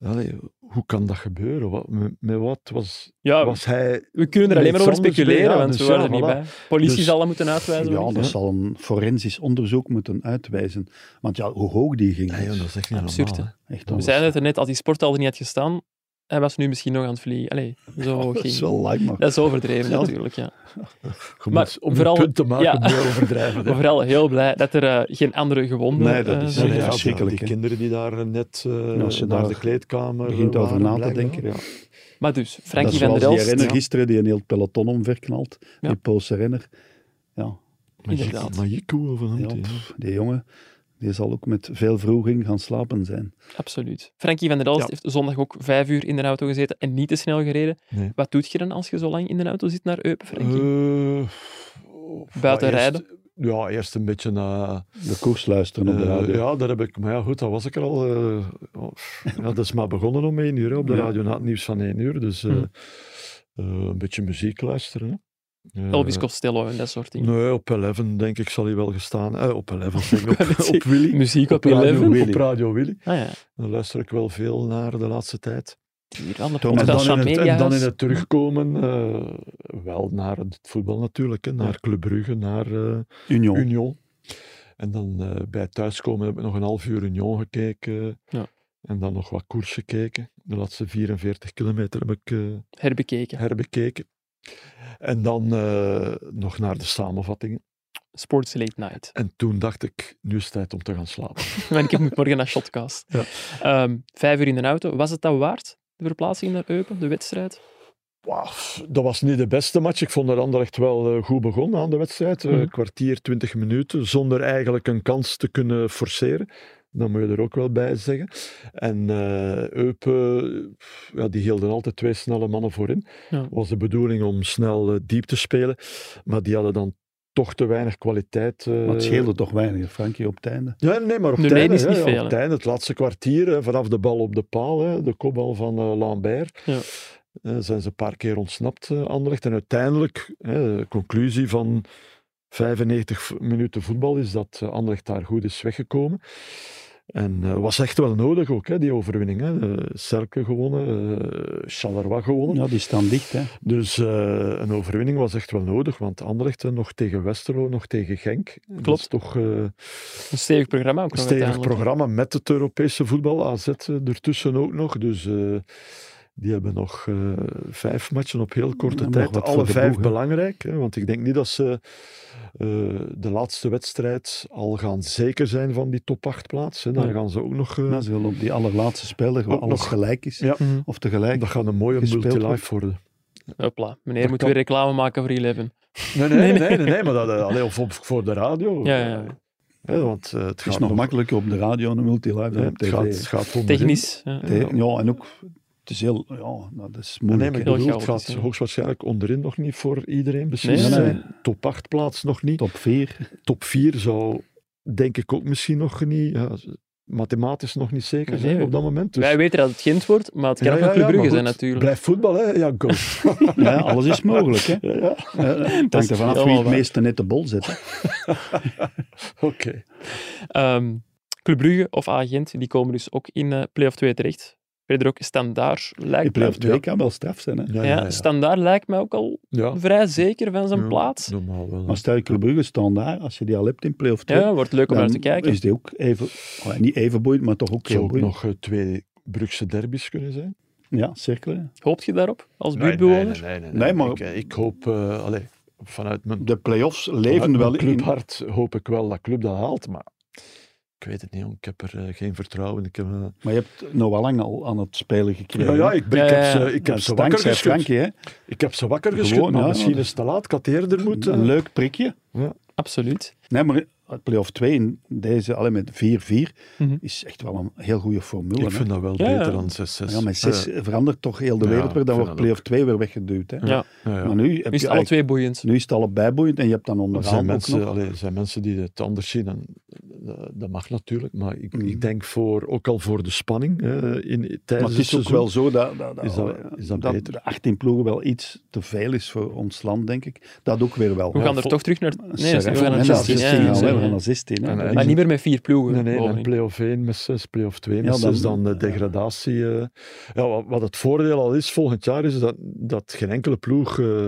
S4: allee, hoe kan dat gebeuren? Wat, met, met wat was,
S1: Ja,
S4: was hij...
S1: We kunnen er alleen maar
S4: Niks
S1: over
S4: anders
S1: speculeren,
S4: mee, ja,
S1: want
S4: dus
S1: we waren
S4: ja,
S1: er niet bij. Politie
S4: Dus-
S1: zal dat moeten uitwijzen.
S3: Ja,
S1: of
S3: dat
S1: iets.
S3: zal een forensisch onderzoek moeten uitwijzen. Want ja, hoe hoog die ging.
S4: Nee, joh, dat is echt niet
S1: Absurd,
S4: normaal.
S1: hè.
S4: hè.
S3: Echt
S1: we zeiden het er net, als die sporthal er niet had gestaan, hij was nu misschien nog aan het vliegen. Allee, zo hoog
S3: Dat
S1: ging.
S3: is wel like, maar
S1: Dat is overdreven
S3: Ja.
S1: natuurlijk, ja.
S4: Je
S1: Maar
S4: moet, om
S1: vooral-
S4: een punt te maken,
S1: ja.
S4: moet je overdrijven.
S1: Maar
S4: hè.
S1: vooral heel blij dat er eh, geen andere gewonden
S3: Nee, dat
S1: eh,
S3: is-
S1: zijn.
S3: Nee,
S4: ja,
S3: verschrikkelijk,
S4: Die
S3: hè.
S4: kinderen die daar net eh,
S3: als je
S4: naar
S3: daar
S4: de kleedkamer eh,
S3: begint over
S4: waren,
S3: na te
S4: blijkbaar.
S3: denken.
S4: Ja.
S1: Maar dus,
S3: dat
S1: Frankie
S3: is
S1: van
S3: zoals
S1: der
S3: die
S1: Elst,
S3: renner gisteren die een heel peloton omverknalt.
S1: Ja.
S3: Die Poolse renner. Ja,
S4: Oh,
S1: Inderdaad.
S4: Majiku of een
S3: ja, pff, die jongen die zal ook met veel vroeging gaan slapen zijn.
S1: absoluut. Frankie van der Elst
S4: Ja.
S1: heeft zondag ook vijf uur in de auto gezeten en niet te snel gereden.
S4: Nee.
S3: Eh,
S1: Wat doet je dan als je zo lang in de auto zit naar Eupen, Frankie? Buiten rijden?
S4: Eh, ja, eerst een beetje naar...
S3: De koers luisteren op de
S4: Eh,
S3: radio.
S4: ja, daar heb ik. Maar ja, goed, dat was ik er al. eh, oh, ja, dat is maar begonnen om één uur hè, op de
S3: Ja. Hm.
S4: radio na het nieuws van één uur. Dus eh,
S1: Mhm.
S4: eh, een beetje muziek luisteren. Hè. Eh,
S1: Elvis Costello en dat soort dingen.
S4: Nee, op 11 denk ik zal hij wel gestaan. Eh, op 11 zeg ik, op,
S1: wou net
S4: op
S1: zeggen,
S4: Willy.
S1: Muziek op
S4: Radio
S1: 11.
S4: Willy.
S1: Ah
S4: Op Radio Willy.
S1: ja,
S4: Daar luister ik wel veel naar de laatste tijd.
S1: hier aan de
S3: Thomas,
S4: En
S1: podcast
S4: dan,
S1: van
S4: in het, en dan in
S1: Mediahuis.
S4: het terugkomen, eh, wel naar het voetbal natuurlijk, hè, naar Club Brugge, naar eh,
S3: Union.
S4: Union. En dan eh, bij thuiskomen heb ik nog een half uur Union gekeken.
S1: Ja.
S4: En dan nog wat koers gekeken. De laatste 44 kilometer heb ik eh,
S1: Herbekeken.
S4: herbekeken. En dan eh, nog naar de samenvattingen.
S1: Sports Late Night.
S4: En toen dacht ik, nu is het tijd om te gaan slapen.
S1: Want ik heb- moet morgen naar Shotcast.
S4: Ja.
S1: Ehm, vijf uur in de auto. Was het dat waard? De verplaatsing naar Eupen, de wedstrijd?
S4: Wauw, dat was niet de beste match. Ik vond dat Anderlecht wel eh, goed begonnen aan de wedstrijd. Eh,
S1: Mhm.
S4: Een kwartier, twintig minuten, zonder eigenlijk een kans te kunnen forceren. Dat moet je er ook wel bij zeggen. En eh Eupen, pff, ja, die hielden altijd twee snelle mannen voorin.
S1: Ja.
S4: was de bedoeling om snel eh, diep te spelen. Maar die hadden dan toch te weinig kwaliteit. eh,
S3: Maar het scheelde toch weinig, Frankie, op het einde.
S4: ja, nee, maar op
S1: De
S4: het einde,
S1: lijn is
S4: hè,
S1: niet
S4: op
S1: veel, hè.
S4: het einde, het laatste kwartier, hè, vanaf de bal op de paal, hè, de kopbal van eh, Lambert,
S1: Ja.
S4: eh, zijn ze een paar keer ontsnapt, eh Anderlecht. En uiteindelijk, hè, de conclusie van 95 v- minuten voetbal is dat eh, Anderlecht daar goed is weggekomen. En eh, was echt wel nodig ook, hè, die overwinning. Hè. Eh, Cercle gewonnen, eh Charleroi gewonnen.
S3: Ja, die staan dicht, hè.
S4: Dus eh, een overwinning was echt wel nodig, want Anderlecht eh, nog tegen Westerlo, nog tegen Genk. Dat
S1: Klopt.
S4: is toch... eh,
S1: Een stevig programma ook nog
S4: stevig
S1: uiteindelijk.
S4: programma met het Europese voetbal. AZ eh, ertussen ook nog. Dus eh, die hebben nog eh, vijf matchen op heel korte
S3: Ja, nog
S4: tijd.
S3: wat
S4: Alle
S3: voor de
S4: vijf
S3: boeg, hè.
S4: belangrijk. Hè, want ik denk niet dat ze eh, de laatste wedstrijd al gaan zeker zijn van die top 8 plaats. Hè. Daar
S1: Ja.
S4: gaan ze ook nog... eh,
S3: Maar ze willen op die allerlaatste speler, waar
S4: Ook
S3: alles
S4: nog.
S3: gelijk is.
S4: Ja.
S1: Mhm.
S3: Of tegelijk.
S4: dat gaat een mooie
S3: Gespeeld wordt.
S4: multi-life worden.
S1: Hopla, meneer
S4: Dat
S1: moet
S4: kan.
S1: weer reclame maken voor 11.
S4: Nee, nee, nee, nee, nee, maar dat, eh, allee, of op- voor de radio.
S1: Ja, ja, ja.
S4: Hè, want eh, het
S3: Het is
S4: gaat
S3: nog makkelijker op de radio en een multilive
S4: hè,
S3: dan op
S4: Het
S3: tv.
S4: gaat, het gaat om
S1: Technisch. ja.
S4: dus-
S3: Te- Ja, en ook... Het is heel... Ja, nou, dat is
S4: Nee,
S3: moeilijk.
S4: maar ik
S3: hè.
S1: Heel
S4: bedoel, het
S1: chaotisch,
S4: gaat
S1: ja.
S4: hoogstwaarschijnlijk onderin nog niet voor iedereen beslist
S1: Nee,
S3: nee,
S4: zijn. Top 8 plaats nog niet.
S3: Top 4.
S4: Top 4 zou, denk ik, ook misschien nog niet, ja, mathematisch nog niet zeker
S1: Nee,
S4: zijn
S1: nee.
S4: op dat moment. Dus,
S1: Wij weten dat het Gent wordt, maar het kan
S4: Ja,
S1: ook
S4: ja,
S1: nog Club
S4: ja,
S1: Brugge
S4: maar
S1: zijn
S4: goed,
S1: natuurlijk.
S4: Blijf voetbal, hè? Ja, go.
S3: Ja, alles is mogelijk, hè.
S4: ja, ja.
S3: Eh, Het
S1: is
S3: hangt ervan af wie
S1: helemaal
S3: het
S1: waar.
S3: meeste net de bol zet. hè.
S4: Oké.
S1: Ehm, Club Brugge of Agent, die komen dus ook in eh play-off 2 terecht. Verder ook Standaard
S3: Die
S1: lijkt
S3: play-off
S1: mij...
S3: 2 kan wel straf zijn, hè.
S4: Ja, ja,
S1: Ja,
S4: ja.
S1: Standaard lijkt mij ook al
S4: Ja.
S1: vrij zeker van zijn
S4: Ja,
S1: plaats.
S4: Normaal wel.
S3: Maar stel je Club Brugge staan daar, als je die al hebt in play-off 2,
S1: Ja, wordt leuk om naar te kijken.
S3: is die ook even... oh, niet even boeiend, maar toch ook
S4: Het
S3: heel
S4: zou ook
S3: boeiend.
S4: nog eh, twee Brugse derbies kunnen zijn.
S3: Ja, cirkelen.
S1: Hoopt je daarop als
S4: Nee,
S1: buurtbewoner?
S4: Nee, nee, nee, nee,
S3: Nee, maar-
S4: Ik, eh, ik hoop, eh, allee, vanuit mijn
S3: De play-offs leven
S4: Vanuit
S3: wel
S4: mijn
S3: in...
S4: clubhart hoop ik wel dat club dat haalt, maar ik weet het niet, jong. ik heb er eh, geen vertrouwen in. Ik heb, eh,
S3: Maar je hebt nog wel lang al aan het spelen gekregen.
S4: ja, ja, ik, ben-
S1: Ja,
S4: ik heb
S1: ja, ja.
S4: ze, ik heb ze wakker geschud.
S3: Dus Frankie, hè?
S4: Ik heb ze wakker geschud,
S3: Gewoon,
S4: maar
S3: ja.
S4: misschien is het te laat. Ik had eerder moeten.
S3: Een leuk prikje.
S1: Absoluut.
S3: Nee, maar eh, play-off 2 in deze, alleen met 4-4,
S1: Mhm.
S3: is echt wel een heel goede formule.
S4: Ik
S3: hè.
S4: vind dat wel
S1: Ja, ja.
S4: beter dan Eh, 6-6.
S3: Ja, maar 6 verandert toch heel de
S4: Dus, ja,
S3: wereld weer.
S4: ik
S3: Dan wordt
S4: vind dat
S3: play-off 2 weer weggeduwd. Hè.
S1: Ja.
S4: Ja, ja.
S3: Maar
S1: Nu
S3: nu, heb
S1: is
S3: je
S1: het alle
S3: eigenlijk-
S1: twee boeiend.
S3: nu is het allebei boeiend en je hebt dan
S4: Er
S3: onderaan
S4: zijn
S3: ook
S4: mensen,
S3: nog...
S4: allee, er zijn mensen die het anders zien. En dat, dat mag natuurlijk, maar ik,
S3: Mhm.
S4: ik denk voor, ook al voor de spanning eh, in, tijdens
S3: Maar het is ook
S4: seizoen.
S3: wel zo dat, dat, dat,
S4: Is dat- is dat beter?
S3: de 18 ploegen wel iets te veel is voor ons land, denk ik. Dat ook weer wel.
S1: We gaan er
S4: vol-
S1: toch terug naar... Nee,
S3: Seraf,
S1: we gaan naar
S3: hè,
S1: 16. ja, ja,
S3: gaan we,
S1: ja.
S3: we gaan naar 16. hè.
S4: En, eh,
S1: Maar niet meer met vier ploegen.
S4: Nee, nee,
S1: bovenin.
S4: dan play-off 1 met 6, play-off 2
S3: Ja,
S4: met 6,
S3: dan-
S4: dan, eh, degradatie. eh. ja, wat, wat het voordeel al is volgend jaar, is dat, dat geen enkele ploeg eh,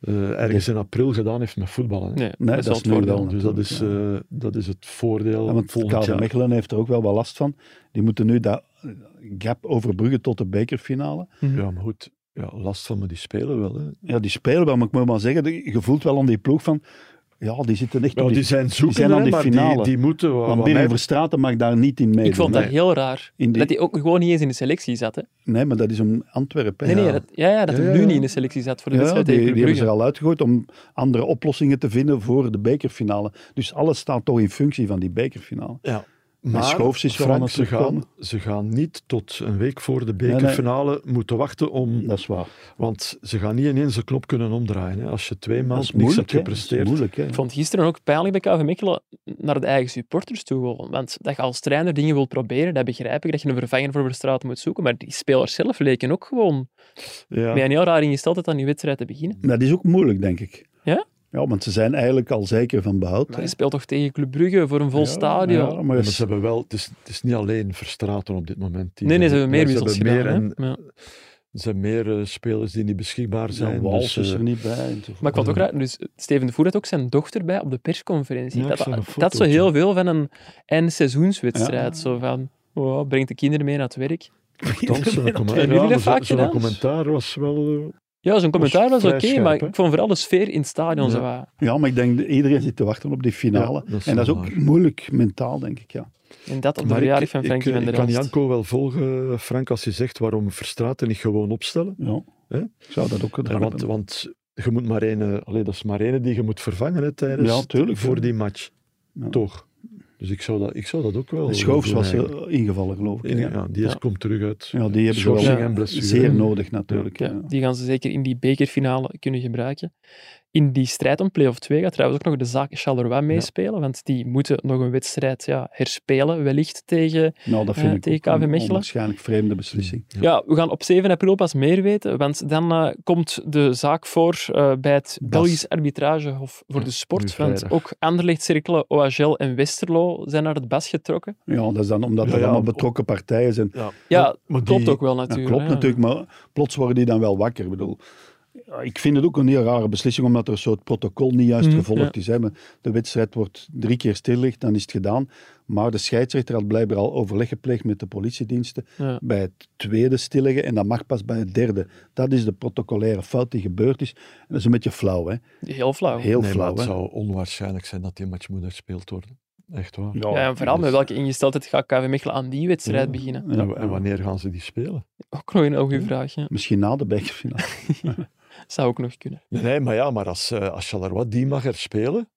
S4: eh, ergens in april gedaan heeft met voetballen. hè.
S1: Nee,
S3: Nee,
S1: dat is
S3: dat
S1: wel
S3: is
S1: het
S3: nu
S1: voordeel.
S3: wel.
S4: Dus dat is, eh, dat is het voordeel
S3: Ja, want
S4: volgend
S3: KV
S4: jaar.
S3: Mechelen heeft er ook wel wat last van. Die moeten nu dat gap overbruggen tot de bekerfinale.
S4: Ja, maar goed. Ja, last van me, die spelen wel. Hè.
S3: Ja, die spelen wel, maar ik moet maar zeggen, die- je voelt wel aan die ploeg van... Ja, die zitten echt...
S4: Ja,
S3: op
S4: die zijn zoekende,
S3: zijn aan
S4: hè,
S3: die
S4: maar die,
S3: finale.
S4: die moeten... Wat,
S3: Want
S4: wat
S3: Binnen
S4: mij-
S3: Verstraten mag daar niet in meedoen.
S1: Ik vond dat
S3: nee.
S1: heel raar.
S3: In die-
S1: Dat hij ook gewoon niet eens in de selectie zat. Hè.
S3: Nee, maar dat is om Antwerpen.
S1: Nee,
S3: hè.
S1: nee, dat, ja, ja, dat hij
S4: Ja,
S1: nu
S4: ja.
S1: niet in de selectie zat voor de
S3: Ja,
S1: wedstrijd
S3: die,
S1: tegen
S3: die
S1: Club
S3: hebben ze
S1: Brugge.
S3: er al uitgegooid om andere oplossingen te vinden voor de bekerfinale. Dus alles staat toch in functie van die bekerfinale.
S4: Ja. Maar
S3: Schoofs is wel aan
S4: Frank,
S3: het
S4: ze, gaan,
S3: terugkomen.
S4: ze gaan niet tot een week voor de
S3: nee.
S4: bekerfinale moeten wachten om...
S3: Dat is waar.
S4: Want ze gaan niet ineens de knop kunnen omdraaien. Hè. Als je twee
S3: Dat
S4: maanden
S3: is
S4: niks
S3: moeilijk,
S4: hebt
S3: hè. Dat is
S4: gepresteerd.
S3: moeilijk, hè.
S1: Ik vond gisteren ook pijnlijk bij KV Mechelen naar de eigen supporters toe. gewoon. Want dat je als trainer dingen wilt proberen, dat begrijp ik, dat je een vervanger voor Verstraten moet zoeken. Maar die spelers zelf leken ook gewoon
S4: Ja.
S1: met een heel raar ingesteldheid aan die wedstrijd te beginnen.
S3: Dat is ook moeilijk, denk ik.
S1: Ja?
S3: Ja, want ze zijn eigenlijk al zeker van behoud.
S1: Maar
S3: hè.
S1: je speelt toch tegen Club Brugge voor een vol
S3: Ja,
S1: stadion?
S3: Ja,
S4: Maar
S3: maar
S4: ze hebben wel, het, is, het is niet alleen Verstraten op dit moment. Die
S1: nee, nee, ze hebben meer
S4: ja,
S1: wissels
S4: hebben
S1: gedaan.
S4: meer
S1: hè. Ja.
S4: en- Er zijn meer eh, spelers die niet beschikbaar zijn.
S3: zijn
S4: dus,
S3: Wals is
S4: eh,
S3: er niet bij. en zo.
S1: Maar ik vond het ook raar, dus Steven de Voer had ook zijn dochter bij op de persconferentie.
S4: Ja, ik
S1: dat,
S4: zag een
S1: dat,
S4: foto,
S1: dat zo
S4: ja.
S1: heel veel van een eindseizoenswedstrijd.
S3: Ja.
S1: Zo van, wow, brengt de kinderen mee naar het werk.
S4: Thans,
S3: Ja,
S4: zo'n
S3: dat
S4: comma-
S3: hebben
S4: ja,
S1: jullie
S4: maar
S1: vaak
S4: zo-
S1: gedaan?
S4: Zo'n commentaar was wel... eh,
S1: Ja, zo'n commentaar was oké,
S4: vrij scherp,
S1: maar
S4: hè?
S1: ik vond vooral de sfeer in het stadion
S4: Ja.
S1: zo wat...
S3: Ja, maar ik denk dat iedereen zit te wachten op die finale.
S4: Ja, dat is
S3: en dat is
S4: wel
S3: ook
S4: waar.
S3: moeilijk mentaal, denk ik. Ja.
S1: En dat op de
S4: Maar ik-
S1: verjaardag van
S4: ik,
S1: Frankie
S4: eh,
S1: van der
S4: Ik kan
S1: Elst.
S4: Janko wel volgen, eh, Frank, als hij zegt waarom Verstraten niet gewoon opstellen.
S3: Ja.
S4: Hè?
S3: Ik zou dat ook
S4: Eh,
S3: gedaan
S4: Want,
S3: hebben.
S4: want je moet maar één... eh, Allee, dat is maar één die je moet vervangen hè, tijdens...
S3: Ja, tuurlijk,
S4: voor
S3: ja.
S4: die match.
S3: Ja.
S4: Toch. Dus ik zou dat, ik zou dat ook wel...
S3: En Schoofs
S4: doen
S3: was
S4: eigenlijk.
S3: eh, ingevallen, geloof ik.
S4: In-
S3: ja.
S4: ja, die is,
S1: Ja.
S4: komt terug uit
S3: Ja, die hebben ze
S4: schorsing
S3: wel
S1: Ja.
S4: en blessure.
S3: zeer nodig, natuurlijk.
S1: Ja,
S3: Ja.
S1: die gaan ze zeker in die bekerfinale kunnen gebruiken. In die strijd om play-off 2 gaat trouwens ook nog de zaak Charleroi meespelen, want die moeten nog een wedstrijd ja, herspelen, wellicht tegen...
S3: Nou, dat vind
S1: Eh,
S3: ik
S1: tegen
S3: ook een
S1: KV Mechelen?
S3: onwaarschijnlijk vreemde beslissing.
S1: Ja. we gaan op 7 april pas meer weten, want dan eh, komt de zaak voor eh, bij het Belgisch Arbitragehof voor de
S4: nu
S1: Sport, want
S4: vrijdag.
S1: ook Anderlecht, Cercle, OHL en Westerlo zijn naar het bas getrokken.
S3: Ja, dat is dan omdat
S4: Ja,
S3: er
S4: ja,
S3: allemaal
S4: op-
S3: betrokken partijen zijn.
S1: Ja,
S4: maar
S1: klopt
S4: die-
S1: ook wel
S3: Dat
S1: natuurlijk.
S3: klopt
S1: hè.
S3: natuurlijk, maar plots worden die dan wel wakker. Ik bedoel, ja, ik vind het ook een heel rare beslissing, omdat er een soort protocol niet juist
S1: Mhm,
S3: gevolgd is. Hè. Maar De wedstrijd wordt drie keer stilgelegd, dan is het gedaan. Maar de scheidsrechter had blijkbaar al overleg gepleegd met de politiediensten
S1: Ja.
S3: bij het tweede stilleggen en dat mag pas bij het derde. Dat is de protocolaire fout die gebeurd is. En dat is een beetje flauw, hè?
S1: Heel flauw.
S3: Heel
S4: Nee, maar
S3: flauw,
S4: het
S3: hè?
S4: zou onwaarschijnlijk zijn dat die match moet gespeeld worden. Echt waar.
S1: Ja, en vooral met
S3: dus-
S1: welke ingesteldheid gaat KV Mechelen aan die wedstrijd
S4: Ja.
S1: beginnen?
S3: Ja.
S4: En, en wanneer gaan ze die spelen?
S1: Ook nog een heel goede vraag. Ja.
S3: Misschien na de bekerfinale.
S1: Zou ook nog kunnen.
S4: Nee, nee, maar ja, maar als, eh als Charleroi die mag er spelen,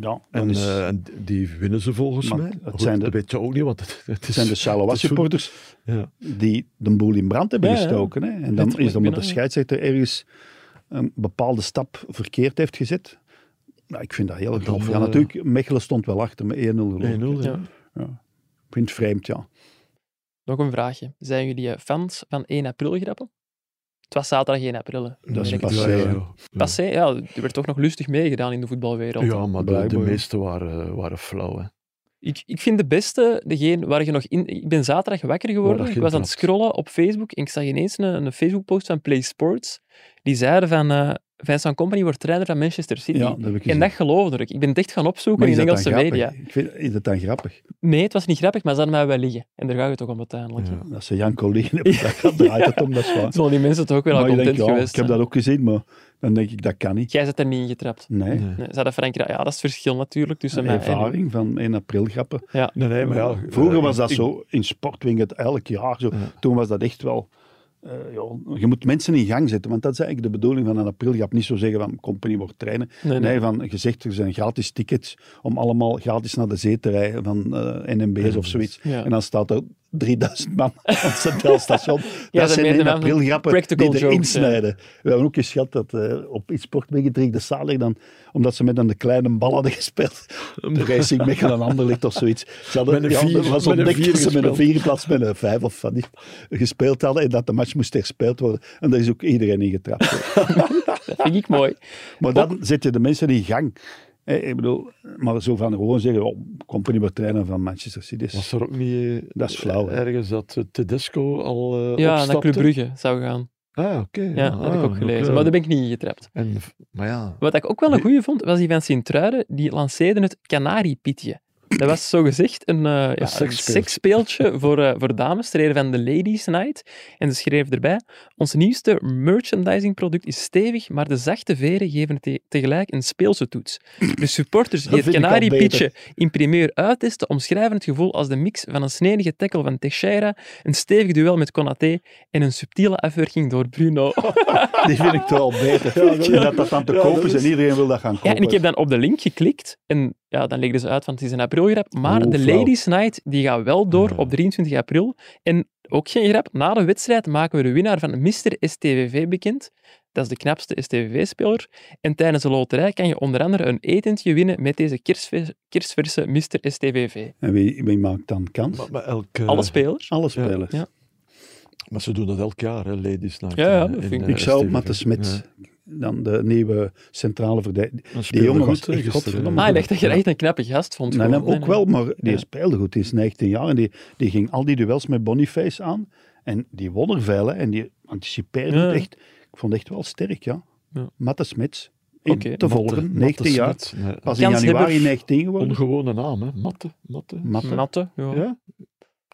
S3: Ja,
S4: en,
S3: dan is-
S4: eh, en die winnen ze volgens
S3: Maar
S4: mij.
S3: het
S4: Goed,
S3: zijn de-
S4: dat weet je ook niet, want het, het is...
S3: Het zijn de
S4: het is voet-
S3: Charleroi-supporters
S4: Ja.
S3: die de boel in brand hebben
S1: Ja, ja.
S3: gestoken. Hè? En dan
S1: Letterlijk
S3: is dan omdat de
S1: binnen, ja.
S3: scheidsrechter ergens een bepaalde stap verkeerd heeft gezet. Nou, ik vind dat heel
S4: Dan,
S3: grof. Ja,
S4: eh,
S3: natuurlijk, Mechelen stond wel achter met 1-0 geloof
S4: 1-0,
S3: ik.
S4: ja.
S1: Ja.
S3: Ik vind het vreemd, ja.
S1: Nog een vraagje. Zijn jullie eh, fans van 1 april grappen? Het was zaterdag 1 april. hè.
S3: Dat is
S1: Ben ik-
S3: passé,
S4: Ja, ja,
S3: hè.
S4: ja.
S1: Passé, ja. Er werd toch nog lustig meegedaan in de voetbalwereld.
S4: Ja, maar de, de
S3: Blijkbaar.
S4: meeste waren, waren flauw. Hè.
S1: Ik, ik vind de beste, degene waar je nog in... Ik ben zaterdag wakker geworden.
S4: Waar
S1: Ik
S4: dat
S1: was aan het
S4: intrapt.
S1: scrollen op Facebook en ik zag ineens een, een Facebook-post van Play Sports. Die zeiden van... eh Vincent Company wordt trainer van Manchester City.
S3: ja dat heb ik
S1: en
S3: gezien.
S1: dat geloofde ik. Ik ben het echt gaan opzoeken
S3: Maar is
S1: in
S3: dat dan
S1: Engelse
S3: grappig?
S1: media.
S3: Ik vind, is dat dan grappig?
S1: Nee, het was niet grappig, maar ze hadden mij wel liggen. En daar gaat het ook om uiteindelijk.
S4: Ja.
S3: Dat ze Janko liggen hebben, daar draait het om, dat is waar.
S1: Zullen die mensen toch ook wel al
S3: Maar je
S1: content
S3: denkt, ja,
S1: geweest
S3: ik heb
S1: zijn?
S3: dat ook gezien, maar dan denk ik, dat kan niet.
S1: Jij zit er niet in getrapt.
S3: Nee,
S4: Nee.
S1: Nee, ze hadden Frankrijk. Ja, dat is het verschil natuurlijk tussen mij en...
S3: ervaring van 1 april grappen.
S4: Nee, nee, maar ja,
S3: Vroeger
S4: eh,
S3: was dat
S4: ik-
S3: zo, in sportwing het elk jaar zo.
S4: Ja.
S3: Toen was dat echt wel... eh, ja, je moet mensen in gang zetten, want dat is eigenlijk de bedoeling van een aprilgrap. Niet zo zeggen van, company wordt trainen.
S1: Nee,
S3: Nee,
S1: nee.
S3: van, gezegd, er zijn gratis tickets om allemaal gratis naar de zee te rijden van eh NMB's of zoiets.
S1: Ja.
S3: En dan staat er 3000 man aan het Centraal Station.
S1: Ja,
S3: dat
S1: dat
S3: zijn
S1: meer de
S3: 1
S1: man van
S3: april grappen
S1: practical
S3: die erin
S1: jokes, ja.
S3: snijden. We hebben ook eens gehad dat eh, op iets sportwing gedreigde de zalig dan, omdat ze met een kleine bal hadden gespeeld, de Racing Mechelen Anderlicht of zoiets. Ze hadden,
S4: Met een
S3: ja,
S4: vier-
S3: er was
S4: met een
S3: ontdekt
S4: vier
S3: dat ze met een
S4: gespeeld.
S3: vier in plaats van een vijf of van die gespeeld hadden en dat de match moest gespeeld worden. En daar is ook iedereen in getrapt.
S1: Dat vind ik mooi.
S3: Maar dan zet je de mensen in gang. Hè, ik bedoel, maar zo van gewoon zeggen, oh, company wordt trainer van Manchester City. Dus Dat is-
S4: Was er ook niet eh,
S3: Dat is flauw, hè.
S4: ergens dat eh, Tedesco al eh
S1: Ja, naar
S4: opstapte?
S1: Club Brugge zou gaan.
S4: Ah, oké.
S1: Ja, dat heb ik ook gelezen. Maar daar ben ik niet in getrapt.
S4: En, maar ja,
S1: Wat ik ook wel een goeie vond, was die van Sint-Truiden. Die lanceerden het Canariepietje. Dat was zogezegd een, eh ja, een
S4: seksspeeltje.
S1: seksspeeltje voor, eh, voor dames, ter ere van de Ladies Night. En ze schreven erbij, ons nieuwste merchandisingproduct is stevig, maar de zachte veren geven te- tegelijk een speelse toets. De supporters die
S3: Dat
S1: het
S3: vind ik al
S1: Canariepietje in primeur uittesten, omschrijven het gevoel als de mix van een snedige tackle van Teixeira, een stevig duel met Konaté en een subtiele afwerking door Bruno.
S3: Die vind ik toch wel beter. dat, dat dan te
S4: Ja,
S3: koop
S4: dat
S3: is en
S4: is-
S3: iedereen wil dat gaan kopen.
S1: Ja, en ik heb dan op de link geklikt en Ja, dan legden ze uit, want het is een aprilgrap. Maar
S4: Oeh,
S1: de
S4: flauw.
S1: Ladies Night die gaat wel door
S4: Ja.
S1: op 23 april. En ook geen grap, na de wedstrijd maken we de winnaar van Mr. STVV bekend. Dat is de knapste STVV-speler. En tijdens de loterij kan je onder andere een etentje winnen met deze kerstverse, kerstverse Mr. STVV.
S3: En wie, wie maakt dan kans?
S4: Maar, maar elke,
S1: Alle spelers.
S3: Alle spelers.
S1: Ja.
S4: maar ze doen dat elk jaar, hè, Ladies Night.
S1: Ja, ja,
S4: eh,
S1: dat
S4: in,
S1: vind ik-
S4: eh,
S3: Ik zou
S4: Steven
S3: Matte Smits,
S4: Ja.
S3: dan de nieuwe centrale verdediging.
S4: Dat speelde
S3: jongen
S4: goed,
S3: was
S4: hè,
S3: echt
S4: gisteren.
S3: godverdomme
S1: Maar Ah, hij dacht dat je echt een knappe gast vond.
S3: Nee,
S1: gewoon.
S3: nee, ook wel, maar die
S1: Ja.
S3: speelde goed. Die is 19 jaar en die, die ging al die duels met Boniface aan. En die won er veel, hè, en die anticipeerde
S1: Ja.
S3: het echt. Ik vond het echt wel sterk, ja.
S1: Ja.
S3: Matte Smits, in
S1: Oké,
S3: te
S4: Matte-
S3: volgen,
S4: Matte
S3: 19 jaar. Ah,
S4: Smit, nee.
S3: Pas in
S1: Kanshebber.
S3: januari 19 geworden.
S4: Ongewone naam, hè? Matte. matte.
S3: Matte,
S1: Natte, ja.
S4: Ja?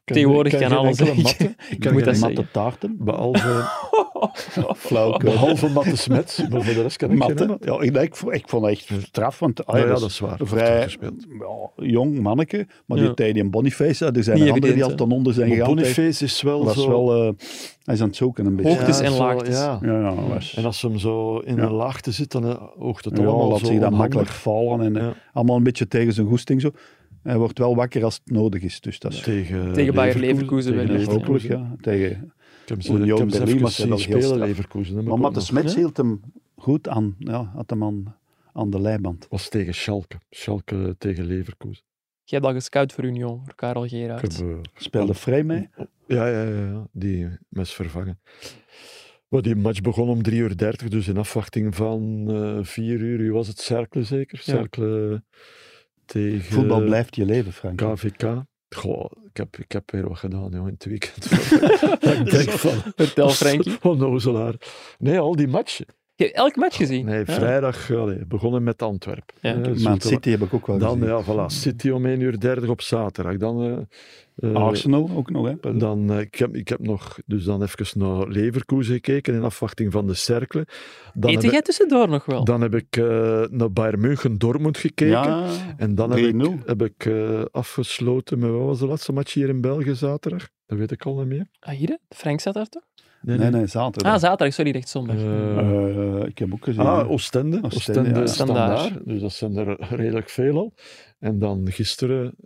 S4: Ken-
S1: Tegenwoordig
S4: ken
S1: kan
S4: geen
S1: alles,
S4: enkele
S1: hè.
S4: Matte.
S1: Ik
S4: Ik
S1: moet dat
S4: ken geen Matte.
S1: zeggen.
S3: matte taarten.
S4: Behalve,
S3: Flauwke.
S4: behalve Matte Smets, maar voor de rest ken ik geen
S3: Matte.
S4: Matte.
S3: Ja, ik, ik, vond- ik vond dat echt straf, want ah,
S4: Nou ja,
S3: dat
S4: dat
S3: is
S4: is waar.
S3: vrij
S4: Gespeeld.
S3: ja, jong manneke. Maar
S1: Ja.
S3: die tijd in Boniface, ah, er zijn
S1: Niet
S3: er anderen die al
S1: evident,
S3: ten onder zijn
S4: Maar
S3: gegaan.
S4: Boniface is wel
S3: was
S4: zo...
S3: wel, eh, hij is aan het zoeken een beetje.
S1: Hoogtes
S4: Ja,
S1: en
S4: zo,
S1: laagtes.
S4: Ja.
S3: Ja, ja, was,
S4: En als ze hem zo in
S3: Ja.
S4: een laagte zit, dan eh, oogt het
S3: ja,
S4: allemaal
S3: laat
S4: zo
S3: zich dan
S4: onhandig.
S3: makkelijk vallen. En, eh,
S4: Ja.
S3: Allemaal een beetje tegen zijn goesting zo. Hij wordt wel wakker als het nodig is. Dus dat is
S4: Tegen,
S1: Tegen Bayer Leverkusen
S4: tegen
S1: wellicht,
S4: Leverkusen.
S3: hopelijk, ja. Tegen.
S4: Ik heb ze,
S3: Union
S4: ik heb ze
S3: Berlin
S4: even
S3: was wel
S4: zien
S3: heel
S4: spelen,
S3: straf.
S4: Leverkusen. hè, maar
S3: Maar
S4: ik
S3: Matte
S4: ook nog-
S3: Smets
S1: Ja.
S3: hield hem goed aan. Ja, had hem aan, aan de leiband.
S4: was tegen Schalke. Schalke tegen Leverkusen.
S1: Jij hebt al gescout voor Union, voor Karel
S4: Ik
S1: Gerard.
S4: heb, eh,
S3: Speelde vrij mee.
S4: Ja, ja, ja, ja. die mes vervangen. Maar die match begon om 3.30 uur, dus in afwachting van eh 4 uur. Wie was het? Cercle zeker?
S1: Ja.
S4: Cercle eh, tegen
S3: Voetbal blijft je leven, Frank.
S4: KVK. Goh, ik heb, ik heb weer wat gedaan joh, in het weekend. ik denk van...
S1: Vertel, Frankie.
S4: Onnozelaar. Nee, al die matchen.
S1: Je hebt elk match gezien.
S4: Nee,
S1: Ja.
S4: vrijdag allee, begonnen met Antwerpen.
S1: Ja.
S4: Eh,
S3: Man
S4: Zoete-
S3: City heb ik ook wel
S4: Dan,
S3: gezien.
S4: ja, voilà. City om 1 uur 30 op zaterdag. Dan, eh,
S1: Ah,
S4: eh,
S3: Arsenal ook nog, hè.
S4: dan, eh, ik, heb, ik heb nog dus dan even naar Leverkusen gekeken in afwachting van de cerkelen. Dan
S1: Eet
S4: heb,
S1: jij
S4: ik-
S1: tussendoor nog wel?
S4: dan heb ik eh, naar Bayern München Dortmund gekeken.
S3: ja,
S4: En dan heb ik,
S3: 3-0.
S4: heb ik eh, afgesloten met, wat was de laatste match hier in België zaterdag? Dat weet ik al niet meer.
S1: Ah, hier? hè? Frank zat daar toch?
S3: Nee, nee, zaterdag.
S1: Ah, zaterdag, sorry, echt zondag.
S4: Eh,
S3: Eh, ik heb ook gezien.
S4: Ah,
S3: hè.
S4: Oostende.
S3: Oostende,
S4: Oostende,
S3: ja.
S1: Standaard.
S4: standaard. Dus dat zijn er redelijk veel al. En dan gisteren...
S3: Ook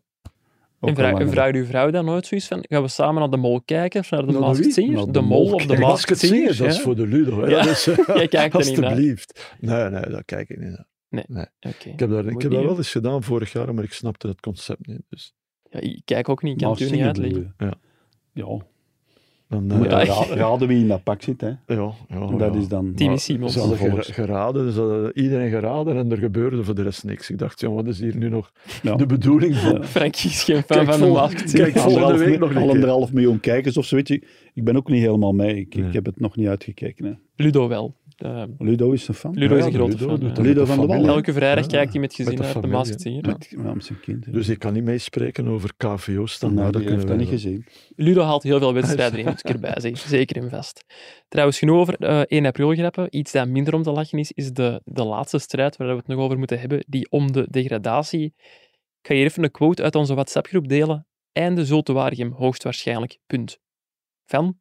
S1: en
S3: wel
S1: vraag,
S3: lang,
S1: en
S3: hè.
S1: vraagt uw vrouw dan nooit zoiets van, gaan we samen naar de mol kijken of naar de
S4: Naar de
S1: Masked
S4: wie?
S1: Singer?
S3: Naar
S1: De,
S3: de
S1: mol
S3: mol
S1: of de
S3: kijken.
S1: Masked
S4: Basket
S1: Singer?
S4: Singers, dat is
S1: ja?
S4: voor de Ludo. hè.
S1: Ja,
S4: Dat is,
S1: Jij kijkt er niet naar.
S4: Alsjeblieft. Nee, nee, daar kijk ik niet naar.
S1: Oké.
S4: Ik heb, daar, ik
S1: Moet
S4: heb
S1: niet,
S4: dat
S1: hè?
S4: wel eens gedaan vorig jaar, maar ik snapte het concept niet. Dus
S1: Ja, ik kijk ook niet, ik kan het u niet
S3: Marseille
S1: uitleggen.
S3: bedoel je?
S4: Ja.
S3: Ja.
S4: dan,
S3: Je moet
S4: eh,
S1: Ja.
S3: dan ra- raden wie in dat pak zit, hè.
S4: ja, ja,
S3: En dat
S4: ja.
S3: is dan...
S1: Timmy
S4: Maar
S1: Simons.
S4: Dus Ze hadden
S3: Volgens-
S4: gera- geraden, dus hadden iedereen geraden en er gebeurde voor de rest niks. Ik dacht, ja, wat is hier nu nog
S3: Ja.
S4: de bedoeling van?
S1: Frankie is geen fan
S4: Kijk,
S1: van de
S4: vol-
S1: Masked Singer.
S4: kijk, volgende
S3: Anderhalf
S4: week
S3: mi-
S4: nog een
S3: al
S4: keer.
S3: anderhalf miljoen kijkers of zoiets. Ik ik ben ook niet helemaal mee. Ik, ik
S4: Nee.
S3: heb het nog niet uitgekeken. Hè.
S1: Ludo wel. Eh,
S3: Ludo is een fan.
S1: Ludo
S4: Ja,
S1: is een
S4: de
S1: grote
S4: Ludo
S1: fan.
S4: doet
S1: ja.
S4: dat
S3: Ludo
S4: met de
S3: van de
S4: familie.
S3: Wallen.
S1: Elke vrijdag
S4: Ja,
S1: kijkt hij met gezin
S4: met de
S1: uit de
S4: familie,
S1: Masked Singer. ja.
S3: Met, ja, met zijn kind. hè.
S4: Dus ik kan niet meespreken over KVO-standaard.
S3: nou, die heeft dat niet gezien.
S1: Ludo haalt heel veel wedstrijden in, moet ik erbij zeggen. Zeker in vast. Trouwens, genoeg over eh, 1 april grappen. Iets dat minder om te lachen is, is de, de laatste strijd waar we het nog over moeten hebben, die om de degradatie. Ik ga hier even een quote uit onze WhatsApp-groep delen. Einde Zulte Waregem, hoogstwaarschijnlijk. Punt. Van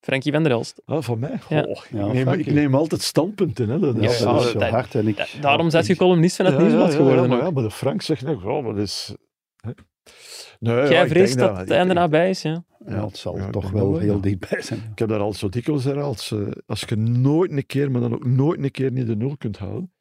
S1: Frankie van der Elst.
S4: Ah, van mij?
S1: Ja.
S4: Oh, ik,
S3: Ja,
S4: neem,
S3: fuck
S4: ik
S3: you.
S4: neem altijd standpunten. Hè. Dat
S3: Ja,
S4: is-
S1: Ja,
S3: dat is zo
S1: dat-
S3: hard. En ik,
S1: Da- daarom zijn je
S3: ik-
S1: columnist van het nieuwsblad geworden.
S4: Ja, maar,
S1: ook.
S4: ja, maar de Frank zegt nog, oh, maar dat is... hè. Nee, ja,
S1: Jij
S4: ik
S1: vreest
S4: denk
S1: dat het einde
S4: ik-
S1: nabij is, ja.
S3: Ja, het zal
S4: Ja, ik
S3: toch
S4: denk
S3: wel
S4: dat
S3: heel
S4: ja.
S3: dichtbij zijn.
S4: Ik heb dat al zo dikwijls herhaald. Als, eh, Als je nooit een keer, maar dan ook nooit een keer niet de nul kunt houden.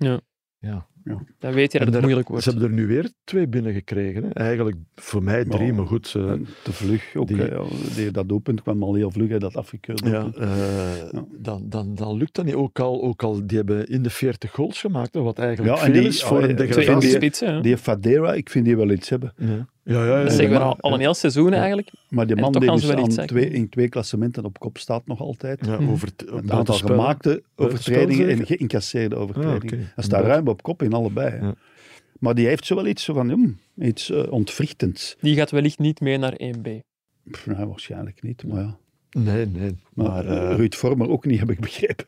S1: Dan weet je dat het
S4: En daar-
S1: moeilijk
S4: Ze
S1: wordt.
S4: hebben er nu weer twee binnengekregen. hè. Eigenlijk voor mij drie,
S3: Ja.
S4: maar goed. eh,
S3: En Te vlug ook.
S4: die-
S3: hè. Ja, die- dat doelpunt kwam al heel vlug, hè, dat afgekeurd.
S4: ja,
S3: doelpunt.
S4: eh,
S3: Ja.
S4: Dan, dan, dan lukt dat niet. Ook al, ook al, die hebben in de 40 goals gemaakt, hè, wat eigenlijk
S3: Ja, en
S4: veel
S3: die-
S4: is voor
S3: oh,
S4: een
S3: ja, twee-
S1: Twee in de
S4: degradatie.
S3: die-
S1: spitsen, ja.
S3: Die Fadera, ik vind die wel iets hebben.
S4: Ja, ja, ja.
S1: Dat
S4: ja.
S1: zeggen we
S3: maar-
S1: al, al een heel seizoen eigenlijk.
S3: Maar die
S1: En
S3: man
S1: toch
S3: die
S1: gaan ze
S3: dus
S1: wel
S3: aan
S1: iets zeggen.
S3: twee, in twee klassementen op kop staat nog altijd.
S4: Ja,
S1: Mhm.
S4: over het,
S3: Een aantal
S4: buitenspel.
S3: gemaakte overtredingen en
S4: zeker?
S3: geïncasseerde overtredingen.
S4: Ah, oké.
S3: Hij staat
S4: Dat-
S3: ruim op kop in allebei. hè.
S4: Ja.
S3: Maar die heeft zo wel iets zo van, hmm, iets eh, ontwrichtends.
S1: Die gaat wellicht niet mee naar 1B.
S3: Pff, nou, waarschijnlijk niet, maar ja.
S4: Nee, nee.
S3: Maar,
S4: Maar,
S3: eh,
S4: eh,
S3: Ruud Vormer ook niet, heb ik begrepen.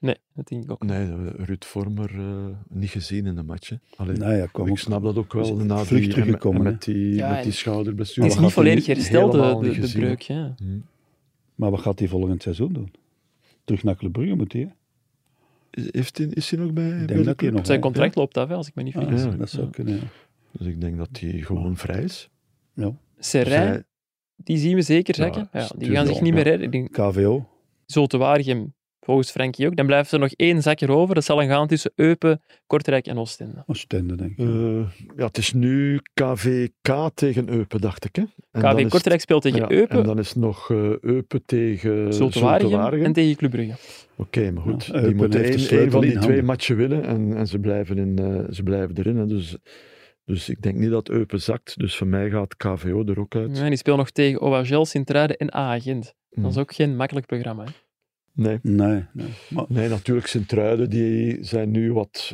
S1: Nee, dat denk ik ook.
S4: Nee, eh, Ruud Vormer eh, niet gezien in de match. hè. Allee,
S3: Nou ja, kom
S4: ik
S3: ook.
S4: snap dat ook wel.
S3: Is
S4: Na
S3: vlug
S4: die, en-
S3: teruggekomen,
S4: en met die,
S1: Ja, en-
S4: met die
S1: Het
S4: schouderblessure.
S1: is
S4: had
S1: niet
S4: hij
S1: volledig hersteld, de,
S4: helemaal
S1: de,
S4: niet
S1: de
S4: gezien, hè.
S1: breuk. Ja.
S4: Hm.
S3: Maar wat gaat hij volgend seizoen doen? Terug naar Club Brugge moet hij, hè?
S4: Is- Heeft hij, is hij nog bij, bij
S3: dat
S4: de
S3: hij
S4: club?
S3: nog-
S1: Zijn contract loopt af, hè, als ik me niet
S3: Ah,
S1: vergis.
S4: ja.
S3: Dat zou kunnen, ja.
S4: Dus ik denk dat hij gewoon vrij is.
S1: Serijn,
S4: Zij-
S1: die zien we zeker
S4: Dus Ja,
S1: zeggen. Ja, die
S4: stuur
S1: gaan
S4: die
S1: zich
S4: op,
S1: niet meer
S4: ja.
S1: redden. Ik denk,
S3: KVO.
S1: Zo te Waregem, volgens Frankie ook. Dan blijft er nog één zakker over. Dat zal dan gaan tussen Eupen, Kortrijk en Oostende.
S3: Oostende, denk ik.
S4: Eh, ja, het is nu KVK tegen Eupen, dacht ik. Hè? En dan is
S1: KV
S4: het-
S1: Kortrijk speelt tegen
S4: ja,
S1: Eupen,
S4: En dan is nog eh, Eupen tegen
S1: Zulte Waregem
S4: Waregem.
S1: en tegen Club Brugge.
S4: Oké, maar goed.
S3: Ja,
S4: die
S3: Eupen
S4: moeten
S3: heeft de
S4: één,
S3: sleutel
S4: één van
S3: in
S4: die twee
S3: handen.
S4: matchen winnen en, en ze, blijven in, eh, ze blijven erin. Hè. Dus, dus ik denk niet dat Eupen zakt. Dus voor mij gaat KVO er ook uit.
S1: Ja, en die speelt nog tegen Ovagel, Sint-Truiden en Agent. Dat is
S4: Mm.
S1: ook geen makkelijk programma. hè.
S4: Nee.
S3: Nee, nee. Maar
S4: Nee, natuurlijk, Sint-Truiden die zijn nu wat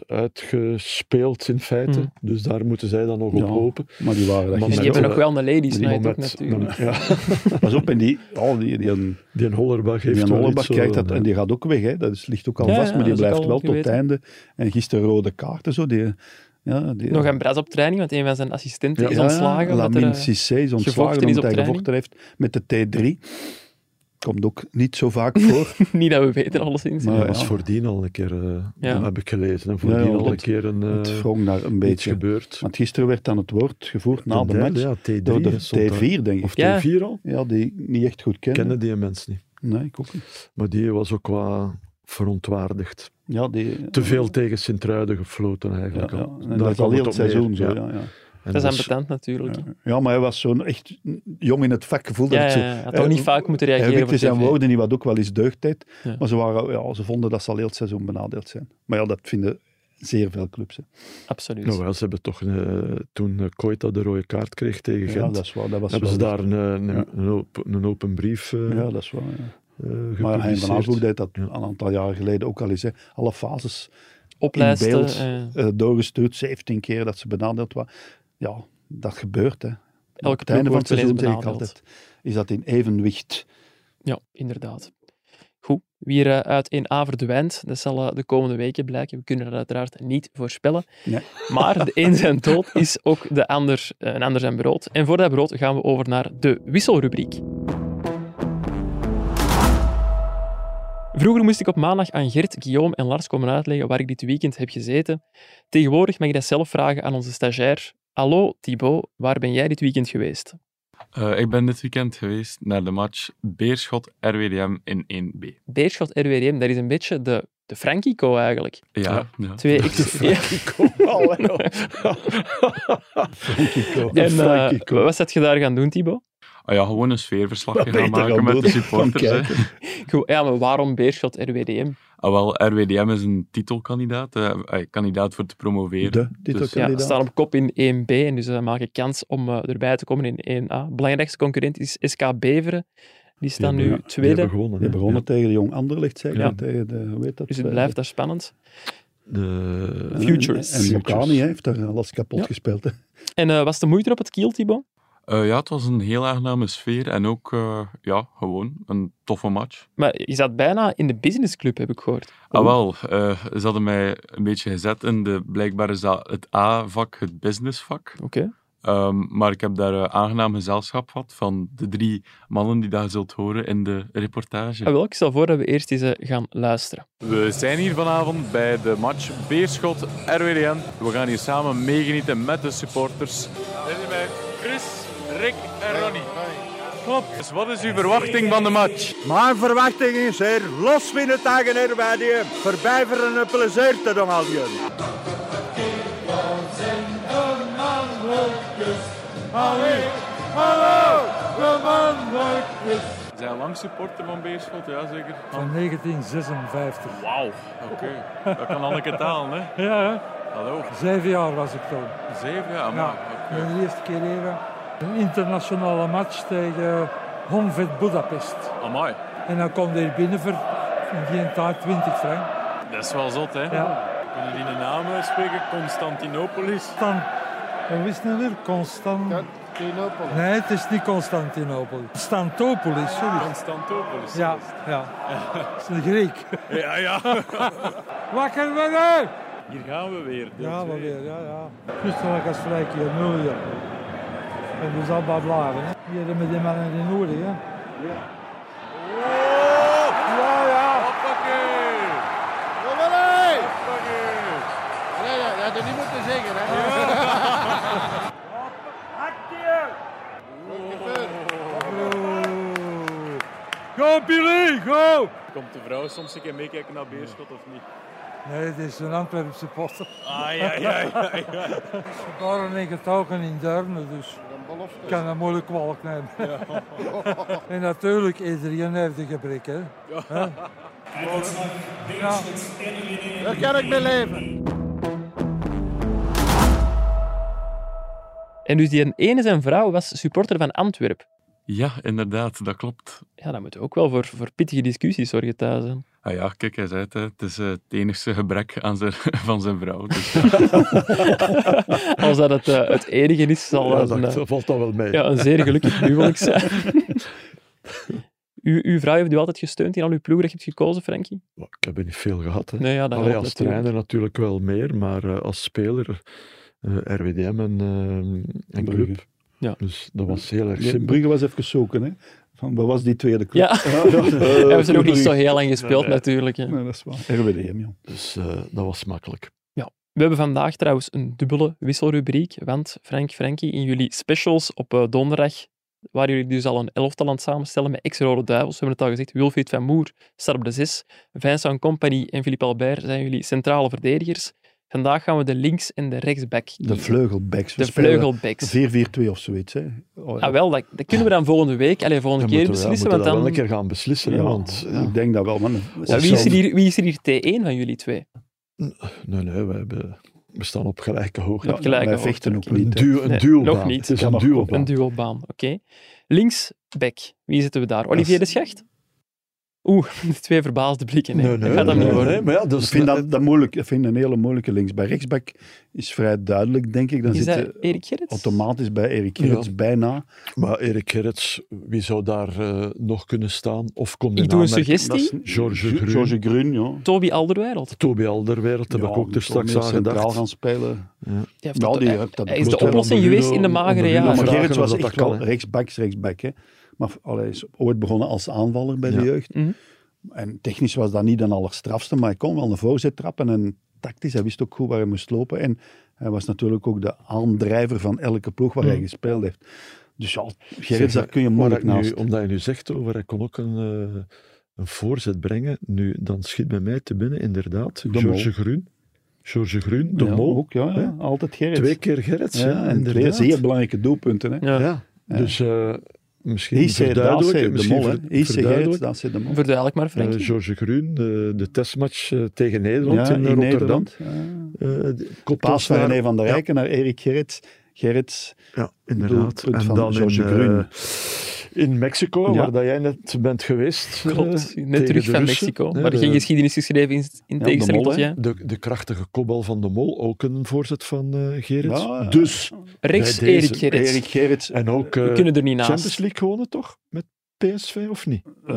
S4: uitgespeeld in feite.
S1: Mm.
S4: Dus daar moeten zij dan nog
S3: Ja.
S4: op hopen.
S3: Maar die waren dat
S4: Maar
S1: En
S4: met-
S1: die
S3: gisteren.
S1: hebben nog wel een ladies
S3: die
S1: night ook
S4: Moment-
S1: natuurlijk.
S4: moment- ja,
S3: Pas op, en die, oh, die, die, die,
S4: die Hollerbach
S3: die
S4: heeft wel iets eh,
S3: Hollebach
S4: zo-
S3: kijkt dat, en die gaat ook weg. Hè. Dat is, ligt ook al
S1: Ja,
S3: vast,
S1: ja,
S3: maar die
S1: dat is ook
S3: blijft
S1: al
S3: wel tot het
S1: geweten.
S3: einde. En gisteren rode kaarten, zo. Die, ja, die,
S1: Nog een bras op training, want een van zijn assistenten is
S3: Ja,
S1: ontslagen. omdat er,
S3: Lamine
S1: eh,
S3: Cissé is
S1: gevochten
S3: ontslagen
S1: is
S3: omdat
S1: op
S3: hij
S1: training.
S3: gevochten heeft met de T3. Komt ook niet zo vaak voor.
S1: niet dat we weten, alleszins.
S3: Maar-
S4: Dat
S3: Ja,
S4: was
S3: ja.
S4: voordien al een keer, eh,
S1: Ja.
S4: heb ik gelezen. En
S3: Ja,
S4: voordien
S3: ja,
S4: al een
S3: want
S4: keer een, eh,
S3: het wrong daar een
S4: iets
S3: beetje.
S4: gebeurd.
S3: Want gisteren werd dan het woord gevoerd na
S4: Ten
S3: de
S4: derde,
S3: match
S4: Ja, T3.
S3: door de
S4: hè, stond daar.
S3: T4, denk ik.
S4: Of
S1: Ja.
S4: T4 al?
S3: Ja, die ik niet echt goed ken.
S4: Kennen die mensen niet.
S3: Nee, ik ook niet.
S4: Maar die was ook wat verontwaardigd.
S3: Ja, die,
S4: Te veel tegen Sint-Truiden gefloten
S3: Ja,
S4: eigenlijk
S3: ja.
S4: al.
S3: En
S4: Daar
S3: Dat is
S4: kwam
S3: al heel
S4: op
S3: het seizoen
S4: neer,
S3: zo,
S4: En
S3: ja. Ja,
S1: dat is
S4: dus-
S1: aanbetend natuurlijk.
S3: ja. Ja, maar hij was zo'n echt jong in het vak gevoel.
S1: Ja,
S3: dat
S1: ja,
S3: ze,
S1: ja. Had ook niet
S3: eh,
S1: vaak moeten
S3: Hij
S1: reageren.
S3: wikte
S1: Voor
S3: zijn
S1: TV.
S3: woorden niet, wat ook wel eens deugd deed.
S1: Ja.
S3: Maar ze, waren, ja, ze vonden dat ze al heel het seizoen benadeeld zijn. Maar ja, dat vinden zeer veel clubs. Hè.
S1: Absoluut.
S4: Nou wel, ze hebben toch eh, toen eh, Koita de rode kaart kreeg tegen
S3: Ja,
S4: Gent,
S3: dat is waar. Dat was
S4: hebben ze
S3: wel-
S4: daar een, een, eh,
S3: Ja.
S4: een, open, een open brief eh
S3: Ja, dat is waar. Ja.
S4: eh,
S3: Maar Hein van Aasbroek
S4: gepubliceerd.
S3: deed dat
S4: Ja.
S3: een aantal jaren geleden ook al eens. Hè. Alle fases
S1: Oplijsten.
S3: in beeld.
S1: eh,
S3: eh, doorgestuurd, 17 keer dat ze benadeeld waren. Ja, dat gebeurt. Hè. Op
S1: elke
S3: het einde
S1: ploeg
S3: van
S1: wordt
S3: het seizoen
S1: ineens
S3: zeg ik
S1: benadeeld.
S3: altijd, is dat in evenwicht.
S1: Ja, inderdaad. Goed, wie er eh, uit 1A verdwijnt, dat zal eh, de komende weken blijken. We kunnen dat uiteraard niet voorspellen.
S3: Nee.
S1: Maar de een zijn dood is ook de ander, eh, een ander zijn brood. En voor dat brood gaan we over naar de wisselrubriek. Vroeger moest ik op maandag aan Gert, Guillaume en Lars komen uitleggen waar ik dit weekend heb gezeten. Tegenwoordig mag ik dat zelf vragen aan onze stagiair. Hallo Thibaut, waar ben jij dit weekend geweest?
S7: Eh, ik ben dit weekend geweest naar de match Beerschot-RWDM in 1B.
S1: Beerschot RWDM, dat is een beetje de, de Frankico eigenlijk.
S7: Ja, ja.
S1: Twee X. Ja. En eh, wat zat je daar gaan doen, Thibaut?
S7: Ah ja, gewoon een sfeerverslag
S3: ben
S7: gaan
S3: je daar
S7: maken
S3: gaan
S7: met
S3: doen?
S7: de supporters.
S3: Gaan
S7: hè.
S1: Goed, Ja, maar waarom Beerschot RWDM?
S7: Ah, wel, RWDM is een titelkandidaat, eh, eh, kandidaat voor te promoveren. Dus,
S3: De
S1: Ja,
S3: titelkandidaat.
S1: ze staan op kop in 1B en dus ze maken kans om eh, erbij te komen in 1A. Belangrijkste concurrent is SK Beveren. Die staan
S4: hebben-
S1: nu
S4: ja, Die
S1: tweede,
S4: hebben gewonnen.
S3: Die
S4: hè.
S3: begonnen tegen de Jong Anderlecht, zeg ik.
S1: Ja.
S3: en Tegen de, hoe heet dat?
S1: dus het
S3: eh,
S1: blijft daar spannend.
S4: De,
S3: eh,
S1: Futures.
S3: En Bocani
S4: Futures.
S3: hè, heeft daar alles kapot
S1: Ja.
S3: gespeeld. Hè.
S1: En eh, was de moeite op het kiel, Thibaut?
S7: Eh, ja, het was een heel aangename sfeer en ook eh, ja, gewoon een toffe match.
S1: Maar je zat bijna in de businessclub, heb ik gehoord.
S3: Oh.
S7: Ah wel, eh, ze hadden mij een beetje gezet in de, blijkbaar is dat het A-vak, het businessvak.
S1: Oké.
S7: Ehm, maar ik heb daar eh, aangenaam gezelschap gehad van de drie mannen die dat je zult horen in de reportage.
S1: Ah, wel, ik stel voor dat we eerst eens eh, gaan luisteren.
S7: We zijn hier vanavond bij de match Beerschot RWDM. We gaan hier samen meegenieten met de supporters. Dit is bij Chris, Rick en Ronnie. Klopt. Dus wat is uw verwachting van de match?
S8: Mijn verwachting is hier los winnen tegen Herbadium. Verbijveren een plezier te doen al jullie.
S7: Zijn we lang supporter van Beerschot? Ja, zeker.
S9: Van 1956.
S7: Wauw. Oké. Dat kan Anneke talen, hè?
S9: Ja, hè?
S7: Hallo.
S9: zeven jaar was ik toen.
S7: Zeven jaar,
S9: Ja,
S7: maar... oké.
S9: voor de eerste keer even. Een internationale match tegen Honved Budapest.
S7: Amai.
S9: En dan kwam er binnen voor in die tijd 20 frank.
S7: Dat is wel zot, hè?
S9: Ja.
S7: Kunnen die de naam uitspreken? Constantinopolis.
S9: Stan, hoe is het nou weer? Constantinopolis. Nee, het is niet Constantinopel. Stantopolis, sorry.
S7: Constantinopolis.
S9: Ja, ja. Dat is een Griek.
S7: Ja, ja.
S9: Wakker worden!
S7: Hier gaan we weer. deel
S9: Ja, maar
S7: twee.
S9: weer, ja, ja. Kustelijk als vrij keer nul, ja. En dus al maar blijven, hè. Hier hebben we die mannen in nodig, hè. Ja, ja.
S7: Hoppakee.
S10: Nee, dat had je niet moeten zeggen. Hè?
S7: Go, Billy, go! Komt de vrouw soms een keer meekijken naar Beerschot of niet?
S9: Nee, het is een Antwerp supporter.
S7: Ah, ja, ja, ja, ja.
S9: Geboren en getogen in Deurne, dus ik kan dat moeilijk kwalijk nemen. en natuurlijk, iedereen heeft een gebrek, hè. Hè? Nou,
S10: Daar kan ik mee leven.
S1: En dus die ene zijn vrouw was supporter van Antwerp.
S11: Ja, inderdaad, dat klopt.
S1: Ja, dat moet ook wel voor, voor pittige discussies zorgen thuis. hè.
S11: Ah ja, kijk, hij zei het, hè, het is eh, het enigste gebrek aan zijn, van zijn vrouw. Dus,
S1: Als dat het, eh, het enige is, zal
S11: Ja,
S1: dat
S11: dat
S1: een, eh,
S4: valt dan wel mee.
S1: Ja, een zeer gelukkig huwelijk zijn. U, uw vrouw heeft u altijd gesteund in al uw ploeg dat je hebt gekozen, Frankie?
S4: Maar Ik heb er niet veel gehad. Hè.
S1: Nee, ja, dat
S4: Allee,
S1: helpt
S4: als trainer natuurlijk wel meer, maar eh, als speler eh, RWDM en, eh, en
S3: Brugge.
S4: club.
S1: Ja.
S4: Dus dat was heel erg
S3: Ja,
S4: simpel.
S3: Brugge was even zoeken, hè. Van, wat was die tweede club?
S1: Ja. Hebben ze nog niet zo heel lang gespeeld, natuurlijk, hè.
S3: Nee, dat is waar. RWDM, ja.
S4: Dus eh, dat was makkelijk.
S1: We hebben vandaag trouwens een dubbele wisselrubriek, want Frank, Frankie, in jullie specials op eh, donderdag waren jullie dus al een elftal aan het samenstellen met ex-Rode Duivels. We hebben het al gezegd, Wilfried van Moer staat op de zes, Vincent Company en Philippe Albert zijn jullie centrale verdedigers. Vandaag gaan we de links- en de rechtsback
S3: De
S1: kiezen.
S3: vleugelbacks.
S1: De vleugelbacks.
S3: 4-4-2 of zoiets, hè. Oh, ja.
S1: Ah, wel, dat, dat kunnen we dan volgende week, allee, volgende
S4: Dan
S1: keer
S4: moeten we, ja,
S1: beslissen.
S4: moeten
S1: Want
S4: we dat
S1: dan,
S4: wel een keer gaan beslissen. hè,
S3: Ja,
S4: want, eh,
S3: Ik denk dat wel, man.
S1: Ja, wie, is er hier, wie is er hier T1 van jullie twee?
S4: Nee, nee, we, hebben, we staan op gelijke hoogte.
S3: Ja,
S1: Op gelijke
S3: wij
S1: hoogte,
S3: vechten ook
S1: oké.
S4: Een,
S3: niet. hè.
S4: duo, een
S1: Nee,
S4: duelbaan.
S1: nog niet.
S4: Het is
S3: Ja,
S4: een
S3: maar-
S4: duelbaan.
S1: Een duobaan, oké. Links, back. Wie zitten we daar? Olivier de Schacht? Oeh, de twee verbaasde blikken. Nee, dat gaat hem
S4: nee,
S1: niet worden.
S4: nee, maar ja, dus
S3: Ik vind dat, dat moeilijk. Ik vind een hele moeilijke links. Bij rechtsback is vrij duidelijk, denk ik. Dan
S1: Is
S3: zit
S1: dat
S3: je
S1: Erik Gerrits?
S3: automatisch bij Erik Gerrits
S4: Ja.
S3: bijna.
S4: Maar Erik Gerrits, wie zou daar eh, nog kunnen staan? Of komt in
S1: Ik doe een
S4: aanmerking?
S3: Dat is
S1: suggestie.
S4: George
S3: Gro-
S4: Groen.
S3: George Groen, ja.
S1: Toby Alderweireld.
S4: Toby Alderwereld, heb
S3: Ja,
S4: ik ook
S3: die
S4: er
S3: zal
S4: straks
S3: meer
S4: aan
S3: centraal
S4: gedacht.
S3: gaan spelen.
S1: Die heeft
S3: Ja,
S1: dat-
S4: Nou,
S3: die
S1: hij-
S3: heeft dat-
S1: hij is de
S3: Moet wel
S1: oplossing
S4: onder
S1: geweest in de
S4: Bruno-
S1: magere
S4: onder Bruno
S1: jaren.
S3: maar
S4: vragen
S3: Gerrits
S4: of
S3: was
S4: dat
S3: echt
S4: dat kan,
S3: wel
S4: hè.
S3: rechtsbacks, rechtsback. Hè. Maar allee, is ooit begonnen als aanvaller bij
S4: Ja.
S3: de jeugd.
S1: Mhm.
S3: En technisch was dat niet de allerstrafste, maar hij kon wel een voorzet trappen. En tactisch, hij wist ook goed waar hij moest lopen. En hij was natuurlijk ook de aandrijver van elke ploeg waar hij gespeeld heeft. Dus ja,
S4: Mhm. Zeg,
S3: Gerrits, daar kun je
S4: maar
S3: moeilijk
S4: ik nu-
S3: naast.
S4: Omdat je nu zegt over, hij kon ook een, eh, een voorzet brengen. Nu, dan schiet bij mij te binnen, inderdaad.
S3: De
S4: George
S3: Mol.
S4: Groen. George Groen, de
S3: ja,
S4: Mol.
S3: Ook, ja, ja.
S4: hè.
S3: altijd Gerrits.
S4: Twee keer Gerrits, ja,
S3: ja, en twee
S4: inderdaad.
S3: zeer belangrijke doelpunten. Hè.
S1: Ja.
S4: Ja, dus eh misschien
S3: IC
S4: verduidelijken.
S3: Dace, de
S4: Misschien
S3: mol. hè.
S4: ver-
S3: IC Gerrits,
S4: verduidelijken.
S3: Dace, de mol.
S1: Verduidelijk maar,
S4: Eh,
S1: Frankie.
S4: George Groen, de, de testmatch eh, tegen Nederland
S3: Ja,
S4: in, Rotterdam.
S3: Nederland. Ja.
S4: Eh, de- kopt
S3: Paas
S4: ons
S3: van
S4: daar-
S3: René van der
S4: Ja,
S3: Rijken naar Erik Gerrits. Gerrits,
S4: Ja, inderdaad.
S3: Doelpunt
S4: En
S3: van
S4: dan in,
S3: George
S4: eh,
S3: Groen.
S4: in Mexico,
S3: Ja.
S4: waar dat jij net bent geweest. eh,
S1: Klopt, net
S4: tegen
S1: terug
S4: de
S1: van
S4: Russen.
S1: Mexico.
S4: Ja,
S1: Maar er
S4: de-
S1: geen geschiedenis geschreven in, in
S3: de
S1: tegenstelling
S3: mol,
S1: tot
S3: hè.
S1: jij.
S4: de, de krachtige kopbal van de Mol, ook een voorzet van eh Gerrit.
S3: Ja, ja.
S4: Dus,
S1: Rechts
S4: Bij deze,
S1: Erik Gerrits.
S3: Erik Gerrits.
S4: en ook
S1: We
S4: eh,
S1: kunnen er niet
S4: Champions
S1: naast.
S4: League gewonnen toch? Met PSV of niet?
S3: eh,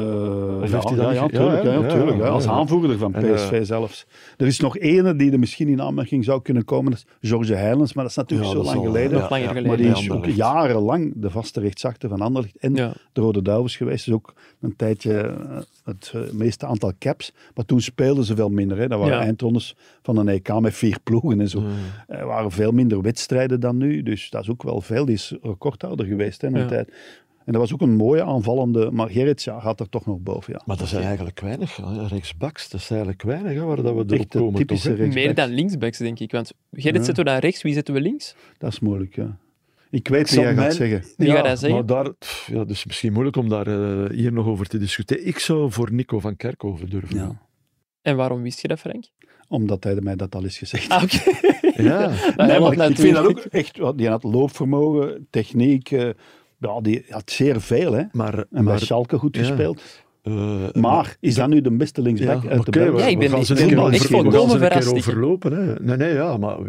S4: heeft
S3: ja,
S4: hij dat
S3: ja,
S4: niet-
S3: ja,
S4: ja,
S3: tuurlijk,
S4: hè?
S3: ja,
S4: Ja,
S3: tuurlijk, ja,
S4: ja,
S3: als
S4: ja.
S3: aanvoerder van
S4: En, eh,
S3: PSV zelfs. Er is nog ene die er misschien in aanmerking zou kunnen komen, dat is George Heilens, maar dat is natuurlijk
S4: Ja,
S3: zo
S4: dat
S3: lang
S4: zal-
S3: geleden.
S1: Nog langer
S3: Maar
S1: geleden.
S3: die
S4: bij
S3: is ook
S4: Anderlecht.
S3: jarenlang de vaste rechtsachter van Anderlecht en
S1: Ja.
S3: de Rode Duivels geweest. Dus ook een tijdje eh, het eh, meeste aantal caps. Maar toen speelden ze veel minder. Hè. Dat waren
S1: Ja. Mm.
S3: eindrondes van een EK met vier ploegen en zo. Er waren veel minder wedstrijden dan nu. Dus dat is ook wel veel. Die is recordhouder geweest hè, een
S1: Ja.
S3: tijd. En dat was ook een mooie aanvallende. Maar Gerrits ja, gaat er toch nog boven. Ja.
S4: Maar dat zijn eigenlijk weinig. hè. Rechtsbacks, dat is eigenlijk weinig hè, waar dat we door
S3: Echt een
S4: komen.
S3: typische
S4: toch, hè?
S3: rechtsback.
S1: Meer dan linksbacks, denk ik. Want Gerrit
S3: Ja.
S1: zetten we dan rechts, wie zetten we links?
S3: Dat is moeilijk. Ja. Ik weet
S4: zal
S3: wie jij gaat
S4: mijn-
S3: zeggen.
S1: Wie gaat hij zeggen?
S4: Maar daar, pff, ja, dus misschien moeilijk om daar eh, hier nog over te discussiëren. Ik zou voor Nico van Kerkhoven durven.
S3: Ja.
S4: gaan.
S1: En waarom wist je dat, Frank?
S3: Omdat hij mij dat al is gezegd.
S1: Ah, oké.
S4: ja.
S1: Nou,
S3: Nee,
S1: hij
S3: maar
S1: laat
S3: ik, ik vind dat ook
S1: natuurlijk-
S3: echt... wel- Die had loopvermogen, techniek... eh, ja, die had zeer veel, hè.
S4: Maar,
S3: En bij
S4: maar,
S3: Schalke goed
S4: ja.
S3: gespeeld.
S4: eh,
S3: Maar is dat nu de beste linksback
S4: Ja,
S3: uit de
S4: oké,
S3: Belgen?
S4: we-
S1: Ja, ik
S4: we
S1: ben-
S4: gaan
S1: ik
S4: ze
S1: ben
S4: een keer
S1: wel
S4: over-
S1: echt
S4: we gaan
S1: volkomen
S4: ze een keer
S1: verrast. Ik-
S4: overlopen. Hè. Nee, nee, ja, maar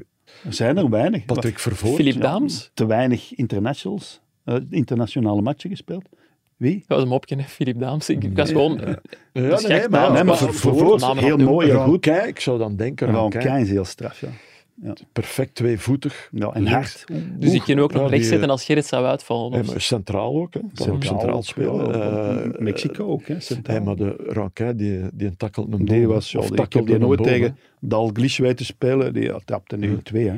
S3: Er zijn er weinig.
S4: Patrick Vervoort.
S1: Philippe Daams.
S3: Te weinig internationals, eh, internationale matchen gespeeld. Wie?
S1: Dat was een mopje, hè, Philippe Daams. Ik ik was gewoon...
S4: Ja,
S1: Dat is gek, maar-
S3: nee, maar
S1: Vervoort,
S3: Vervoort,
S1: namen
S3: heel
S1: opnoemen.
S3: mooi en
S4: Raon
S3: goed.
S4: Kei, ik zou dan denken
S3: Ron
S4: aan Kei.
S3: Keijn is heel straf, ja. Nou,
S4: Perfect tweevoetig.
S3: Ja,
S1: en hard. Dus ik kan ook nog rechts zitten als Gerrit zou uitvallen.
S4: Hey,
S1: of
S4: eh, maar centraal ook, hè. Kan
S3: Centraal
S4: ook centraal
S3: ook,
S4: spelen.
S3: ja.
S4: Eh,
S3: Mexico ook, hè,
S4: eh,
S3: centraal.
S4: hey, maar de Rankin, die, die takkelt een
S3: Die
S4: bal,
S3: was zo.
S4: of
S3: Ik heb
S4: takkelde
S3: die
S4: een
S3: nooit
S4: bal, hè.
S3: tegen Dalglish weten spelen. Die ja, trapte nu twee. Hè.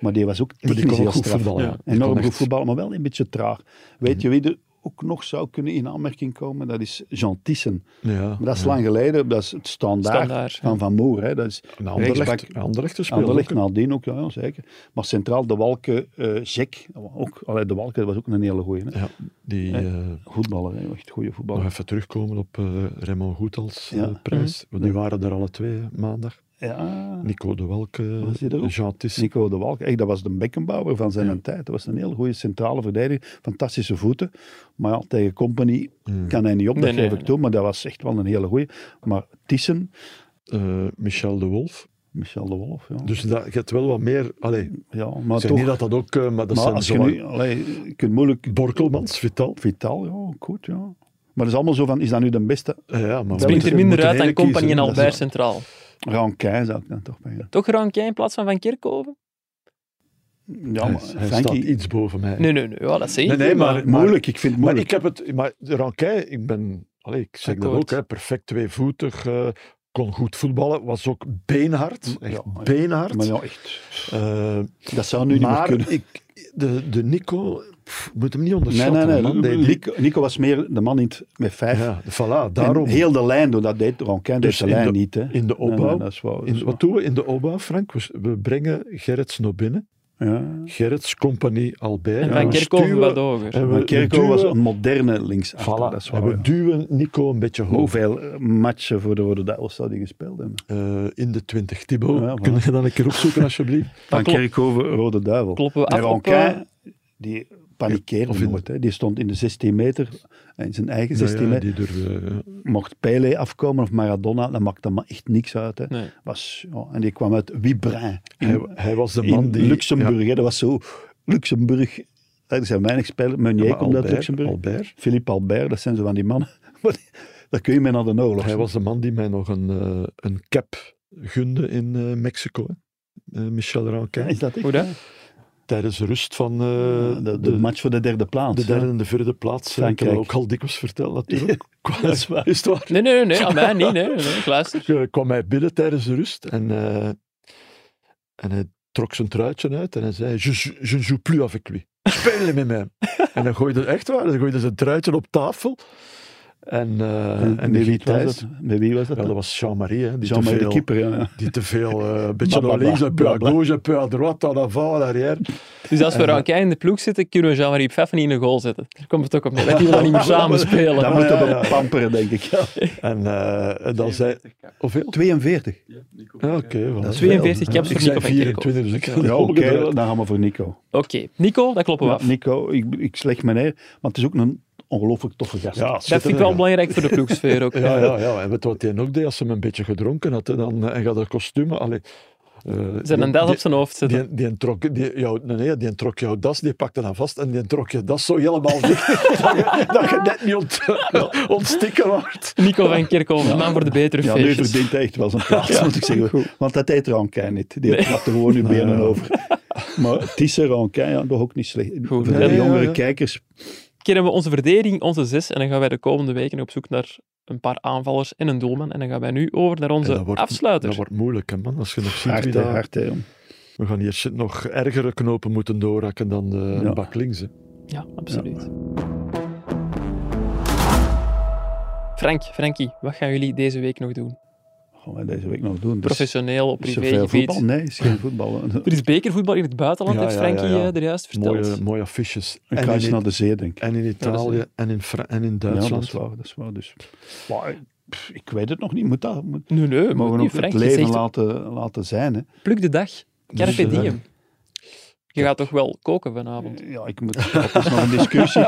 S3: Maar die was ook
S4: die
S3: technisch
S4: kon ook
S3: heel
S4: goed
S3: straf.
S4: voetballen, ja. Die kon
S3: Enorm goed
S4: echt-
S3: voetballen, maar wel een beetje traag. Weet je wie er ook nog zou kunnen in aanmerking komen? Dat is Jean Thyssen.
S4: Ja,
S3: maar dat is
S4: ja.
S3: lang geleden. Dat is het standaard,
S1: Standaard,
S3: van Van Moer. Hè. Dat is
S4: En Anderlecht- Anderlecht speelde
S3: Anderlecht
S4: ook, hè.
S3: nadien ook, ja, ja, zeker. Maar centraal de Walke, eh Zek. Ook, allee, de Walke was ook een hele goeie. Hè.
S4: Ja, die...
S3: Hè?
S4: eh,
S3: Voetballer, hè. echt goede voetballer.
S4: Nog even terugkomen op eh Raymond Goethals eh,
S3: Ja. Mhm.
S4: prijs. Want die waren er alle twee hè, maandag.
S3: Ja.
S4: Nico de Welke,
S3: Was hij er ook?
S4: Jean Tissen.
S3: Nico de Walk, echt, dat was de bekkenbouwer van zijn tijd. Dat was een heel goede centrale verdediger, fantastische voeten. Maar ja, tegen Company
S4: eh,
S3: kan hij niet op, dat
S1: Nee, nee,
S3: geef ik
S1: nee.
S3: toe. Maar dat was echt wel een hele goede. Maar Tissen,
S4: eh, Michel de Wolf.
S3: Michel de Wolf, ja.
S4: Dus dat, je hebt wel wat meer... Allee,
S3: ja maar
S4: maar
S3: toch,
S4: niet dat dat ook... eh, maar dat
S3: maar
S4: zijn
S3: als je
S4: zomaar-
S3: nu, allee, je kunt moeilijk...
S4: Borkelmans, Vital.
S3: Vital, ja, ook goed, ja. Maar dat is allemaal zo van, is dat nu de beste?
S4: eh, Ja, ja, maar
S1: Het springt er
S4: moeten-
S1: minder
S4: moeten
S1: uit dan
S4: hele
S1: Compagnie en
S4: kiezen, hè. Dat
S1: Albert
S4: is-
S1: Centraal.
S3: Rankijn zou ik dan toch bij.
S1: Toch Rankin in plaats van Van Kerkhoven?
S3: Ja, maar
S4: Hij, hij staat
S3: Frankie,
S4: iets boven mij.
S1: Nee, nee, nee. Ja, dat zie je.
S4: Nee, nee, maar, maar-
S3: moeilijk, ik vind het
S4: Maar
S3: moeilijk.
S4: ik heb het... Maar de Ranquet, ik ben... Allee, ik zeg dat
S1: Akkoord.
S4: ook, hè, perfect tweevoetig... eh, kon goed voetballen, was ook beenhard. Echt
S3: Ja, ja.
S4: beenhard.
S3: Maar ja, echt,
S4: Eh,
S3: dat zou nu niet meer
S4: maar
S3: kunnen.
S4: ik, de, de Nico, pff, moet hem niet
S3: Nee,
S4: onderschatten.
S3: nee, nee.
S4: man. Die- die-
S3: Nico, Nico was meer de man in het, met vijf.
S4: ja, voilà,
S3: Daarom.
S4: daarom.
S3: heel de lijn door dat deed Ronquin deed
S4: Dus
S3: de lijn
S4: in de-
S3: niet. Hè.
S4: in de opbouw,
S3: Nee, nee, dat is waar, dat is
S4: in, wat
S3: waar.
S4: doen we in de opbouw, Frank? We, we brengen Gerrits nog binnen.
S3: Ja.
S4: Gerrits, compagnie, Albert.
S1: En Van
S4: we
S1: Kerkhoven
S4: stuwen-
S1: wat hoger.
S4: En
S3: Maar
S4: we,
S3: Kerko
S4: duwen,
S3: was een moderne linksachter.
S4: voilà,
S3: dat is
S4: en
S3: waar,
S4: we
S3: ja.
S4: duwen Nico een beetje
S3: Maar
S4: hoog.
S3: Hoeveel eh, matchen voor de Rode Duivels zou die gespeeld hebben?
S4: Eh, in de 20. Thibaut,
S3: Ja, voilà.
S4: kun je dat een keer opzoeken alsjeblieft?
S3: Van
S1: klopt.
S3: Kerkhoven, Rode Duivel.
S1: Kloppen we
S3: en
S1: af op,
S3: Ronquin,
S1: eh,
S3: die panikeerde
S4: Of in-
S3: nooit. Hè. Die stond in de 16 meter, in zijn eigen 16
S4: Nou ja,
S3: meter.
S4: die durven, ja.
S3: Mocht Pele afkomen of Maradona, dan maakte dat maar echt niks uit. Hè.
S1: Nee.
S3: Was, ja, en die kwam uit Wibrin. in-
S4: hij, hij was de man
S3: in
S4: die...
S3: Luxemburg. Hè, dat was zo. Luxemburg, er zijn weinig spelers. Meunier
S4: Ja, maar
S3: komt uit
S4: Albert-
S3: Luxemburg.
S4: Albert.
S3: Philippe Albert, dat zijn zo van die mannen. Maar die- daar kun je mee naar de oorlog.
S4: Hij was de man die mij nog een, eh, een cap gunde in eh, Mexico. hè. Eh, Michel Ranquin.
S3: Is dat echt?
S1: Hoe dat?
S4: Tijdens de rust van eh,
S3: Eh, de, de,
S4: de,
S3: match voor de derde plaats.
S4: de derde
S3: ja.
S4: en de vierde plaats. eh, Ik heb
S3: Frankrijk.
S4: dat ook al dikwijls verteld natuurlijk. Kwam-
S3: Dat is waar.
S4: het waar?
S1: Nee, nee, nee, nee. Aan mij niet. Nee, nee, nee. Ik luister.
S4: Ik, eh, kwam hij binnen tijdens de rust en, eh, en hij trok zijn truitje uit en hij zei, je, je, je ne joue plus avec lui. Spelen met mij. en dan gooide, echt waar, dan gooide zijn truitje op tafel. En, eh,
S3: En,
S4: en,
S3: en
S4: die
S3: met, wie
S4: Guy
S3: was
S4: Thijs-
S3: dat? met wie was dat?
S4: Wel, dat was Jean-Marie, hè, die te
S3: Jean-Marie de
S4: veel-
S3: keeper. Ja. ja.
S4: die te veel, eh, een beetje naar
S3: Blablabla,
S4: links, een peu à
S3: blabla.
S4: gauche, een peu à droite, en avant, en arrière.
S1: Dus als we Rankin in de ploeg zitten, kunnen we Jean-Marie Pfeffen niet in de goal zetten. Daar komt het ook op neer. Dat die we dan niet meer samen spelen.
S3: Dat
S4: ja,
S3: moet
S4: ja,
S3: op
S4: ja.
S3: een pamperen, denk ik. Ja.
S4: En, eh, en dan zei... Hoeveel?
S3: 42.
S4: Ja, oké. voilà.
S3: Dat is
S1: 42 caps
S4: Ik
S1: voor
S4: zei
S1: Nico van Kerkhoven.
S4: 24, dus ik ga
S3: Ja,
S4: het
S3: oké,
S4: omgedraaid.
S3: dan gaan we voor Nico.
S1: Oké. Nico, dat kloppen we
S3: Ja,
S1: af.
S3: Nico, ik, ik slecht me neer, maar het is ook een ongelooflijk toffe gast.
S4: Ja,
S1: Dat vind ik wel belangrijk voor de ploegsfeer ook.
S4: Ja, ja, ja. En weet je wat hij ook deed? Als ze hem een beetje gedronken had, hè, dan, eh, en gaat dat kostuum... Allee, eh,
S1: Zijn een
S4: die-
S1: das op
S4: die-
S1: zijn hoofd zetten.
S4: Die, die, trok, die, jou, nee, nee, die trok jouw das, die pakte dan vast en die trok je das zo helemaal dicht. dat, je, dat je net niet ont, ontstikken wordt.
S1: Nico van Kerkhoven, de man voor de betere
S3: Ja, nu
S1: feestjes.
S3: verdient hij echt wel zijn plaats, moet ik zeggen. Want dat deed Rankin niet. Die nee. gewoon nu benen over. Maar Tisse Rankin, ja, toch ook niet slecht.
S1: Goed.
S3: Voor
S1: Ja,
S3: de
S1: ja,
S3: jongere
S4: ja.
S3: kijkers.
S1: keren we onze verdediging, onze zes, en dan gaan wij de komende weken op zoek naar een paar aanvallers en een doelman. En dan gaan wij nu over naar onze
S4: En dat wordt-
S1: afsluiter.
S4: Dat wordt moeilijk, hè, man. Als je nog ziet
S3: Hard,
S4: wie
S3: hè,
S4: dat...
S3: hard, hè, jong.
S4: We gaan hier shit nog ergere knopen moeten doorhakken dan de
S3: Ja.
S4: bak links. hè.
S1: Ja, absoluut. Frank, Frankie, wat gaan jullie deze week nog doen?
S4: Dus
S3: Gaan wij deze week nog doen. Dus
S1: Professioneel, op
S3: is er veel voetbal?
S1: privégebied?
S3: Nee, is geen voetbal.
S1: Er is bekervoetbal in het buitenland,
S4: Ja,
S1: heeft
S4: ja, ja,
S1: Frankie
S4: ja.
S1: eh, er juist verteld.
S4: Mooie, mooie affiches.
S3: Een
S4: En
S3: kruisje
S4: in,
S3: naar de zee, denk ik.
S4: en in Italië en, in Fra- en in
S3: Ja, dat
S4: Duitsland.
S3: is waar. Dat is waar dus. Maar, ik- pff, ik weet het nog niet. Moet dat, moet,
S1: Nee, nee, Eh, moet
S3: mogen we
S1: niet,
S3: ook het
S1: Frank. Het is
S3: leven
S1: echt-
S3: laten, laten zijn. Hè.
S1: Pluk de dag. Carpe
S4: Dus, eh,
S1: diem. Je gaat toch wel koken vanavond?
S3: Ja, ik moet, het is nog een discussie.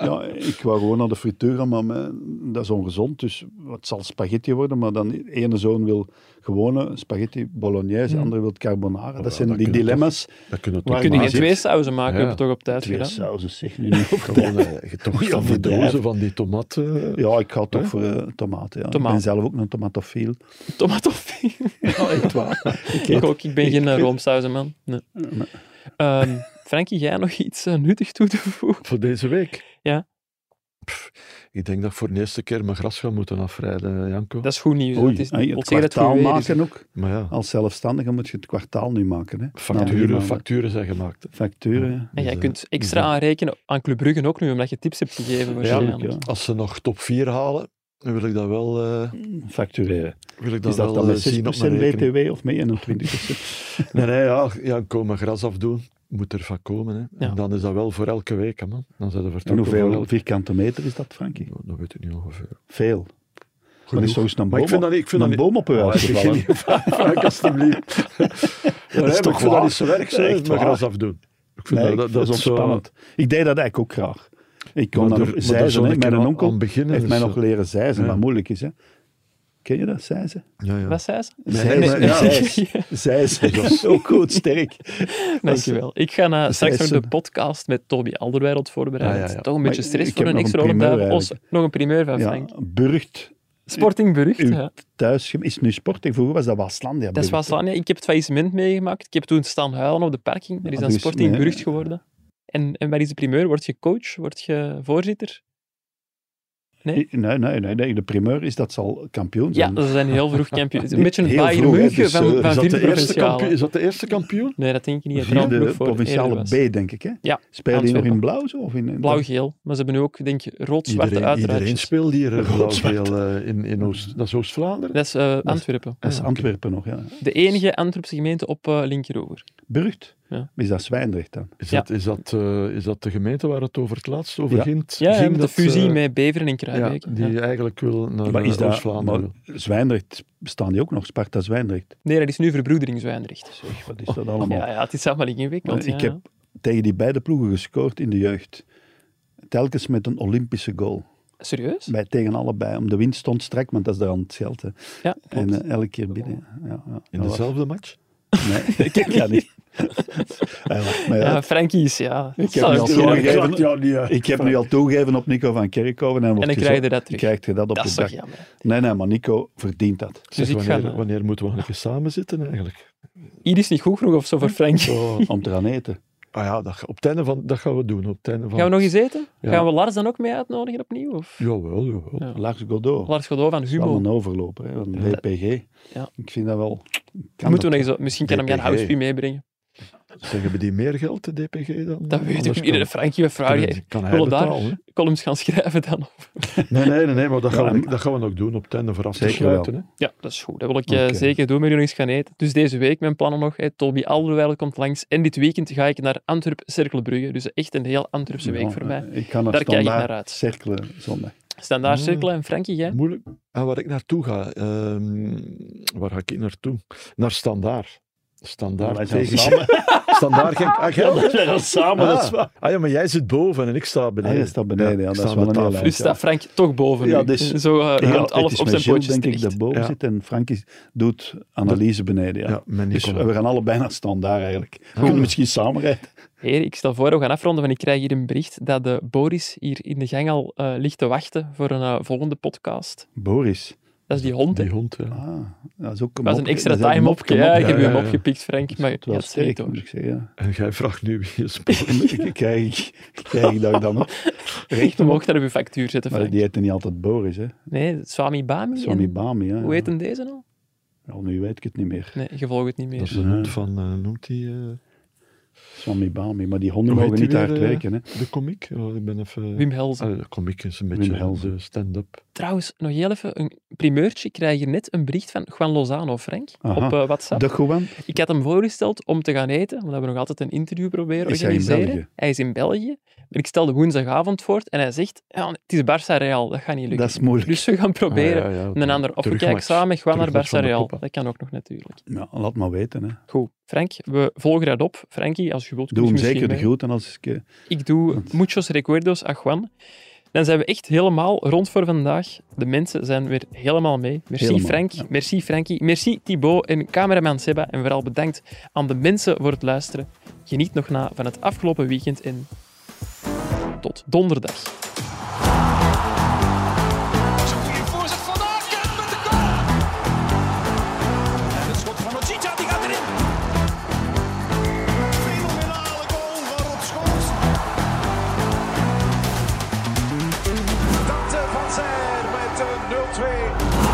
S3: Ja, ik wou gewoon naar de frituur gaan, maar mijn- dat is ongezond, dus het zal spaghetti worden, maar dan ene zoon wil gewone spaghetti bolognese, de
S1: Hmm.
S3: andere wil carbonara.
S1: Ja,
S3: dat zijn
S1: dat
S3: die
S1: kunnen
S3: dilemma's.
S1: toch- dat kunnen
S3: waar
S1: toch kunnen
S3: je
S1: geen
S3: zit.
S1: twee sauzen maken, we hebben toch op tijd
S3: twee
S1: gedaan?
S3: sauzen, zeg nu niet op
S4: Gewoon,
S3: tijd.
S4: eh, je toch
S3: Ja,
S4: van die
S3: verdijf.
S4: dozen van die tomaten.
S3: Ja, ik ga toch
S4: Hè?
S3: voor eh, tomaten. Ja.
S4: Tomaat.
S3: Ik ben zelf ook een tomatofiel.
S1: Tomatofiel?
S3: ja, echt waar.
S1: Ik ook, ik ben geen eh, roomsauzenman. Nee. Ehm, Frankie, jij nog iets eh, nuttig toe te voegen?
S4: Voor deze week?
S1: Ja.
S4: Ik denk dat ik voor de eerste keer mijn gras ga moeten afrijden, eh, Janko.
S1: Dat is goed nieuws. hè.
S3: Oei,
S1: Het is-
S3: en het
S1: ons zeggen dat het
S3: kwartaal
S1: goed weer is, hè.
S3: maken ook.
S4: Maar ja.
S3: Als zelfstandige moet je het kwartaal nu maken. Hè. Na drie
S4: Facturen,
S3: Ah, maanden.
S4: facturen zijn gemaakt. hè. Dus, eh,
S3: Facturen, ja.
S1: En jij kunt extra aanrekenen aan Club Brugge ook nu, omdat je tips hebt gegeven waarschijnlijk.
S4: Ja, als ze nog top 4 halen, dan wil ik dat wel... eh,
S3: Factureren.
S4: Wil ik dat
S3: Is dat
S4: wel,
S3: dan
S4: eh, zien op
S3: met 6%
S4: mijn rekening.
S3: BTW of met 21%?
S4: Nee, nee, ja, ja komen gras afdoen. Moet er van komen. Hè. En dan is dat wel voor elke week, hè, man. Dan zijn er
S3: en
S4: vertrokken voor
S3: hoeveel
S4: elke- Nou,
S3: vierkante meter is dat, Frankie?
S4: Dat weet ik niet ongeveer.
S3: Veel. Maar is toch eens een
S4: Maar
S3: boom
S4: ik vind dat
S3: op-
S4: niet... Ik vind
S3: een
S4: dat
S3: boom op uw
S4: Oh,
S3: huis
S4: zeg,
S3: gevallen.
S4: geen vraag, alstublieft. Ja, nee, maar ik vind dat niet zo erg, zo,
S3: Echt
S4: maar
S3: waar.
S4: gras afdoen. Ik vind
S3: Nee,
S4: dat- dat- dat
S3: is
S4: is zo-
S3: ontspannend. Ik deed dat eigenlijk ook graag. Ik kon
S4: Maar
S3: dan
S4: er-
S3: nog
S4: maar daar
S3: zeizen.
S4: zou
S3: hè.
S4: ik
S3: Mijn
S4: aan-
S3: onkel
S4: aan beginnen,
S3: heeft mij
S4: dus,
S3: nog
S4: eh,
S3: leren zeizen,
S4: ja.
S3: wat moeilijk is. Hè. Ken je dat, zeizen?
S4: Ja, ja.
S1: Wat zei ze?
S3: Zij
S1: Nee, nee, nee.
S3: is ook goed, sterk.
S1: Dankjewel. Ik ga na, straks nog
S3: Zeissen.
S1: de podcast met Toby Alderweireld voorbereiden.
S3: Ah, ja,
S1: Het
S3: ja.
S1: is Toch een
S3: Maar
S1: beetje stress
S3: ik
S1: voor
S3: heb
S1: een
S3: nog
S1: extra
S3: een primeur
S1: ronde. Ons-
S3: eigenlijk.
S1: Nog een primeur van
S3: Ja,
S1: Frank.
S3: Burgt.
S1: Sporting Burgt,
S3: Uw
S1: ja.
S3: thuisgem- is nu Sporting. Vroeger was dat Waslandia.
S1: Dat is
S3: Burgt,
S1: Dus wat
S3: hè.
S1: aan. Ik heb het faillissement meegemaakt. Ik heb toen staan huilen op de parking. Er is
S3: Ja,
S1: dan
S3: dus,
S1: Sporting
S3: nee.
S1: Burgt geworden. En, en wat is de primeur? Word je coach? Word je voorzitter?
S3: Nee? Nee, nee, nee, De primeur is dat ze al kampioen
S1: Ja,
S3: zijn.
S1: ze zijn heel vroeg kampioen. Een
S3: Heel
S1: beetje een
S3: vroeg,
S1: Bayern
S3: hè,
S1: München
S3: dus,
S1: van,
S3: eh,
S1: van
S3: is dat
S1: vierde
S3: de eerste
S1: provinciale.
S3: kampioen-
S4: Is dat de eerste kampioen?
S1: Nee, dat denk ik niet. Het
S3: Vierde
S1: Randburg voor
S3: provinciale
S1: eerder was.
S3: B, denk ik. Hè?
S1: Ja,
S3: Spelen die nog
S1: Antwerpen.
S3: in blauw? Zo, of in, in-
S1: Blauw-geel. Maar ze hebben nu ook, denk ik, rood-zwarte
S4: Iedereen, iedereen
S1: uiteraardjes.
S4: speelt hier eh,
S3: Rood-zwart.
S4: blauw-geel eh, in, in Oost... Dat is Oost-Vlaanderen?
S1: Dat is eh, Antwerpen.
S3: Dat is Antwerpen nog, ja.
S1: De enige Antwerpse gemeente op eh linkeroever.
S3: Burgt?
S1: Ja.
S3: Is dat Zwijndrecht dan?
S4: Is, dat, is, dat, eh, is dat de gemeente waar het over het laatst over
S3: Ja.
S4: ging?
S1: Ja, ja,
S4: Ging
S1: met de
S4: dat,
S1: fusie
S4: eh,
S1: met Beveren en
S4: ja,
S1: Kruijbeek.
S4: die
S1: Ja.
S4: eigenlijk wil naar
S3: Maar
S4: eh,
S3: is dat...
S4: Oost-Vlaanderen.
S3: Maar Zwijndrecht, bestaan die ook nog? Sparta Zwijndrecht.
S1: Nee, dat is nu verbroedering Zwijndrecht.
S3: Wat is dat allemaal?
S1: Oh, Ja, ja, het is allemaal ingewikkeld.
S3: Maar ik
S1: ja.
S3: heb tegen die beide ploegen gescoord in de jeugd. Telkens met een Olympische goal.
S1: Serieus?
S3: Bij, tegen allebei. Om de winst stond strak, want dat is daar aan het geld. Hè.
S1: Ja,
S3: En
S1: klopt.
S3: eh, elke keer binnen. Ja, ja.
S4: In
S3: Dat was-
S4: dezelfde match?
S3: Nee, ik kan niet. Hij lacht mij
S1: ja,
S3: uit.
S1: Eh, Frankie is, ja...
S3: Ik heb,
S1: zal
S3: nu
S1: ik
S3: al
S1: wel zeggen.
S3: toegegeven,
S4: lacht jou niet uit.
S3: ik heb nu al toegegeven op Nico van Kerkhoven. En, wordt
S1: dan
S3: gezegd-
S1: krijg je dat terug.
S3: krijg je dat op
S1: Dat
S3: de
S1: is toch
S3: dag.
S1: jammer.
S3: Nee, nee, maar Nico verdient dat.
S1: Dus
S4: Zeg,
S1: ik ga...
S4: wanneer, wanneer moeten we nog een keer samen zitten eigenlijk?
S1: Hier is niet goed genoeg of zo voor Frankie.
S4: Oh,
S3: Om te gaan eten.
S4: ah ja, dat, ga- op het einde van, dat gaan we doen. Op het einde van...
S1: Gaan we nog eens eten?
S4: Ja.
S1: Gaan we Lars dan ook mee uitnodigen opnieuw? Of?
S4: Jawel, jawel.
S1: Ja.
S3: Lars Godot.
S1: Lars Godot van
S3: Dat is wel
S1: Humo.
S3: een overloper, hè, van de DPG.
S1: Ja.
S3: Ik vind dat wel... Kan
S1: Moeten we
S3: dat-
S1: nog eens, misschien kan hem gaan
S4: DPG.
S1: Housepie meebrengen.
S4: Zeg, hebben die meer geld, de DPG, dan?
S1: Dat weet
S4: Anders
S1: ik niet.
S4: kan-
S1: De Frankie, we vragen
S4: kan-
S1: je.
S4: kan hij
S1: Wil je daar
S4: betalen,
S1: columns gaan schrijven dan?
S4: Nee, nee, nee, nee maar dat gaan,
S3: Ja,
S4: we, dat gaan we nog doen op het einde vooraf te
S3: Zeker wel.
S4: sluiten. Hè?
S1: Ja, dat is goed. Dat wil ik eh,
S3: Oké.
S1: zeker doen met jullie eens gaan eten. Dus deze week mijn plannen nog. Hè. Toby Alderweireld komt langs. En dit weekend ga ik naar Antwerp Cirkelbrugge. Dus echt een heel Antwerpse week
S3: Ja,
S1: voor mij.
S3: Ik kan
S1: Daar kijk ik naar uit.
S3: cirkelen zondag.
S1: Standaard
S3: Mm.
S4: Ah.
S1: cirkelen. En Frankie, jij?
S4: Moeilijk. En waar ik naartoe ga, ehm, waar ga ik naartoe? Naar Standaard. Standaard
S3: Wij zijn
S4: tegen...
S3: samen.
S4: Standaard ging... Ah, jij-
S3: samen,
S4: ah, ah ja, maar jij zit boven en ik sta beneden.
S3: Hij staat beneden, ja,
S4: ik
S3: dat
S4: sta
S3: is
S4: aan
S3: wel
S4: de
S3: een heel
S4: tafel.
S1: Dus staat Frank toch boven
S3: Ja,
S1: nu.
S3: dus-
S1: Zo eh,
S3: Ja,
S1: ruimt alles
S3: het is
S1: op
S3: met
S1: zijn
S3: Gilles,
S1: pootjes
S3: denk ik,
S1: terecht.
S3: dat boven
S4: Ja.
S3: zit en Frankie doet analyse beneden. Ja.
S4: Ja, met
S3: dus
S4: Nicola.
S3: we gaan allebei naar standaard eigenlijk. We kunnen misschien samen rijden.
S1: Heer, ik stel voor, we gaan afronden, want ik krijg hier een bericht dat de Boris hier in de gang al eh, ligt te wachten voor een eh, volgende podcast.
S3: Boris.
S1: Dat is die hond, hè.
S4: Die hond, ja.
S3: Ah, dat is ook een
S1: Dat is een
S3: mopje.
S1: extra
S3: Dat is een
S1: time op.
S3: mopje,
S1: Ja,
S3: mopje.
S1: ik heb u
S4: ja,
S1: hem
S4: ja.
S1: opgeeld, Frank, maar
S3: Het is
S1: ja,
S3: wel
S1: het is niet
S3: sterk,
S1: hoor.
S3: moet ik zeggen.
S4: En jij vraagt nu wie is boven.
S3: Ik krijg, krijg ik dat dan ook recht
S1: Je
S3: omhoog.
S1: mocht daar op uw factuur zetten,
S3: Maar
S1: Frank.
S3: die heette niet altijd Boris, hè.
S1: Nee, Swami Bami.
S3: Swami
S1: en-
S3: Bami, ja.
S1: Hoe heet hem deze nou?
S3: Nou, nu weet ik het niet meer.
S1: Nee, je volgt het niet
S4: Dat is
S1: meer.
S4: de hond van, eh, noemt hij...
S3: Swami Bami, maar die honden mogen niet hard werken, hè.
S4: De komiek? Oh, ik ben
S3: eh,
S4: even...
S1: Wim Helzen.
S4: Ah, de komiek is een
S3: Wim
S4: beetje
S3: Helzen.
S4: de stand-up.
S1: Trouwens, nog heel even een primeurtje. Ik krijg hier net een bericht van Juan Lozano, Frank,
S3: Aha.
S1: op eh, WhatsApp.
S3: De Juan,
S1: Ik had hem voorgesteld om te gaan eten, omdat we nog altijd een interview proberen
S3: Is hij in
S1: organiseren.
S3: België?
S1: Hij is in België. Maar ik stelde woensdagavond voor en hij zegt, ja, het is Barça Real, dat gaat niet lukken.
S3: dat is moeilijk.
S1: Dus we gaan proberen
S4: Ah, ja, ja,
S1: een ander. Of we kijken
S4: terugmatch.
S1: samen gewoon naar
S4: Terugmatch
S1: Barça
S4: van de
S1: Real.
S4: Copa.
S1: Dat kan ook nog natuurlijk.
S3: Ja, laat maar weten, hè.
S1: Goed. Frank, we volgen dat op. Frankie, als je wilt,
S3: Doe
S1: kun je
S3: hem
S1: misschien
S3: zeker de
S1: mee.
S3: groeten als ik... eh,
S1: Ik doe muchos recuerdos a Juan. Dan zijn we echt helemaal rond voor vandaag. De mensen zijn weer helemaal mee. Merci
S3: Helemaal,
S1: Frank, merci Frankie, merci Thibaut en cameraman Seba. En vooral bedankt aan de mensen voor het luisteren. Geniet nog na van het afgelopen weekend en tot donderdag.
S2: En het schot van Nocita, die gaat erin. Fenomenale goal van Rob Schoons. Dat eh, van Zijl met eh, 0-2.